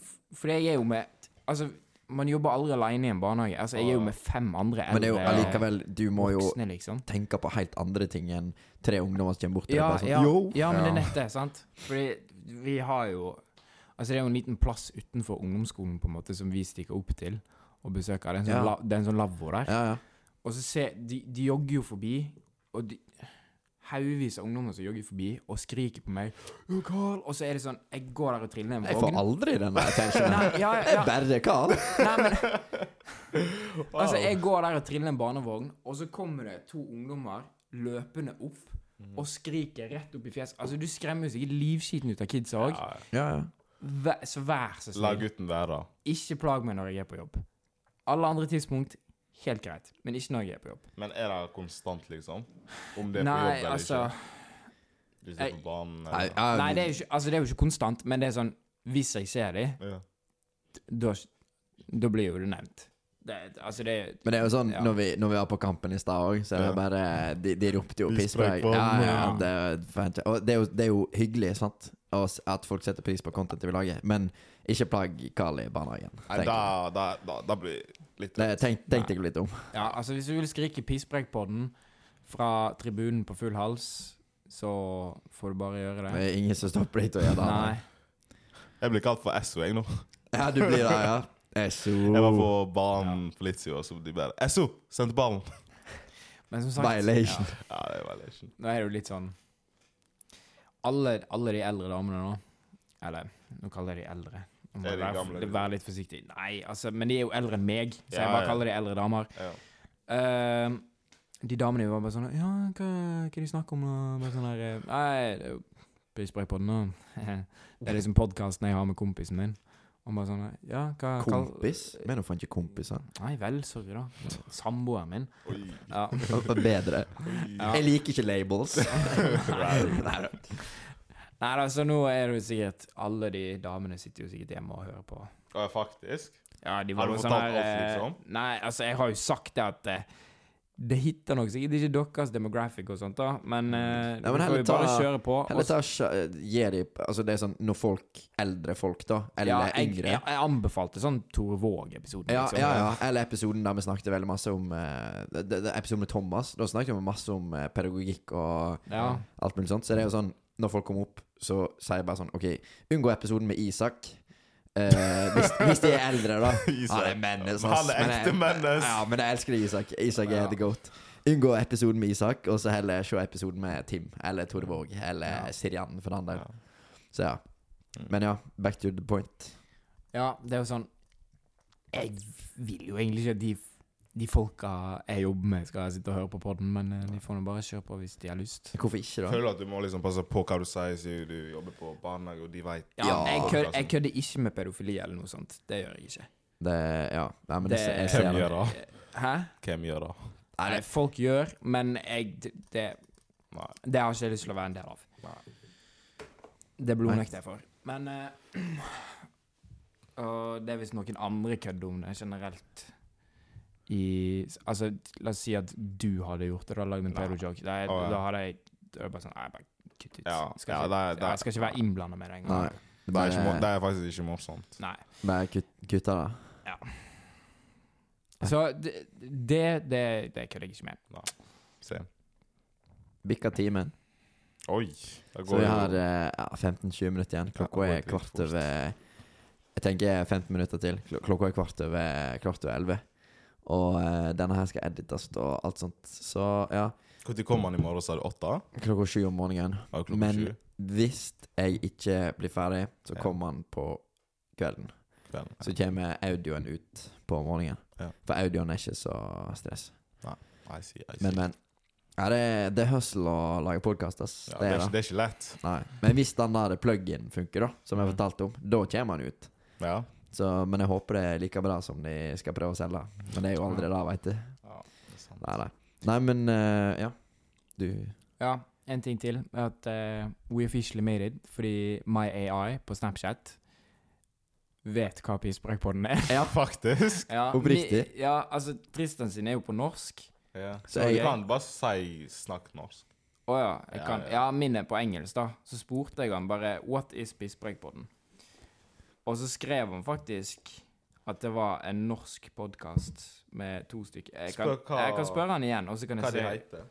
[SPEAKER 3] F- For jeg er jo med Altså, man jobber aldri alene i en barnehage. Altså, jeg er jo med fem andre
[SPEAKER 1] Men det er jo
[SPEAKER 3] eldre
[SPEAKER 1] allikevel Du må jo
[SPEAKER 3] voksne, liksom.
[SPEAKER 1] tenke på helt andre ting enn tre ungdommer som kommer bort til
[SPEAKER 3] Ja,
[SPEAKER 1] deg.
[SPEAKER 3] ja,
[SPEAKER 1] bare Sånn,
[SPEAKER 3] ja, men det
[SPEAKER 2] Ja.
[SPEAKER 3] er nett det, sant? Fordi vi har jo Altså, det er jo en liten plass utenfor ungdomsskolen, på en måte, som vi stikker opp til og besøker. Det er en sånn,
[SPEAKER 1] Ja.
[SPEAKER 3] la, det er en sånn lavvo der.
[SPEAKER 1] jo. Ja, ja.
[SPEAKER 3] Og så se, de, de jogger jo forbi, og de Haugevis av ungdommer som jogger forbi og skriker på meg. «Å, Carl! Og så er det sånn Jeg går der og triller ned
[SPEAKER 1] Jeg får aldri den der attentionen.
[SPEAKER 3] Nei, ja,
[SPEAKER 1] Det
[SPEAKER 3] ja,
[SPEAKER 1] er bare Karl.
[SPEAKER 3] nei, men Altså, jeg går der og triller en barnevogn, og så kommer det to ungdommer løpende opp
[SPEAKER 2] Mhm.
[SPEAKER 3] og skriker rett opp i fjeset. Altså, du skremmer jo sikkert livskiten ut av kidsa òg.
[SPEAKER 2] Ja,
[SPEAKER 1] Ja, ja.
[SPEAKER 3] Så vær så
[SPEAKER 2] La
[SPEAKER 3] snill,
[SPEAKER 2] gutten være.
[SPEAKER 3] ikke plag meg når jeg er på jobb. Alle andre tidspunkt, helt greit, men ikke når jeg er på jobb.
[SPEAKER 2] Men er det konstant, liksom? Om det er på jobb
[SPEAKER 3] Nei,
[SPEAKER 2] eller
[SPEAKER 3] altså
[SPEAKER 2] ikke? Hvis det er på banen
[SPEAKER 1] Nei,
[SPEAKER 2] eller
[SPEAKER 1] ja,
[SPEAKER 3] Nei, det er, jo ikke, altså, det er jo ikke konstant, men det er sånn Hvis jeg ser dem,
[SPEAKER 2] ja.
[SPEAKER 3] da, da blir jo det nevnt. Det, altså, det
[SPEAKER 1] Men det er jo sånn,
[SPEAKER 3] Ja.
[SPEAKER 1] når, vi, når vi var på kampen i stad òg, så er det
[SPEAKER 2] Ja.
[SPEAKER 1] bare De, de ropte jo
[SPEAKER 2] De
[SPEAKER 1] piss på deg.
[SPEAKER 2] spreik på
[SPEAKER 1] Ja,
[SPEAKER 2] den,
[SPEAKER 1] ja,
[SPEAKER 3] ja.
[SPEAKER 1] det, er jo fan- og det, er jo, det er jo hyggelig, sant, å s- at folk setter pris på contentet vi lager, men ikke plag Carl i barnehagen.
[SPEAKER 2] Nei,
[SPEAKER 1] tenker jeg.
[SPEAKER 2] da, da, da, da blir det litt
[SPEAKER 1] Det tenk, tenk deg litt om.
[SPEAKER 3] Ja, altså, hvis du vil skrike pisspreik på den fra tribunen på full hals, så får du bare gjøre
[SPEAKER 1] Det
[SPEAKER 3] det.
[SPEAKER 1] er ingen som stopper deg til å gjøre det.
[SPEAKER 3] Nei.
[SPEAKER 2] Jeg blir kalt for SO, jeg nå.
[SPEAKER 1] Ja, du blir det, ja. Jeg er
[SPEAKER 2] Jeg var
[SPEAKER 1] så
[SPEAKER 2] på banen for litt siden, og så de bare SO! Sendte ballen!
[SPEAKER 3] Men som sagt
[SPEAKER 1] Violation.
[SPEAKER 3] Ja,
[SPEAKER 2] Ja, det er violation.
[SPEAKER 3] nå er det jo litt sånn alle, alle de eldre damene nå Eller, nå kaller jeg de eldre. Nå må
[SPEAKER 2] Det er de
[SPEAKER 3] jeg
[SPEAKER 2] gamle,
[SPEAKER 3] være,
[SPEAKER 2] liksom.
[SPEAKER 3] være litt forsiktig. Nei, altså, men de er jo eldre enn meg, så jeg
[SPEAKER 2] Ja,
[SPEAKER 3] bare
[SPEAKER 2] ja.
[SPEAKER 3] kaller de eldre damer.
[SPEAKER 2] Ja.
[SPEAKER 3] Eh, de damene var bare sånn Ja, hva, hva de snakker om nå? Bare sånn her eh, Nei, det er jo pisspreik på den nå. det er liksom podkasten jeg har med kompisen min. Og bare sånn Ja, hva kall-
[SPEAKER 1] Kompis? Mener du faen ikke kompis? han?
[SPEAKER 3] Nei vel, sorry, da. Samboeren min.
[SPEAKER 2] Oi.
[SPEAKER 3] Ja.
[SPEAKER 1] Og- og Bedre.
[SPEAKER 3] Ja.
[SPEAKER 1] Jeg liker ikke labels.
[SPEAKER 3] Nei da, så nå er det jo sikkert Alle de damene sitter jo sikkert hjemme og hører på.
[SPEAKER 2] Ja, faktisk.
[SPEAKER 3] Ja, de
[SPEAKER 2] Har
[SPEAKER 3] var
[SPEAKER 2] du
[SPEAKER 3] jo sånn
[SPEAKER 2] fortalt
[SPEAKER 3] her
[SPEAKER 2] alt,
[SPEAKER 3] eh,
[SPEAKER 2] liksom?
[SPEAKER 3] Nei, altså, jeg har jo sagt det at eh, det hitter nok sikkert ikke deres demographic og sånt, da, men eh,
[SPEAKER 1] Nei, men
[SPEAKER 3] nå får
[SPEAKER 1] heller
[SPEAKER 3] vi bare
[SPEAKER 1] ta-
[SPEAKER 3] kjøre på.
[SPEAKER 1] Eller
[SPEAKER 3] og
[SPEAKER 1] ta, gi de Altså, det er sånn når folk Eldre folk, da,
[SPEAKER 3] ja,
[SPEAKER 1] eller
[SPEAKER 3] jeg,
[SPEAKER 1] yngre
[SPEAKER 3] Jeg, jeg anbefalte sånn Tore Våg-episoden.
[SPEAKER 1] Ja,
[SPEAKER 3] liksom.
[SPEAKER 1] ja,
[SPEAKER 2] eh,
[SPEAKER 1] ja. Eller episoden der vi snakket veldig masse om eh, det, det, det, Episoden med Thomas. Da snakket vi masse om eh, pedagogikk og
[SPEAKER 3] Ja.
[SPEAKER 1] alt mulig sånt. Så det er jo sånn Når folk kommer opp, så sier jeg bare sånn OK, unngå episoden med Isak. Eh, hvis, hvis de er eldre, da.
[SPEAKER 2] Isak.
[SPEAKER 1] Han er menneske.
[SPEAKER 2] Men han er ekte mennes.
[SPEAKER 1] Ja, men jeg elsker Isak. Isak er
[SPEAKER 3] Ja.
[SPEAKER 1] the goat. Unngå episoden med Isak, og så heller se episoden med Tim eller Tore Våg eller
[SPEAKER 3] Ja.
[SPEAKER 1] Sirian for den der.
[SPEAKER 2] Ja. Mm.
[SPEAKER 1] Så ja. Men ja, back to the point.
[SPEAKER 3] ja, det er jo sånn Jeg vil jo egentlig ikke at de f- de folka jeg jobber med, skal sitte og høre på podden, men eh, de får nå bare kjøre på hvis de har lyst.
[SPEAKER 1] Hvorfor ikke,
[SPEAKER 2] Jeg
[SPEAKER 1] da?
[SPEAKER 2] føler at du må liksom passe på hva du sier, siden du jobber på barnehage, og de vet
[SPEAKER 3] Ja, Jeg,
[SPEAKER 1] altså.
[SPEAKER 3] kødder,
[SPEAKER 2] sånn.
[SPEAKER 3] jeg kødder ikke med pedofili eller noe sånt. Det gjør jeg ikke.
[SPEAKER 1] Det, ja. Nei, men det,
[SPEAKER 3] Det-
[SPEAKER 1] jeg ser
[SPEAKER 2] Hvem
[SPEAKER 1] det.
[SPEAKER 2] gjør det?
[SPEAKER 3] Hæ?
[SPEAKER 2] Hvem gjør det?
[SPEAKER 3] Nei, det folk gjør, men jeg det, det,
[SPEAKER 2] Nei.
[SPEAKER 3] det har ikke jeg lyst til å være en del av. Det blodnekter jeg for. Men eh, Og det er hvis noen andre kødder om det generelt i Altså, la oss si at du hadde gjort det, du hadde lagd en
[SPEAKER 2] Nei.
[SPEAKER 3] pedo-joke. Da, er-
[SPEAKER 2] Å, ja.
[SPEAKER 3] da hadde jeg da er det bare sånn Nei, bare kutt ut.
[SPEAKER 2] Ja,
[SPEAKER 3] Skal
[SPEAKER 2] ja,
[SPEAKER 3] ikke-
[SPEAKER 2] det er- det er-
[SPEAKER 3] jeg skal ikke være innblanda med det
[SPEAKER 1] Nei.
[SPEAKER 3] engang.
[SPEAKER 1] Det
[SPEAKER 2] Det er, ikke,
[SPEAKER 1] bare,
[SPEAKER 2] mor- det er faktisk ikke morsomt.
[SPEAKER 3] Nei.
[SPEAKER 1] bare kut, kutta det.
[SPEAKER 3] Så det, det, det, det kødder jeg ikke med.
[SPEAKER 2] Se.
[SPEAKER 1] Bikka timen.
[SPEAKER 2] Oi. Det
[SPEAKER 1] Så
[SPEAKER 2] går
[SPEAKER 1] vi
[SPEAKER 2] jo-
[SPEAKER 1] har eh, ja, 15-20 minutter igjen.
[SPEAKER 2] Ja,
[SPEAKER 1] Klokka
[SPEAKER 2] det går
[SPEAKER 1] er
[SPEAKER 2] litt
[SPEAKER 1] kvart
[SPEAKER 2] fort.
[SPEAKER 1] over Jeg tenker 15 minutter til. Klo- Klokka er kvart over kvart over 11. Og eh, denne her skal edites og alt sånt. Så ja,
[SPEAKER 2] Når kom han i morgen, sa du åtte?
[SPEAKER 1] klokka sju om morgenen.
[SPEAKER 2] Ja, klokka
[SPEAKER 1] Men-
[SPEAKER 2] sju.
[SPEAKER 1] Hvis jeg ikke blir ferdig, så
[SPEAKER 2] Ja.
[SPEAKER 1] kommer han på kvelden.
[SPEAKER 2] Kvelden.
[SPEAKER 1] Så kommer audioen ut på morgenen.
[SPEAKER 2] Ja.
[SPEAKER 1] For audioen er ikke så stress.
[SPEAKER 2] I see, I see.
[SPEAKER 1] Men, men. Ja, det, er- det er hustle å lage podkast, ass.
[SPEAKER 2] ja,
[SPEAKER 1] det er
[SPEAKER 2] ikke,
[SPEAKER 1] det.
[SPEAKER 2] det er ikke lett.
[SPEAKER 1] Nei. Men hvis den der plug-in funker, da, som jeg
[SPEAKER 2] Mhm.
[SPEAKER 1] fortalte om, da kommer han ut.
[SPEAKER 2] Ja.
[SPEAKER 1] Så, men jeg håper det er like bra som de skal prøve å selge. Men det er jo aldri det, veit du.
[SPEAKER 2] ja det er sant.
[SPEAKER 1] Nei, nei. nei, men eh, ja. Du
[SPEAKER 3] Ja, en ting til. er At eh, We officially made it fordi My AI på Snapchat vet hva pisspreikpodden er.
[SPEAKER 2] Ja, faktisk.
[SPEAKER 3] Ja,
[SPEAKER 1] Oppriktig?
[SPEAKER 3] mi- Ja, altså, Tristan sin er jo på norsk.
[SPEAKER 2] Ja.
[SPEAKER 1] Så
[SPEAKER 2] Så
[SPEAKER 1] jeg-
[SPEAKER 2] jeg kan bare si 'snakk norsk'.
[SPEAKER 3] Å ja. Jeg
[SPEAKER 2] Ja,
[SPEAKER 3] kan.
[SPEAKER 2] ja.
[SPEAKER 3] Ja, min er på engelsk, da. Så spurte jeg han bare What is pisspreikpodden? Og så skrev han faktisk at det var en norsk podkast med to stykker. Jeg kan,
[SPEAKER 2] Spør hva-
[SPEAKER 3] jeg kan spørre han igjen, og så kan
[SPEAKER 2] Hva
[SPEAKER 3] jeg
[SPEAKER 2] det
[SPEAKER 3] si
[SPEAKER 2] heter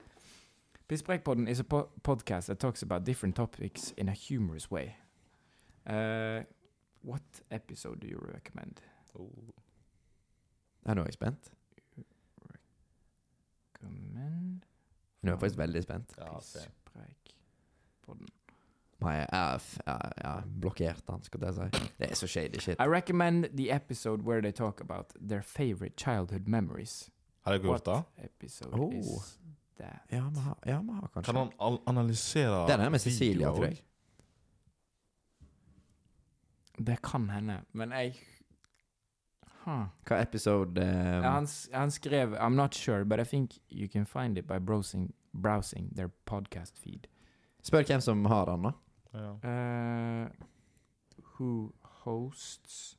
[SPEAKER 3] Pisspreikpodden is a po podcast that talks about different topics in a humorous way. Uh, what episode do you recommend?
[SPEAKER 2] Oh,
[SPEAKER 1] Ja, Nå er jeg spent.
[SPEAKER 3] Recommend
[SPEAKER 1] Nå er jeg faktisk veldig spent.
[SPEAKER 2] Ja, se.
[SPEAKER 3] Pisspreikpodden.
[SPEAKER 1] Nei, jeg er f- jeg jeg har blokkert han, skal jeg si. Det er så shady shit.
[SPEAKER 3] I recommend the episode where they talk about their favorite childhood memories.
[SPEAKER 2] Har jeg gjort det?
[SPEAKER 3] What episode
[SPEAKER 1] Oh.
[SPEAKER 3] is that?
[SPEAKER 1] Ja, vi har, ja, vi har
[SPEAKER 2] Kan
[SPEAKER 1] kanskje
[SPEAKER 2] han al- analysere
[SPEAKER 1] Den er med Cecilia,
[SPEAKER 2] videoer
[SPEAKER 1] tror jeg.
[SPEAKER 3] Det kan hende, men jeg huh.
[SPEAKER 1] Hva episode
[SPEAKER 2] Um.
[SPEAKER 1] eh,
[SPEAKER 3] Ja, han, s- han skrev I'm not sure, but I think you can find it by browsing, browsing their podcast feed.
[SPEAKER 1] Spør hvem som har han, da.
[SPEAKER 2] også? Ja.
[SPEAKER 3] Uh, who hosts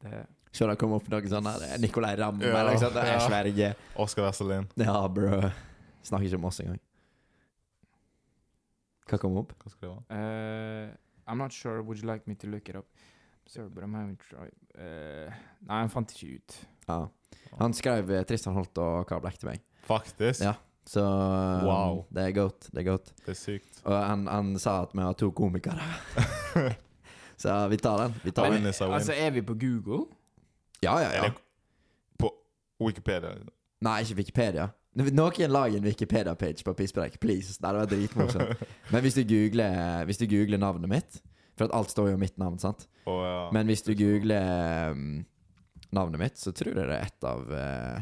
[SPEAKER 3] the
[SPEAKER 1] Se det kommer opp noen sånne her, eh, Nicolai Ramm
[SPEAKER 2] Ja,
[SPEAKER 1] eller noe sånt. Jeg
[SPEAKER 2] ja.
[SPEAKER 1] sverger.
[SPEAKER 2] Oscar Westerlin.
[SPEAKER 1] Ja, bro. Snakker ikke om oss engang. Hva kom opp?
[SPEAKER 2] Hva skrev han?
[SPEAKER 3] uh, I'm not sure, would you like me to look it up? Sorry, but I'm having try. Uh, nei, han fant ikke ut.
[SPEAKER 1] Ja. Han skrev eh, Tristan Holt og Karl Blekk til meg.
[SPEAKER 2] Faktisk.
[SPEAKER 1] Ja. Så um,
[SPEAKER 2] Wow.
[SPEAKER 1] det er godt. Det er godt.
[SPEAKER 2] Det er sykt.
[SPEAKER 1] Og han, han sa at vi har to komikere. så vi tar den. Vi tar
[SPEAKER 2] Men-
[SPEAKER 1] den.
[SPEAKER 2] win is a win.
[SPEAKER 3] altså, er vi på Google?
[SPEAKER 1] Ja, ja,
[SPEAKER 2] Er
[SPEAKER 1] ja.
[SPEAKER 2] det på Wikipedia?
[SPEAKER 1] Nei, ikke Wikipedia. Noen lag en Wikipedia-page på Pisspreik, please. Nei, det var dritmorsomt. Men hvis du, googler, hvis du googler navnet mitt For at alt står jo om mitt navn, sant?
[SPEAKER 2] Og, ja.
[SPEAKER 1] Men hvis du googler um, navnet mitt, så tror jeg det er et av eh,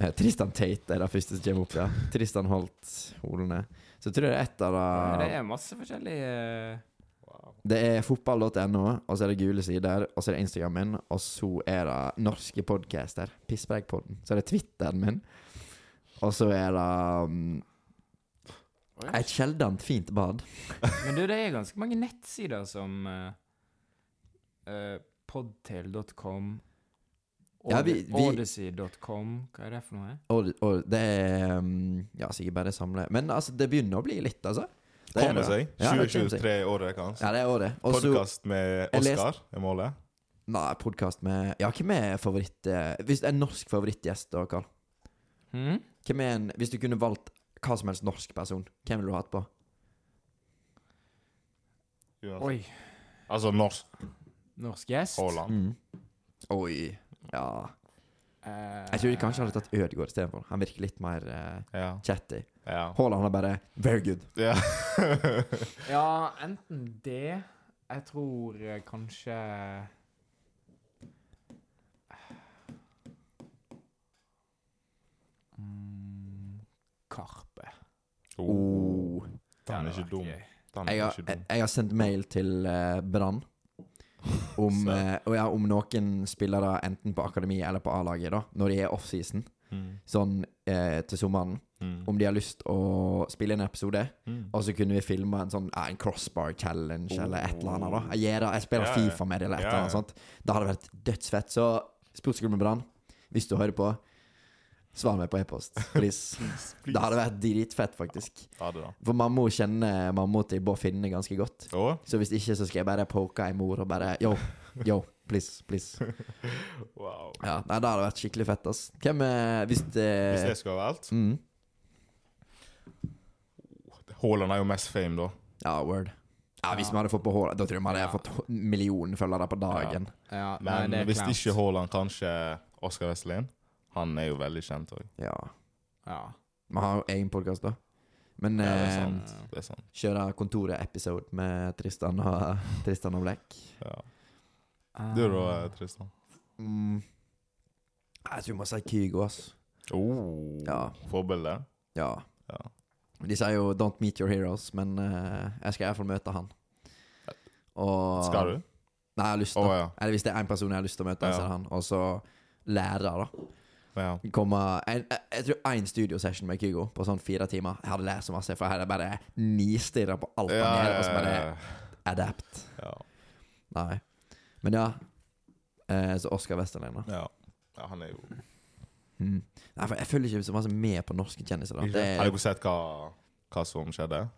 [SPEAKER 1] eh, Tristan Tate er det første som kommer opp, ja. Tristan Holt Holene. Så tror jeg det er et av
[SPEAKER 3] det er masse forskjellige eh,
[SPEAKER 2] wow.
[SPEAKER 1] Det er fotball.no, og så er det gule sider, og så er det Instagram min, og så er det norske podcaster, Pisspreikpodden. Så er det Twitteren min, og så er det um,
[SPEAKER 3] Oi.
[SPEAKER 1] et sjeldent fint bad.
[SPEAKER 3] Men du, det er ganske mange nettsider som uh, uh, podtail.com,
[SPEAKER 1] Ja, vi- vi-
[SPEAKER 3] Odyssey.com Hva er det for noe?
[SPEAKER 1] Og, og det er um, Ja, sikkert bare det samle. Men altså, det begynner å bli litt, altså. Det er
[SPEAKER 2] Kommer
[SPEAKER 1] det.
[SPEAKER 2] seg.
[SPEAKER 1] Ja, det kommer seg.
[SPEAKER 2] 2023 i året hans.
[SPEAKER 1] Ja, det er året. Og så
[SPEAKER 2] Podkast med
[SPEAKER 1] Jeg leste-
[SPEAKER 2] Oscar er målet.
[SPEAKER 1] Nei, podkast med Ja, hvem er favoritt... eh, Hvis en norsk favorittgjest, da, Karl?
[SPEAKER 3] Hmm?
[SPEAKER 1] Hvem er en Hvis du kunne valgt hva som helst norsk person, hvem ville du hatt på?
[SPEAKER 2] Uansett.
[SPEAKER 3] Oi.
[SPEAKER 2] Altså norsk
[SPEAKER 3] Norsk gjest.
[SPEAKER 2] Haaland.
[SPEAKER 1] Mm. Oi. Ja.
[SPEAKER 3] Eh,
[SPEAKER 1] Jeg tror kanskje han hadde tatt Ødegaard istedenfor. Han virker litt mer eh,
[SPEAKER 2] Ja.
[SPEAKER 1] chatty.
[SPEAKER 2] ja.
[SPEAKER 1] Haaland er bare 'very good'.
[SPEAKER 2] ja.
[SPEAKER 3] Ja, enten det Jeg tror eh, kanskje mm, Karpe.
[SPEAKER 1] Oh.
[SPEAKER 2] Den er
[SPEAKER 3] Det
[SPEAKER 2] ikke
[SPEAKER 3] hadde vært
[SPEAKER 2] dum.
[SPEAKER 3] gøy.
[SPEAKER 2] Den
[SPEAKER 1] Jeg
[SPEAKER 2] er
[SPEAKER 1] har,
[SPEAKER 2] ikke
[SPEAKER 1] jeg
[SPEAKER 2] dum.
[SPEAKER 1] jeg har sendt mail til eh, Brann om,
[SPEAKER 2] Så.
[SPEAKER 1] eh, og ja, om noen spillere enten på akademi eller på A-laget, da når de er offseason,
[SPEAKER 2] Mm.
[SPEAKER 1] sånn eh, til sommeren,
[SPEAKER 2] Mm.
[SPEAKER 1] om de har lyst å spille en episode.
[SPEAKER 2] Mm.
[SPEAKER 1] Og så kunne vi filma en sånn ja, En crossbar challenge eller et eller annet. da Jeg, gjør det, jeg spiller
[SPEAKER 2] Oh. Ja, ja.
[SPEAKER 1] Fifa med det eller et
[SPEAKER 2] Ja,
[SPEAKER 1] eller annet
[SPEAKER 2] ja.
[SPEAKER 1] sånt. Da hadde det vært dødsfett. Så Sportsklubben Brann, hvis du hører på, svar meg på e-post, please. Det hadde vært dritfett, faktisk.
[SPEAKER 2] Ja, det da.
[SPEAKER 1] For mamma kjenner mamma til Bård Finne ganske godt.
[SPEAKER 2] Og
[SPEAKER 1] Så hvis ikke, så skal jeg bare poke ei mor og bare Yo, yo, please, please.
[SPEAKER 2] wow.
[SPEAKER 1] Ja, nei, Det hadde vært skikkelig fett, ass. Hvem eh, Hvis det
[SPEAKER 2] Hvis jeg skulle ha valgt
[SPEAKER 1] mm,
[SPEAKER 2] Haaland er jo mest fame, da.
[SPEAKER 1] Ja, word. Ja, Hvis
[SPEAKER 3] Ja.
[SPEAKER 1] vi hadde fått på håret, da tror jeg vi hadde
[SPEAKER 3] Ja.
[SPEAKER 1] fått en million følgere på dagen.
[SPEAKER 3] Ja, nei,
[SPEAKER 2] Men
[SPEAKER 3] det er
[SPEAKER 2] hvis
[SPEAKER 3] klart.
[SPEAKER 2] ikke Haaland, kanskje Oscar Wesselin. Han er jo veldig kjent òg.
[SPEAKER 1] Ja.
[SPEAKER 3] ja.
[SPEAKER 1] Vi har jo egen podkast, da. Men
[SPEAKER 2] Ja, det er
[SPEAKER 1] eh,
[SPEAKER 2] sant. Det er sant.
[SPEAKER 1] kjøre Kontoret-episode med Tristan og, Tristan og Black.
[SPEAKER 2] Ja. Du eh, da,
[SPEAKER 1] Ah.
[SPEAKER 2] Tristan?
[SPEAKER 1] Mm. Jeg tror vi må si Kygo, ass.
[SPEAKER 2] Oh.
[SPEAKER 1] Ja.
[SPEAKER 2] Forbilde?
[SPEAKER 1] Ja.
[SPEAKER 2] Ja.
[SPEAKER 1] De sier jo 'don't meet your heroes', men eh, jeg skal i hvert fall møte han. Og
[SPEAKER 2] Skal du?
[SPEAKER 1] Nei, jeg har lyst
[SPEAKER 2] Å
[SPEAKER 1] til
[SPEAKER 2] ja.
[SPEAKER 1] Eller hvis det er én person jeg har lyst til å møte, så
[SPEAKER 2] Ja.
[SPEAKER 1] er det han. Og så lærer, da.
[SPEAKER 2] ja.
[SPEAKER 1] Komme Jeg, jeg, jeg tror én studiosession med Kygo på sånn fire timer. Jeg hadde lært så masse, for her er det bare nistirra på alt
[SPEAKER 2] Ja,
[SPEAKER 1] han gjør, og så
[SPEAKER 2] ja,
[SPEAKER 1] bare
[SPEAKER 2] ja,
[SPEAKER 1] adapt.
[SPEAKER 2] ja.
[SPEAKER 1] Nei. Men ja. Eh, så Oscar Westerlein, da.
[SPEAKER 2] ja. Ja, han er jo
[SPEAKER 1] Mm. Nei, for jeg følger ikke så masse med på norske kjendiser. da det
[SPEAKER 2] Har
[SPEAKER 1] er,
[SPEAKER 2] dere sett hva, hva som skjedde?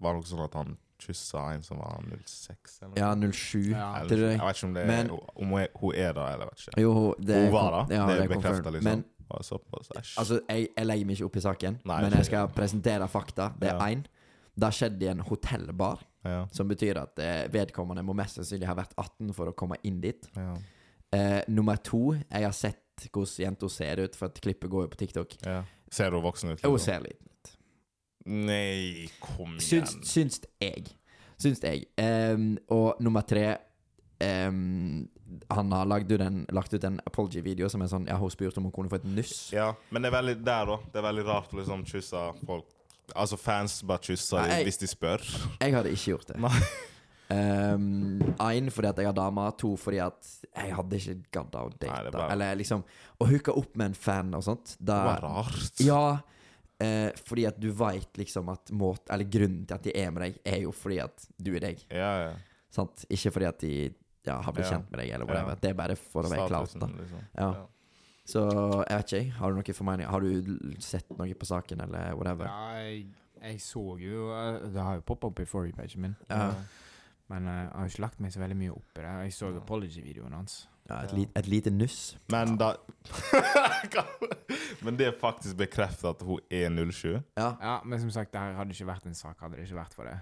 [SPEAKER 2] Var det noe sånn at han kyssa en som var 06? Eller noe?
[SPEAKER 1] Ja, 07.
[SPEAKER 3] Ja.
[SPEAKER 1] Tror
[SPEAKER 2] Eller
[SPEAKER 1] du det?
[SPEAKER 2] Jeg vet ikke om, det
[SPEAKER 1] Men-
[SPEAKER 2] er, om hun er- hun er der, eller jeg vet ikke.
[SPEAKER 1] Jo, det
[SPEAKER 2] hun var der.
[SPEAKER 1] Ja,
[SPEAKER 2] det er
[SPEAKER 1] confirmed.
[SPEAKER 2] bekreftet liksom.
[SPEAKER 1] Men
[SPEAKER 2] Var det såpass? Æsj.
[SPEAKER 1] altså, jeg, jeg legger meg ikke opp i saken,
[SPEAKER 2] Nei,
[SPEAKER 1] men
[SPEAKER 2] ikke
[SPEAKER 1] jeg skal presentere fakta. Det er
[SPEAKER 2] Ja.
[SPEAKER 1] én. Det har skjedd i en hotellbar,
[SPEAKER 2] ja.
[SPEAKER 1] som betyr at eh, vedkommende må mest sannsynlig ha vært 18 for å komme inn dit.
[SPEAKER 2] Ja.
[SPEAKER 1] Eh, nummer to, jeg har sett hvordan jenta ser ut, for at klippet går jo på TikTok.
[SPEAKER 2] ja. Ser hun voksen ut?
[SPEAKER 1] Hun ser litt
[SPEAKER 2] Nei, kom igjen.
[SPEAKER 1] Syns, syns jeg. Syns jeg. Ehm, og nummer tre ehm, Han har lagd ut en, lagt ut en apology-video som er sånn Ja, hun spurte om hun kunne få et nuss.
[SPEAKER 2] Ja, men det er veldig der, da. Det er veldig rart å liksom kysse folk. Altså, fans bare kysser
[SPEAKER 1] Nei.
[SPEAKER 2] dem hvis de spør.
[SPEAKER 1] Jeg hadde ikke gjort det.
[SPEAKER 2] Nei.
[SPEAKER 1] Ehm, Én fordi at jeg har dame, to fordi at jeg hadde ikke gadda å
[SPEAKER 2] Nei, det
[SPEAKER 1] date.
[SPEAKER 2] er bare-
[SPEAKER 1] Eller liksom å hooke opp med en fan og sånt.
[SPEAKER 2] Det
[SPEAKER 1] Da,
[SPEAKER 2] var rart.
[SPEAKER 1] Ja, eh, fordi at du veit liksom at måt, Eller grunnen til at de er med deg, er jo fordi at du er deg.
[SPEAKER 2] ja, ja.
[SPEAKER 1] Sant? Ikke fordi at de ja, har blitt
[SPEAKER 2] Ja.
[SPEAKER 1] kjent med deg, eller
[SPEAKER 2] Ja.
[SPEAKER 1] whatever. Det er bare for å være klar.
[SPEAKER 2] Statusen,
[SPEAKER 1] Da.
[SPEAKER 2] Liksom.
[SPEAKER 1] Ja. Så jeg vet ikke, jeg. Har du noen formeninger? Har du l- sett noe på saken, eller whatever?
[SPEAKER 3] Ja, jeg, jeg så jo eh, Det har jo poppa opp i forrige-pagen min.
[SPEAKER 1] Ja.
[SPEAKER 3] Men eh, jeg har ikke lagt meg så veldig mye opp i det. Jeg så apology-videoen hans.
[SPEAKER 1] Ja, et, li et lite nuss.
[SPEAKER 2] Men da Men det er faktisk bekreftet at hun er 07.
[SPEAKER 1] Ja,
[SPEAKER 3] Ja, Men som sagt, det her hadde ikke vært en sak hadde det ikke vært for det.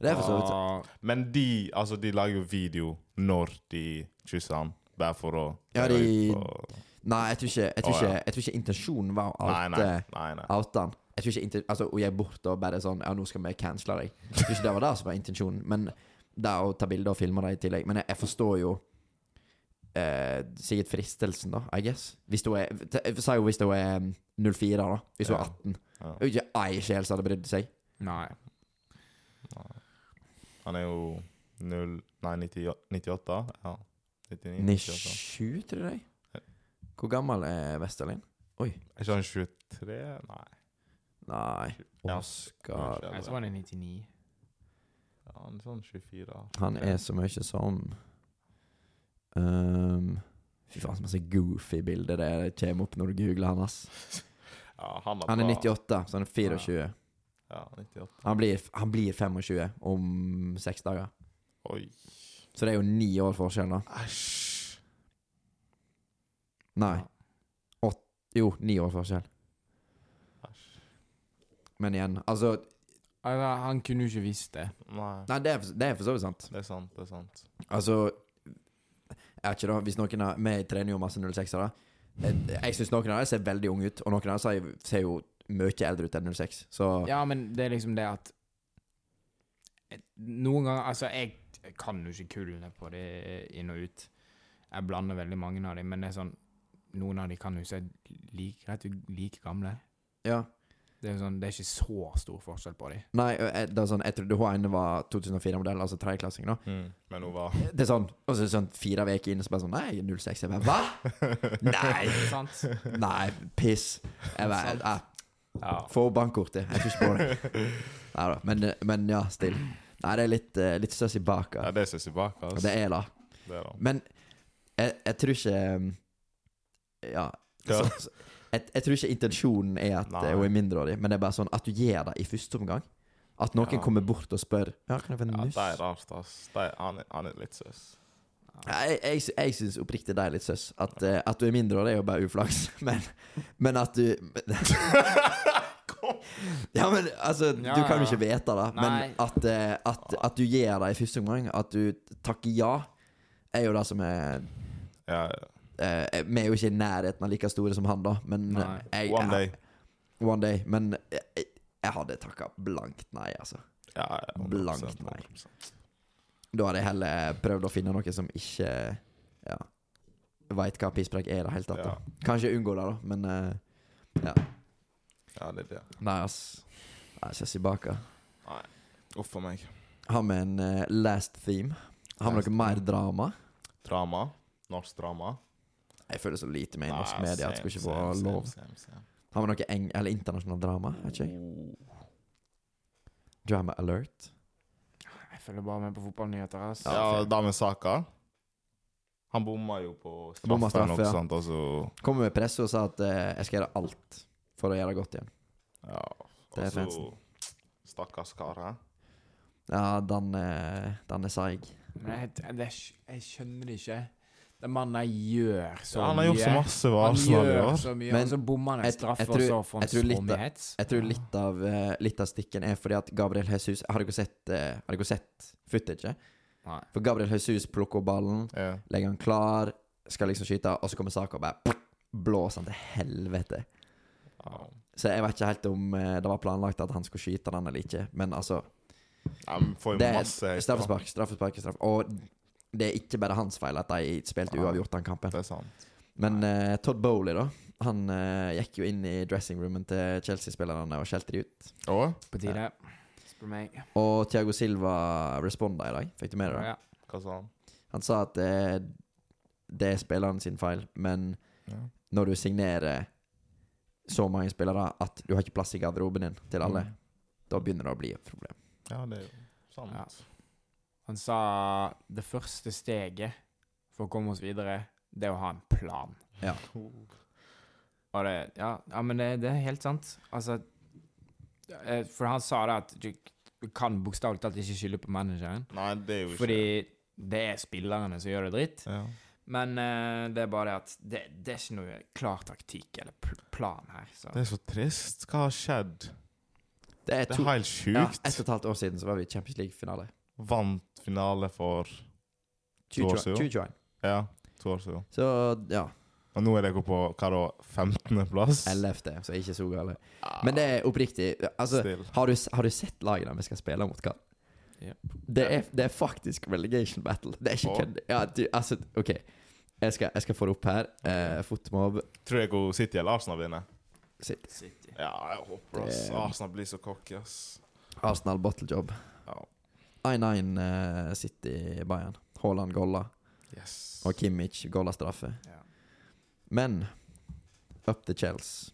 [SPEAKER 1] det er for så vidt
[SPEAKER 3] Og-
[SPEAKER 2] Men de altså de lager jo video når de kysser han, bare for å
[SPEAKER 1] Ja, de-
[SPEAKER 2] og-
[SPEAKER 1] Nei, jeg tror ikke, jeg tror
[SPEAKER 2] Å,
[SPEAKER 1] ikke,
[SPEAKER 2] ja.
[SPEAKER 1] jeg tror ikke intensjonen var eh, å
[SPEAKER 2] Nei, nei.
[SPEAKER 1] oute-
[SPEAKER 2] nei, nei.
[SPEAKER 1] oute han. Jeg tror ikke inten- altså, hun gikk bort og bare sånn Ja, nå skal vi cancele deg. Jeg tror ikke det var det som var intensjonen. Men det å ta bilder og filme det i tillegg. Men jeg, jeg forstår jo eh, sikkert fristelsen, da, I guess. Hvis hun er t- Si jo hvis hun er mm, 04, da. Hvis hun
[SPEAKER 2] Ja.
[SPEAKER 1] er 18.
[SPEAKER 2] Ja.
[SPEAKER 1] Det er jo ikke ei sjel som hadde brydd seg.
[SPEAKER 3] Nei.
[SPEAKER 2] Han er jo 0 Nei, 90, 98? Ja. 99? 98.
[SPEAKER 1] 97, tror jeg. Hvor gammel er Vesterlin?
[SPEAKER 2] Er ikke han 23? Nei.
[SPEAKER 1] Nei,
[SPEAKER 2] Ja.
[SPEAKER 1] Oskar
[SPEAKER 3] Jeg tror han er 99.
[SPEAKER 2] Ja, han er sånn 24.
[SPEAKER 1] Han er så mye sånn um, Fy faen, så masse goofy bilder det kommer opp når du googler han, ass.
[SPEAKER 2] ja, han,
[SPEAKER 1] Han er
[SPEAKER 2] bra.
[SPEAKER 1] 98, så han er 24.
[SPEAKER 2] Ja, 98.
[SPEAKER 1] Han blir, han blir 25 om seks dager.
[SPEAKER 2] Oi.
[SPEAKER 1] Så det er jo ni år forskjell, da.
[SPEAKER 2] Æsj.
[SPEAKER 1] Nei. Åt, jo, ni år forskjell.
[SPEAKER 2] Æsj.
[SPEAKER 1] Men igjen, altså
[SPEAKER 3] Altså, han kunne jo ikke visst det.
[SPEAKER 2] Nei.
[SPEAKER 1] Nei, det er, for- det er for så vidt sant.
[SPEAKER 2] Det er sant, det er sant.
[SPEAKER 1] Altså Jeg vet ikke da, hvis noen av Vi trener jo masse 06-ere. Jeg, jeg syns noen av dem ser veldig unge ut, og noen av dem ser, ser jo mye eldre ut enn 06. Så
[SPEAKER 3] Ja, men det er liksom det at Et- Noen ganger Altså, jeg jeg kan jo ikke kullene på det inn og ut. Jeg blander veldig mange av dem, men det er sånn Noen av dem kan jo se like, rett ut like gamle.
[SPEAKER 1] ja.
[SPEAKER 3] Det er, sånn, det er ikke så stor forskjell på dem.
[SPEAKER 1] Nei, eh, det er sånn, jeg trodde hun ene var 2004-modell, altså tredjeklassing, da.
[SPEAKER 2] Mm. Men hun var
[SPEAKER 1] Det er sånn, og så er det sånn fire uker inn, så bare sånn Nei, 06. Jeg bare Hva? Nei!
[SPEAKER 3] Sant?
[SPEAKER 1] Nei, piss. Jeg bare
[SPEAKER 3] Sant.
[SPEAKER 1] eh,
[SPEAKER 2] ja.
[SPEAKER 1] Få bankkortet. Jeg får ikke på det. Nei da. Men, eh, men ja, still. Nei, det er litt, eh, litt støss i baka.
[SPEAKER 2] Ja, det er Sissy Bak, altså.
[SPEAKER 1] Det er det.
[SPEAKER 2] Det er det.
[SPEAKER 1] Men jeg, jeg tror ikke um, Ja.
[SPEAKER 2] Ja.
[SPEAKER 1] Så, så, jeg, jeg tror ikke intensjonen er at
[SPEAKER 2] Nei.
[SPEAKER 1] eh, hun er mindreårig, men det er bare sånn at du gjør det i første omgang. At noen
[SPEAKER 2] Ja.
[SPEAKER 1] kommer bort og spør Ja, kan jeg få en
[SPEAKER 2] Ja,
[SPEAKER 1] nuss?
[SPEAKER 2] det er rart, ass. Det er, han, er, han er litt søs.
[SPEAKER 1] Nei, Jeg, jeg, sy- jeg syns oppriktig det er litt søs. At, eh, at du er mindreårig, er jo bare uflaks. Men, men at du Ja, men altså,
[SPEAKER 3] Ja,
[SPEAKER 1] du kan jo
[SPEAKER 3] ja.
[SPEAKER 1] ikke vete det.
[SPEAKER 3] Nei.
[SPEAKER 1] Men at, eh, at, at du gjør det i første omgang, at du takker ja, er jo det som er
[SPEAKER 2] Ja,
[SPEAKER 1] Eh, vi er jo ikke i nærheten av like store som han, da. Men
[SPEAKER 3] Nei.
[SPEAKER 1] jeg,
[SPEAKER 2] one day.
[SPEAKER 1] Jeg, one day. Men jeg, jeg- jeg hadde takka blankt nei, altså.
[SPEAKER 2] Ja, ja, 100%,
[SPEAKER 1] Blankt nei.
[SPEAKER 2] 100%.
[SPEAKER 1] Da hadde jeg heller prøvd å finne noe som ikke Ja veit hva pisspreik er i det hele tatt. da
[SPEAKER 2] Ja.
[SPEAKER 1] Kanskje unngå det, da, men eh,
[SPEAKER 2] Ja, det er det.
[SPEAKER 1] Nei, ass. Nei, Sessi Baka.
[SPEAKER 2] Uff a meg.
[SPEAKER 1] Har vi en eh, last theme? Har vi
[SPEAKER 2] Last
[SPEAKER 1] noe mer drama?
[SPEAKER 2] Drama. Norsk drama.
[SPEAKER 1] Jeg føler så lite med i norsk
[SPEAKER 2] Nei,
[SPEAKER 1] media at det
[SPEAKER 2] same,
[SPEAKER 1] skulle ikke
[SPEAKER 2] same,
[SPEAKER 1] være
[SPEAKER 2] same,
[SPEAKER 1] lov.
[SPEAKER 2] same, same.
[SPEAKER 1] Har vi noe eng eller internasjonalt drama? Vet ikke jeg.
[SPEAKER 2] Oh.
[SPEAKER 1] Drama alert.
[SPEAKER 3] Jeg følger bare med på fotballnyheter. ass.
[SPEAKER 1] Ja,
[SPEAKER 2] Ja,
[SPEAKER 1] fair.
[SPEAKER 2] da med Saka. Han bomma jo på
[SPEAKER 1] Bomma
[SPEAKER 2] straffen,
[SPEAKER 1] straff,
[SPEAKER 2] og
[SPEAKER 1] ja.
[SPEAKER 2] sånt, og så
[SPEAKER 1] Kom med presse og sa at eh, jeg skal gjøre alt for å gjøre det godt igjen.
[SPEAKER 2] Ja.
[SPEAKER 1] Det er
[SPEAKER 2] Og så
[SPEAKER 1] fansen.
[SPEAKER 2] Stakkars kar, hæ?
[SPEAKER 1] Ja, den, eh, den er seig.
[SPEAKER 3] Men jeg, det, er ikke- jeg skjønner det ikke. Den mannen der gjør så
[SPEAKER 2] Ja, han har
[SPEAKER 3] mye.
[SPEAKER 2] gjort så masse ved
[SPEAKER 3] Han
[SPEAKER 2] Arsenal i
[SPEAKER 3] gjør
[SPEAKER 2] år.
[SPEAKER 3] så mye,
[SPEAKER 1] Men
[SPEAKER 3] og så bommer han en
[SPEAKER 1] jeg-
[SPEAKER 3] straff,
[SPEAKER 1] jeg
[SPEAKER 3] og
[SPEAKER 1] tror-
[SPEAKER 3] så får han
[SPEAKER 1] jeg tror litt
[SPEAKER 3] så
[SPEAKER 1] da-
[SPEAKER 3] mye hets.
[SPEAKER 1] Jeg tror litt av, eh, litt av stikken er fordi at Gabriel Jesus Har dere sett, uh, har dere sett footage?
[SPEAKER 3] Nei.
[SPEAKER 1] For Gabriel Jesus plukker opp ballen,
[SPEAKER 2] Ja.
[SPEAKER 1] legger han klar, skal liksom skyte, og så kommer Saka og bare blåser han til helvete.
[SPEAKER 2] Ja.
[SPEAKER 1] Så jeg vet ikke helt om eh, det var planlagt at han skulle skyte den eller ikke, men altså
[SPEAKER 2] Han får jo
[SPEAKER 1] Det er
[SPEAKER 2] masse ekstra.
[SPEAKER 1] straffespark, straffespark, straff. Og det er ikke bare hans feil at de spilte
[SPEAKER 2] Nei.
[SPEAKER 1] uavgjort den kampen.
[SPEAKER 2] Det er sant.
[SPEAKER 1] Men eh, Todd Bowley, da. Han eh, gikk jo inn i dressingroomen til Chelsea-spillerne og skjelte de ut.
[SPEAKER 2] Og
[SPEAKER 3] På tide. Spør meg.
[SPEAKER 1] Og Thiago Silva responda i dag. Fikk du med deg det?
[SPEAKER 3] Ja.
[SPEAKER 2] hva sa han?
[SPEAKER 1] Han sa at eh, det er spilleren sin feil, men
[SPEAKER 2] Ja.
[SPEAKER 1] når du signerer så mange spillere at du har ikke plass i garderoben din til alle,
[SPEAKER 2] Mm.
[SPEAKER 1] da begynner det å bli et problem.
[SPEAKER 2] Ja, det er jo sant.
[SPEAKER 3] Ja. Han sa det første steget for å komme oss videre, det er å ha en plan.
[SPEAKER 1] Ja.
[SPEAKER 3] Og det, ja, ja men det, det er helt sant. Altså eh, For han sa det at du du kan bokstavelig talt ikke skylde på manageren.
[SPEAKER 2] Nei, det er jo ikke
[SPEAKER 3] Fordi det er spillerne som gjør det dritt.
[SPEAKER 2] ja.
[SPEAKER 3] Men eh, det er bare det at det, det er ikke noe klar taktikk eller pl plan her. Så.
[SPEAKER 2] Det er så trist. Hva har skjedd?
[SPEAKER 1] Det er
[SPEAKER 2] Det
[SPEAKER 1] to
[SPEAKER 2] er helt
[SPEAKER 1] ja,
[SPEAKER 2] sjukt.
[SPEAKER 1] Ett og et halvt år siden så var vi i Champions League-finale.
[SPEAKER 2] Vant finale for
[SPEAKER 1] 2021.
[SPEAKER 2] år siden.
[SPEAKER 1] 2021.
[SPEAKER 2] Ja, to år siden.
[SPEAKER 1] Så ja,
[SPEAKER 2] Og nå er dere på hva da, 15. plass?
[SPEAKER 1] 11., så ikke så gale. Men det er oppriktig. Altså,
[SPEAKER 2] Still.
[SPEAKER 1] Har du, har du sett lagene vi skal spille mot hva?
[SPEAKER 3] Yep.
[SPEAKER 1] Det, er, det er faktisk relegation battle. Det er ikke
[SPEAKER 2] Åh.
[SPEAKER 1] kødd. Ja, du, altså, OK. Jeg skal, jeg skal få det opp her. Eh, Fotmob
[SPEAKER 2] Tror jeg hun City eller Arsenal vinner.
[SPEAKER 1] sitt.
[SPEAKER 3] City.
[SPEAKER 2] Ja, jeg håper ass.
[SPEAKER 1] Det-
[SPEAKER 2] Arsenal blir så cocky, ass.
[SPEAKER 1] Arsenal bottlejob.
[SPEAKER 2] Ja.
[SPEAKER 1] 1-1 eh, City Bayern. Haaland golla.
[SPEAKER 2] Yes.
[SPEAKER 1] Og Kimmich golla straffe.
[SPEAKER 3] Ja.
[SPEAKER 1] Men up the Chels.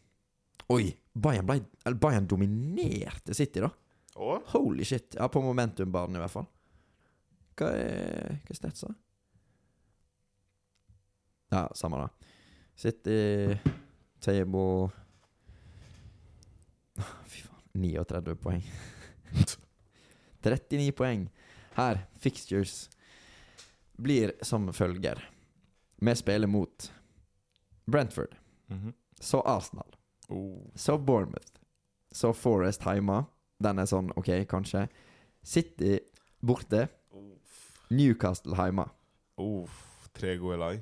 [SPEAKER 1] Oi! Bayern, ble, eller Bayern dominerte City, da.
[SPEAKER 2] Og
[SPEAKER 1] Holy shit. Ja, på momentumbanen i hvert fall. Hva er, hva er statsa? Ja, samme det. City Table Fy faen. 39 poeng. 39 poeng. Her, fixtures, blir som følger. Vi spiller mot Brentford,
[SPEAKER 2] Mhm.
[SPEAKER 1] så Arsenal.
[SPEAKER 2] oh.
[SPEAKER 1] Så Bournemouth. Så Forest hjemme. Den er sånn OK, kanskje. City borte.
[SPEAKER 2] Uff.
[SPEAKER 1] Newcastle hjemme.
[SPEAKER 2] Uff. Tre gode lag.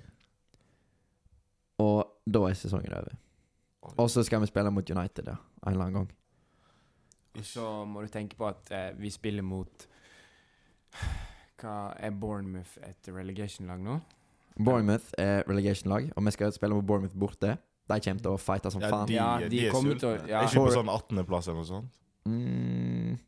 [SPEAKER 1] Og da er sesongen over. Og så skal vi spille mot United, ja. En eller annen gang.
[SPEAKER 3] Og så må du tenke på at eh, vi spiller mot Hva er Bournemouth et relegation-lag nå?
[SPEAKER 1] Bournemouth er relegation-lag, og vi skal spille mot Bournemouth borte. De kommer til å fighte som
[SPEAKER 2] Ja,
[SPEAKER 1] faen.
[SPEAKER 2] de-
[SPEAKER 3] Ja, de,
[SPEAKER 2] er
[SPEAKER 3] kommer
[SPEAKER 2] sultne.
[SPEAKER 3] til å ja,
[SPEAKER 2] Er ikke
[SPEAKER 1] For-
[SPEAKER 2] på sånn 18.-plass eller noe sånt?
[SPEAKER 1] Mm,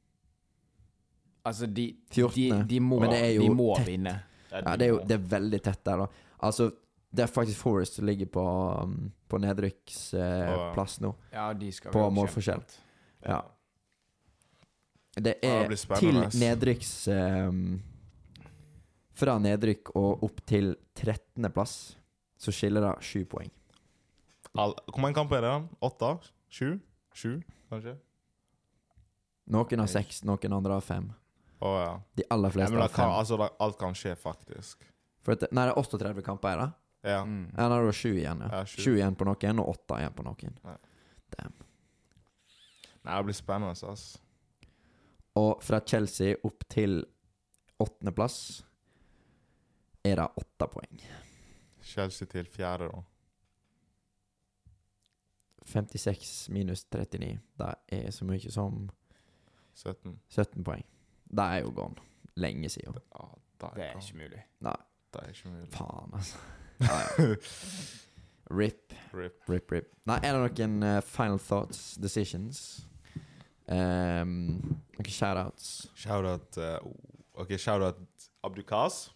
[SPEAKER 3] Altså, de, de,
[SPEAKER 1] 14.
[SPEAKER 3] de må,
[SPEAKER 1] Men det er jo
[SPEAKER 3] de må
[SPEAKER 1] tett.
[SPEAKER 3] vinne.
[SPEAKER 1] ja, det er jo det er veldig tett der, da. Altså, det er faktisk Forest som ligger på, um, på
[SPEAKER 2] Å, ja.
[SPEAKER 1] nedrykksplass eh, nå.
[SPEAKER 3] Ja, de skal
[SPEAKER 1] På
[SPEAKER 3] være
[SPEAKER 1] målforskjell.
[SPEAKER 3] kjempet.
[SPEAKER 1] Ja. Det
[SPEAKER 2] Ja, det
[SPEAKER 1] er
[SPEAKER 2] blir
[SPEAKER 1] til
[SPEAKER 2] spennende, ass.
[SPEAKER 1] nedrykks ehm, Fra nedrykk og opp til 13. plass så skiller det sju poeng.
[SPEAKER 2] All, hvor mange kamper er det? Åtte? Sju? Sju, kanskje?
[SPEAKER 1] Noen har seks, noen andre har fem.
[SPEAKER 2] Å ja.
[SPEAKER 1] De aller
[SPEAKER 2] ja
[SPEAKER 1] fleste
[SPEAKER 2] men det
[SPEAKER 1] har
[SPEAKER 2] kan,
[SPEAKER 1] fem.
[SPEAKER 2] altså, det, alt kan skje, faktisk.
[SPEAKER 1] For at, det- nei, det er 38 kamper her, da.
[SPEAKER 2] Ja.
[SPEAKER 3] Mm.
[SPEAKER 1] Ja, da er det sju igjen. Ja.
[SPEAKER 2] Ja, sju.
[SPEAKER 1] Sju igjen på noen, og åtte igjen på noen.
[SPEAKER 2] Nei, det blir spennende, ass.
[SPEAKER 1] Og fra Chelsea opp til åttendeplass er det åtte poeng.
[SPEAKER 2] Chelsea til fjerde, da.
[SPEAKER 1] 56 minus 39, det er så mye som
[SPEAKER 2] 17.
[SPEAKER 1] 17 poeng. Det er jo gone. Lenge siden.
[SPEAKER 2] Ja, det
[SPEAKER 3] Det er
[SPEAKER 2] kan-
[SPEAKER 3] ikke mulig.
[SPEAKER 2] det er ikke mulig.
[SPEAKER 1] Faen, altså. Ja, ja. Rip,
[SPEAKER 2] Rip.
[SPEAKER 1] rip, rip. Nei, er det noen eh, final thoughts, decisions? Ehm, noen shoutouts?
[SPEAKER 2] Shoutout eh, Ok, shoutout Abdukaz.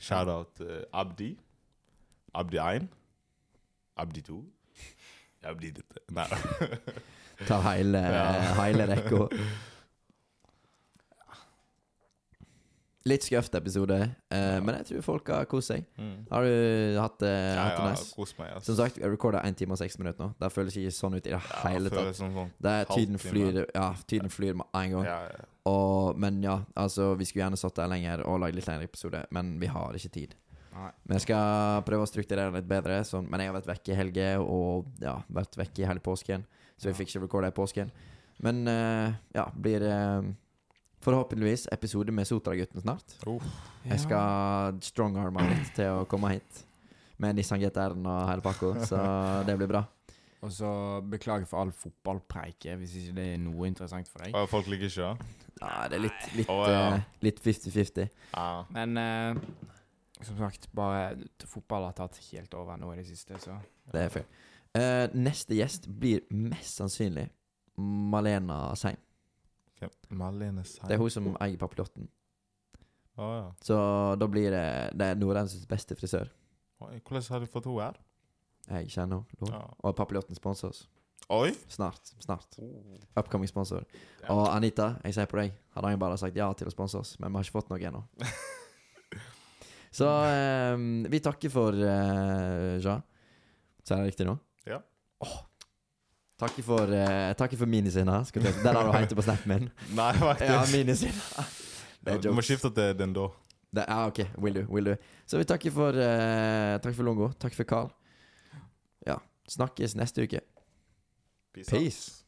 [SPEAKER 2] Shoutout eh, Abdi. Abdi 1. Abdi 2. Abdi dette. Nei.
[SPEAKER 1] Ta hele, eh,
[SPEAKER 2] Ja.
[SPEAKER 1] hele rekka. Litt skøft episode, eh, men jeg tror folk har kost seg.
[SPEAKER 2] Mm.
[SPEAKER 1] Har du hatt det
[SPEAKER 2] Ja,
[SPEAKER 1] hatt det
[SPEAKER 2] ja,
[SPEAKER 1] nice?
[SPEAKER 2] kos meg, ass.
[SPEAKER 1] Som sagt, jeg recorda 1 time og 6 minutter nå. Det føles ikke sånn ut i det
[SPEAKER 2] Ja,
[SPEAKER 1] hele tatt.
[SPEAKER 2] føles som sånn.
[SPEAKER 1] Det er tiden
[SPEAKER 2] halvtime.
[SPEAKER 1] flyr, ja, tiden flyr med en gang.
[SPEAKER 2] Ja, ja.
[SPEAKER 1] Og, men ja, altså Vi skulle gjerne satt der lenger og lagd litt lengre episode, men vi har ikke tid.
[SPEAKER 3] Nei.
[SPEAKER 1] Men jeg skal prøve å strukturere litt bedre, sånn, men jeg har vært vekke i helger og ja, vært vekke i hele påsken, så vi
[SPEAKER 3] Ja.
[SPEAKER 1] fikk ikke recorda i påsken. Men eh, ja, blir eh, forhåpentligvis episode med Sotra-gutten snart. Jeg skal strongarme han litt til å komme hit. Med Nissan GTR-en og hele pakka, så det blir bra.
[SPEAKER 3] Og så beklager for all fotballpreike hvis ikke det er noe interessant for deg.
[SPEAKER 2] Og folk liker ikke det?
[SPEAKER 1] Ja, det er litt litt
[SPEAKER 2] Å, ja.
[SPEAKER 1] eh, litt 50-50.
[SPEAKER 2] Ja.
[SPEAKER 3] Men eh, som sagt, bare fotball har tatt helt over nå i det siste, så
[SPEAKER 1] Det er fair. Eh, neste gjest blir mest sannsynlig Malena Seim.
[SPEAKER 2] Hvem? Malene Sein.
[SPEAKER 1] Det er hun som eier papiljotten.
[SPEAKER 2] Å ja.
[SPEAKER 1] Så da blir det Det er Nordens beste frisør.
[SPEAKER 2] Oi, hvordan har du fått henne her?
[SPEAKER 1] Jeg kjenner henne.
[SPEAKER 2] Ja.
[SPEAKER 1] Og papiljotten sponser oss.
[SPEAKER 2] Oi!
[SPEAKER 1] Snart. Snart.
[SPEAKER 2] Oh.
[SPEAKER 1] Upcoming sponsor. Og Anita, jeg sier på deg, hadde han bare sagt ja til å sponse oss, men vi har ikke fått noe ennå. Så eh, vi takker for uh, Ja. Sier jeg det riktig nå?
[SPEAKER 2] Ja.
[SPEAKER 1] Åh. Takker for, uh, takker for minisina. skulle jeg- Den har du heiter på snappen min.
[SPEAKER 2] Nei,
[SPEAKER 1] Ja,
[SPEAKER 2] faktisk.
[SPEAKER 1] minisina. Det er
[SPEAKER 2] du må
[SPEAKER 1] jokes.
[SPEAKER 2] skifte til den da.
[SPEAKER 1] Det, ja, ok. Will do. Will do. Så vi takker for, eh, takk for Longo. Takk for Carl. Ja. Snakkes neste uke.
[SPEAKER 2] out.
[SPEAKER 1] Peace.